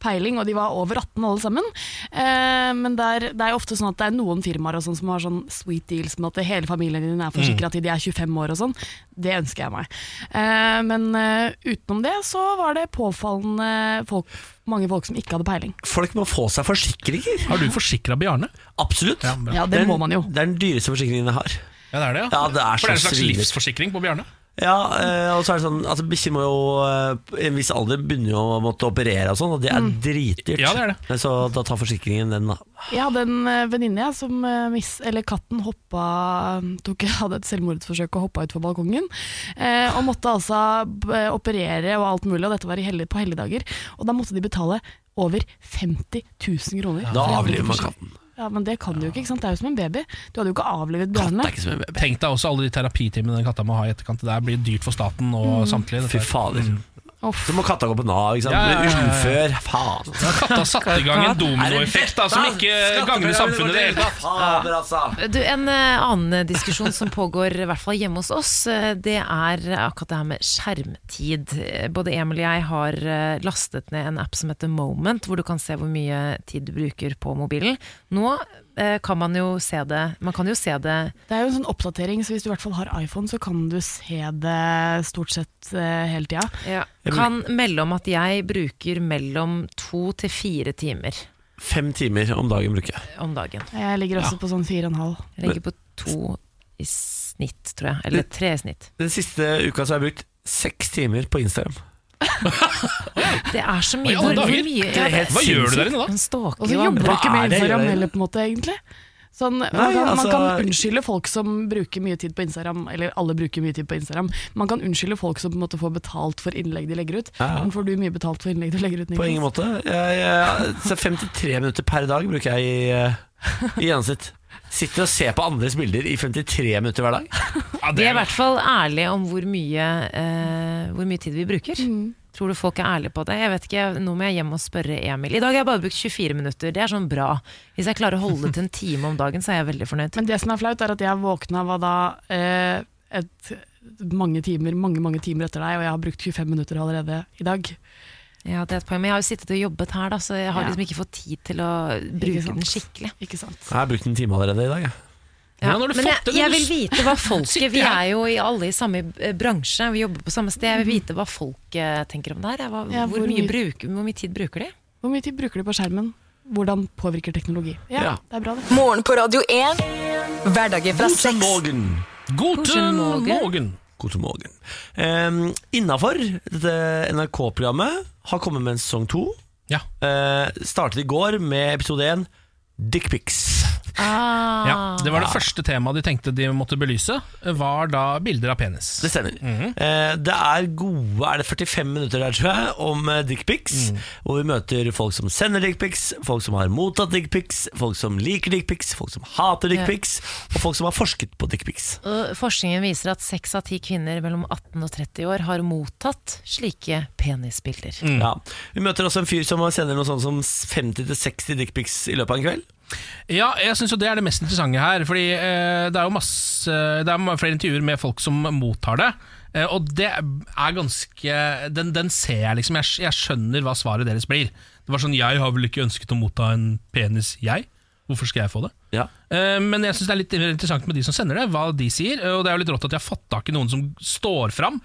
[SPEAKER 13] peiling, og de var over 18 alle sammen. Eh, men det er, det er jo ofte sånn at det er noen firmaer og sånn som har sånn sweet deals med at hele familien din er forsikra
[SPEAKER 19] Mm.
[SPEAKER 13] til de er 25 år og sånn. Det ønsker jeg meg. Eh, men eh, utenom det så var det påfallende folk, mange folk som ikke hadde peiling.
[SPEAKER 1] Folk må få seg forsikringer.
[SPEAKER 2] Har du forsikra Bjarne?
[SPEAKER 1] Absolutt. Ja,
[SPEAKER 13] Ja, det må man jo.
[SPEAKER 1] Det er den dyreste forsikringen jeg har.
[SPEAKER 2] Ja, det er det, ja.
[SPEAKER 1] Ja, det er
[SPEAKER 2] For det er en
[SPEAKER 1] så
[SPEAKER 2] slags
[SPEAKER 1] svinet.
[SPEAKER 2] livsforsikring på Bjarne.
[SPEAKER 1] Ja, eh, og så er det sånn altså, Bikkjer må jo eh, i en viss alder begynne å måtte operere og sånn, og det er dritdyrt.
[SPEAKER 2] Ja, det er
[SPEAKER 1] Så da tar forsikringen den, da.
[SPEAKER 13] Jeg hadde en eh, venninne jeg som eh, miss, eller katten hoppa tok, hadde et selvmordsforsøk og hoppa utfor balkongen. Eh, og måtte altså b- operere og alt mulig, og dette var i helg- på helligdager. Og da måtte de betale over 50 000 kroner.
[SPEAKER 1] Da
[SPEAKER 13] for
[SPEAKER 1] avliver man
[SPEAKER 13] helseforsikring.
[SPEAKER 1] katten.
[SPEAKER 13] Ja, Men det kan du jo ikke. ikke sant? Det er jo som en baby. Du hadde jo ikke avlivet Bjarne.
[SPEAKER 2] Tenk deg også alle de terapitimene den katta må ha i etterkant. Det der blir dyrt for staten og
[SPEAKER 13] Mm.
[SPEAKER 2] samtlige. dette
[SPEAKER 1] Fy
[SPEAKER 2] her.
[SPEAKER 1] fader.
[SPEAKER 13] Uff.
[SPEAKER 1] Så må katta gå på Nav, ikke sant.
[SPEAKER 2] Mm. Ja, ja, ja, ja.
[SPEAKER 1] Bli ufør. Faen.
[SPEAKER 2] Ja, katta satte i gang en dominoeffekt da, som ikke gagner samfunnet i det hele tatt.
[SPEAKER 1] Fader, altså.
[SPEAKER 3] Du, en eh, annen diskusjon som pågår i hvert fall hjemme hos oss, eh, det er akkurat det her med skjermtid. Eh, Både Emil og jeg har eh, lastet ned en app som heter Moment, hvor du kan se hvor mye tid du bruker på mobilen. Nå eh, kan man jo se det Man kan jo se det
[SPEAKER 13] Det er jo en sånn oppdatering, så hvis du i hvert fall har iPhone, så kan du se det stort sett eh, hele tida.
[SPEAKER 3] Kan melde om at jeg bruker mellom to til fire timer
[SPEAKER 1] Fem timer om dagen bruker jeg.
[SPEAKER 3] om dagen.
[SPEAKER 13] Jeg ligger også
[SPEAKER 3] Ja.
[SPEAKER 13] på sånn fire og en halv.
[SPEAKER 3] Jeg ligger på to i snitt, tror jeg. Eller tre i snitt.
[SPEAKER 1] Den siste uka så har jeg brukt seks timer på Instagram.
[SPEAKER 3] Det er så mye.
[SPEAKER 13] Hva i alle
[SPEAKER 3] Hvor- hvor
[SPEAKER 13] dager?
[SPEAKER 3] mye-
[SPEAKER 1] Det er helt Hva gjør du der inne da?
[SPEAKER 3] Man stalker
[SPEAKER 13] Og så
[SPEAKER 3] jo
[SPEAKER 13] jobber du
[SPEAKER 3] andre.
[SPEAKER 13] ikke
[SPEAKER 1] det
[SPEAKER 13] med
[SPEAKER 1] jeg gjør
[SPEAKER 13] Instagram
[SPEAKER 1] der inne?
[SPEAKER 13] heller, på en måte, egentlig. Sånn, man,
[SPEAKER 1] Nei,
[SPEAKER 13] kan, man
[SPEAKER 1] altså-
[SPEAKER 13] kan unnskylde folk som bruker mye tid på Instagram, eller alle bruker mye tid på Instagram. Man kan unnskylde folk som på en måte får betalt for innlegg de legger ut.
[SPEAKER 1] Ja.
[SPEAKER 13] Men får du mye betalt for innlegg du legger ut?
[SPEAKER 1] På ingen måte. Jeg, jeg, så 53 minutter per dag bruker jeg i, eh, i gjennomsnitt. Sitter og ser på andres bilder i 53 minutter hver dag.
[SPEAKER 3] Vi er i hvert fall ærlige om hvor mye, eh, hvor mye tid vi bruker.
[SPEAKER 13] Mm.
[SPEAKER 3] Tror du folk er ærlige på det? Jeg vet ikke, Nå må jeg hjem og spørre Emil. I dag har jeg bare brukt 24 minutter, det er sånn bra. Hvis jeg klarer å holde det til en time om dagen, så er jeg veldig fornøyd.
[SPEAKER 13] Men det som er flaut, er at jeg våkna var da eh, et mange timer, mange, mange timer etter deg, og jeg har brukt 25 minutter allerede i dag.
[SPEAKER 3] Ja, det er et poeng. Men jeg har jo sittet og jobbet her, da, så jeg har
[SPEAKER 13] Ja.
[SPEAKER 3] liksom ikke fått tid til å bruke den skikkelig.
[SPEAKER 13] Ikke sant.
[SPEAKER 1] Jeg har brukt en time allerede i dag. Jeg.
[SPEAKER 3] Ja,
[SPEAKER 1] Hvordan har du
[SPEAKER 3] men
[SPEAKER 1] fått det
[SPEAKER 3] jeg,
[SPEAKER 1] når
[SPEAKER 3] jeg
[SPEAKER 1] du
[SPEAKER 3] vil vite hva folket
[SPEAKER 1] sitter
[SPEAKER 3] Vi
[SPEAKER 1] her?
[SPEAKER 3] er jo i alle i samme eh, bransje, vi jobber på samme sted. Jeg vil vite hva folk eh, tenker om det her. Hva,
[SPEAKER 13] Ja,
[SPEAKER 3] hvor,
[SPEAKER 13] hvor
[SPEAKER 3] mye
[SPEAKER 13] mye-
[SPEAKER 3] bruk, hvor mye tid bruker de?
[SPEAKER 13] Hvor mye tid bruker du på skjermen? Hvordan påvirker teknologi? Ja,
[SPEAKER 3] Ja.
[SPEAKER 13] det er bra det.
[SPEAKER 5] Morgen på Radio 1. Hverdager fra seks.
[SPEAKER 1] Guten
[SPEAKER 5] morgen.
[SPEAKER 1] morgen. Guten morgen. Um, Innafor dette NRK-programmet har kommet med en sesong to.
[SPEAKER 2] Ja.
[SPEAKER 1] Eh, startet i går med episode én, dickpics.
[SPEAKER 3] Ah,
[SPEAKER 2] Ja, Det var det
[SPEAKER 1] Ja.
[SPEAKER 2] første temaet de tenkte de måtte belyse, var da bilder av penis.
[SPEAKER 1] Det stemmer. Eh, det er gode er det 45 minutter der, tror jeg, om eh, dickpics. Hvor vi møter folk som sender dickpics, folk som har mottatt dickpics, folk som liker dickpics, folk som hater
[SPEAKER 3] Ja.
[SPEAKER 1] dickpics, og folk som har forsket på dickpics.
[SPEAKER 3] Og Forskningen viser at seks av ti kvinner mellom 18 og 30 år har mottatt slike penisbilder.
[SPEAKER 1] Ja. Vi møter også en fyr som sender noe sånt som 50-60 dickpics i løpet av en kveld.
[SPEAKER 2] Ja, jeg synes jo det er det mest interessante her. Fordi eh, det er jo masse Det er flere intervjuer med folk som mottar det. eh, og det er ganske Den, den ser jeg liksom. Jeg, skj- jeg skjønner hva svaret deres blir. Det var sånn Jeg har vel ikke ønsket å motta en penis, jeg. Hvorfor skal jeg få det?
[SPEAKER 1] Ja.
[SPEAKER 2] Eh, Men jeg synes det er litt interessant med de som sender det, hva de sier. eh, Og det er jo litt rått at de har fått tak i noen som står fram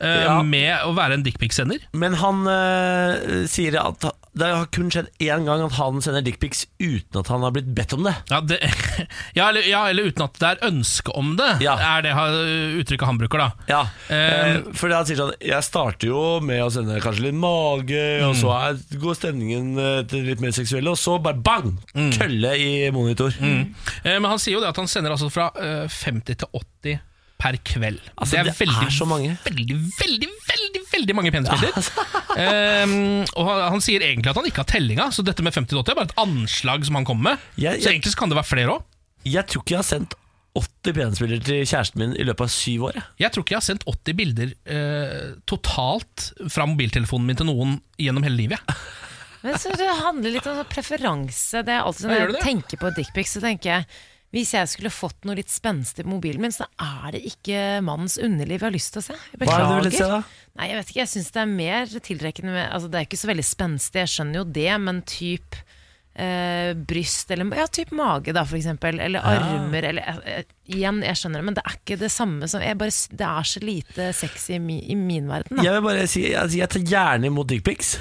[SPEAKER 2] eh,
[SPEAKER 1] Ja.
[SPEAKER 2] med å være en dickpic-sender.
[SPEAKER 1] Men han eh, sier at det har kun skjedd én gang at han sender dickpics uten at han har blitt bedt om det.
[SPEAKER 2] Ja, det, ja, eller, ja, eller uten at det er ønske om det, er det ha- uttrykket han bruker, da.
[SPEAKER 1] Ja,
[SPEAKER 2] Eh,
[SPEAKER 1] eh, for han sier sånn Jeg starter jo med å sende kanskje litt mage, og så er, går stemningen eh, til litt mer seksuelle, og så bare bang! Kølle i monitor.
[SPEAKER 2] Eh, Men han sier jo det at han sender altså fra eh, 50 til 80 per kveld.
[SPEAKER 1] Altså, det er så mange.
[SPEAKER 2] Veldig, veldig, veldig veldig mange penisbilder.
[SPEAKER 1] Altså,
[SPEAKER 2] Ehm, og han, han sier egentlig at han ikke har tellinga, så dette med 50 til 80 er bare et anslag som han kommer med.
[SPEAKER 1] Jeg-
[SPEAKER 2] så
[SPEAKER 1] jeg-
[SPEAKER 2] egentlig så kan det være flere òg.
[SPEAKER 1] Jeg tror ikke jeg har sendt 80 penisbilder til kjæresten min i løpet av syv år. jeg.
[SPEAKER 2] Jeg tror ikke jeg har sendt 80 bilder eh, totalt fra mobiltelefonen min til noen gjennom hele livet. jeg.
[SPEAKER 3] Men så Det handler litt om sånn preferanse. Det er alltid sånn,
[SPEAKER 2] Ja,
[SPEAKER 3] Når
[SPEAKER 2] gjør det
[SPEAKER 3] jeg tenker på dickpics, så tenker jeg hvis jeg skulle fått noe litt spenstig på mobilen min, så er det ikke mannens underliv jeg har lyst til å se. Jeg
[SPEAKER 1] Hva er det du vil se da?
[SPEAKER 3] Nei, jeg vet ikke. Jeg syns det er mer tiltrekkende med Altså, det er ikke så veldig spenstig, jeg skjønner jo det, men typ eh, bryst eller ja, typ mage, da, for eksempel. Eller
[SPEAKER 1] Ja.
[SPEAKER 3] armer, eller eh, eh, Igjen, jeg skjønner det, men det er ikke det samme som jeg bare, s- Det er så lite sexy i, mi, i min verden, da.
[SPEAKER 1] Jeg vil bare si altså, Jeg tar gjerne imot dickpics.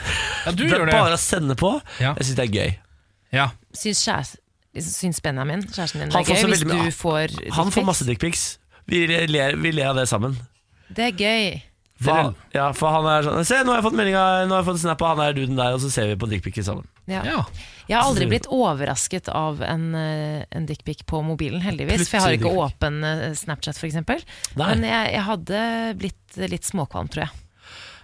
[SPEAKER 2] du
[SPEAKER 1] Det
[SPEAKER 2] gjør
[SPEAKER 1] er
[SPEAKER 2] det.
[SPEAKER 1] bare å sende på.
[SPEAKER 2] Ja.
[SPEAKER 1] Jeg syns det er gøy.
[SPEAKER 2] Ja.
[SPEAKER 3] Syns, kjæres, syns Benjamin, kjæresten din, det
[SPEAKER 1] Han
[SPEAKER 3] er
[SPEAKER 1] får
[SPEAKER 3] gøy
[SPEAKER 1] så
[SPEAKER 3] hvis
[SPEAKER 1] veldig
[SPEAKER 3] du
[SPEAKER 1] mye-
[SPEAKER 3] får
[SPEAKER 1] Han
[SPEAKER 3] dickpics?
[SPEAKER 1] får masse dickpics. Vi ler, vi ler av det sammen.
[SPEAKER 3] Det er gøy.
[SPEAKER 1] For, han- ja, for han er sånn Se, nå har jeg fått melding av- Nå har jeg fått en snap av han der duden der, og så ser vi på dickpics sammen.
[SPEAKER 3] Ja. Jeg har aldri blitt overrasket av en, eh, en dickpic på mobilen, heldigvis. For jeg har
[SPEAKER 1] Plutselig
[SPEAKER 3] ikke åpen eh, Snapchat, f.eks.
[SPEAKER 2] Nei.
[SPEAKER 3] Men jeg, jeg hadde blitt litt småkvalm, tror jeg.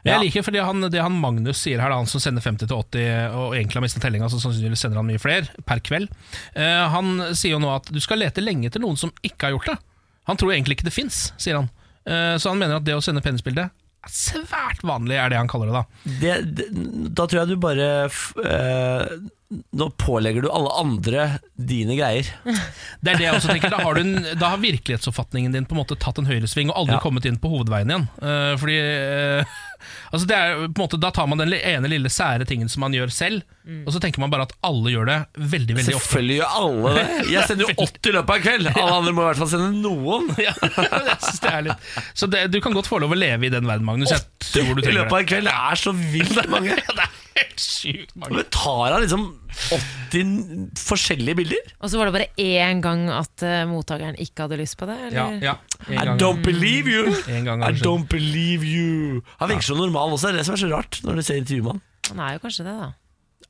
[SPEAKER 2] Men Jeg liker fordi han, det han Magnus sier her, da, han som sender 50 til 80 og egentlig har mistet tellinga, så sannsynligvis sender han mye flere per kveld. Eh, han sier jo nå at du skal lete lenge etter noen som ikke har gjort det. Han tror egentlig ikke det fins, sier han. Eh, så han mener at det å sende penisbilde er svært vanlig, er det han kaller det, da.
[SPEAKER 1] det, det, Da tror jeg du bare f, eh, Nå pålegger du alle andre dine greier.
[SPEAKER 2] Det er det jeg også tenker. Da har, du en, da har virkelighetsoppfatningen din på en måte tatt en høyresving og aldri
[SPEAKER 1] Ja.
[SPEAKER 2] kommet inn på hovedveien igjen. Eh, fordi eh, altså det er, jo på en måte, Da tar man den ene lille sære tingen som man gjør selv, og så tenker man bare at alle gjør det veldig veldig ofte.
[SPEAKER 1] Selvfølgelig gjør alle det. Jeg sender jo 80 i løpet av en kveld. Alle andre må i hvert fall sende noen.
[SPEAKER 2] Ja, jeg synes det er litt Så det, du kan godt få lov å leve i den verden, Magnus. Jeg tror du
[SPEAKER 1] I
[SPEAKER 2] trenger
[SPEAKER 1] løpet av
[SPEAKER 2] det.
[SPEAKER 1] en kveld det er så vilt mange.
[SPEAKER 2] Helt sykt mange.
[SPEAKER 1] Men tar han liksom 80 forskjellige bilder?
[SPEAKER 3] Og så var det bare én gang at eh, mottakeren ikke hadde lyst på det? Eller?
[SPEAKER 1] I don't believe you!
[SPEAKER 2] En gang
[SPEAKER 1] I
[SPEAKER 2] har det skjedd.
[SPEAKER 1] don't believe you Han virker så normal også. Det er det som er så rart når du ser intervjuet med han.
[SPEAKER 3] Han er jo kanskje det, da.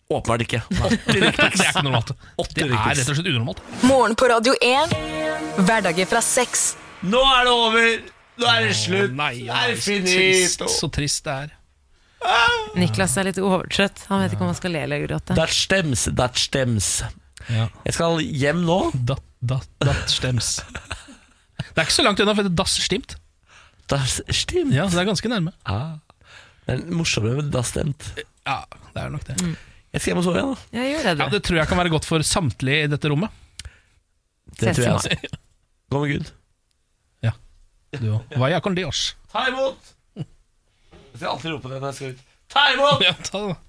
[SPEAKER 1] Åpenbart ikke.
[SPEAKER 2] Det er ikke normalt. Det er
[SPEAKER 1] dickpics.
[SPEAKER 2] rett og slett unormalt.
[SPEAKER 5] Morgen på Radio 1. Hverdager fra seks.
[SPEAKER 1] Nå er det over! Nå er det slutt!
[SPEAKER 2] Nei, ja,
[SPEAKER 1] Det er
[SPEAKER 2] så
[SPEAKER 1] finito.
[SPEAKER 2] trist, Så trist det er.
[SPEAKER 3] Niklas er litt overtrøtt. Han vet ikke om han skal le eller gråte.
[SPEAKER 1] That stems, that stems. Jeg skal hjem nå.
[SPEAKER 2] Dat, dat, dat stems. Det er ikke så langt unna, for det er dass stimt.
[SPEAKER 1] Das stimt?
[SPEAKER 2] Ja, så det er ganske nærme.
[SPEAKER 1] Ah. Det er morsommere med das stemt.
[SPEAKER 2] Ja, det er nok det.
[SPEAKER 1] Jeg skal hjem og sove igjen, da.
[SPEAKER 3] Ja, gjør det, du.
[SPEAKER 2] Ja, det tror jeg kan være godt for samtlige i dette rommet.
[SPEAKER 1] Det
[SPEAKER 3] Ses
[SPEAKER 1] tror
[SPEAKER 3] i
[SPEAKER 1] jeg altså.
[SPEAKER 3] morgen.
[SPEAKER 1] også. Gå med Gud.
[SPEAKER 2] Du òg. Vaya con Dios.
[SPEAKER 1] Ta imot! Jeg skal alltid rope det når jeg skal ut. Ta imot!
[SPEAKER 2] Ja, ta det da.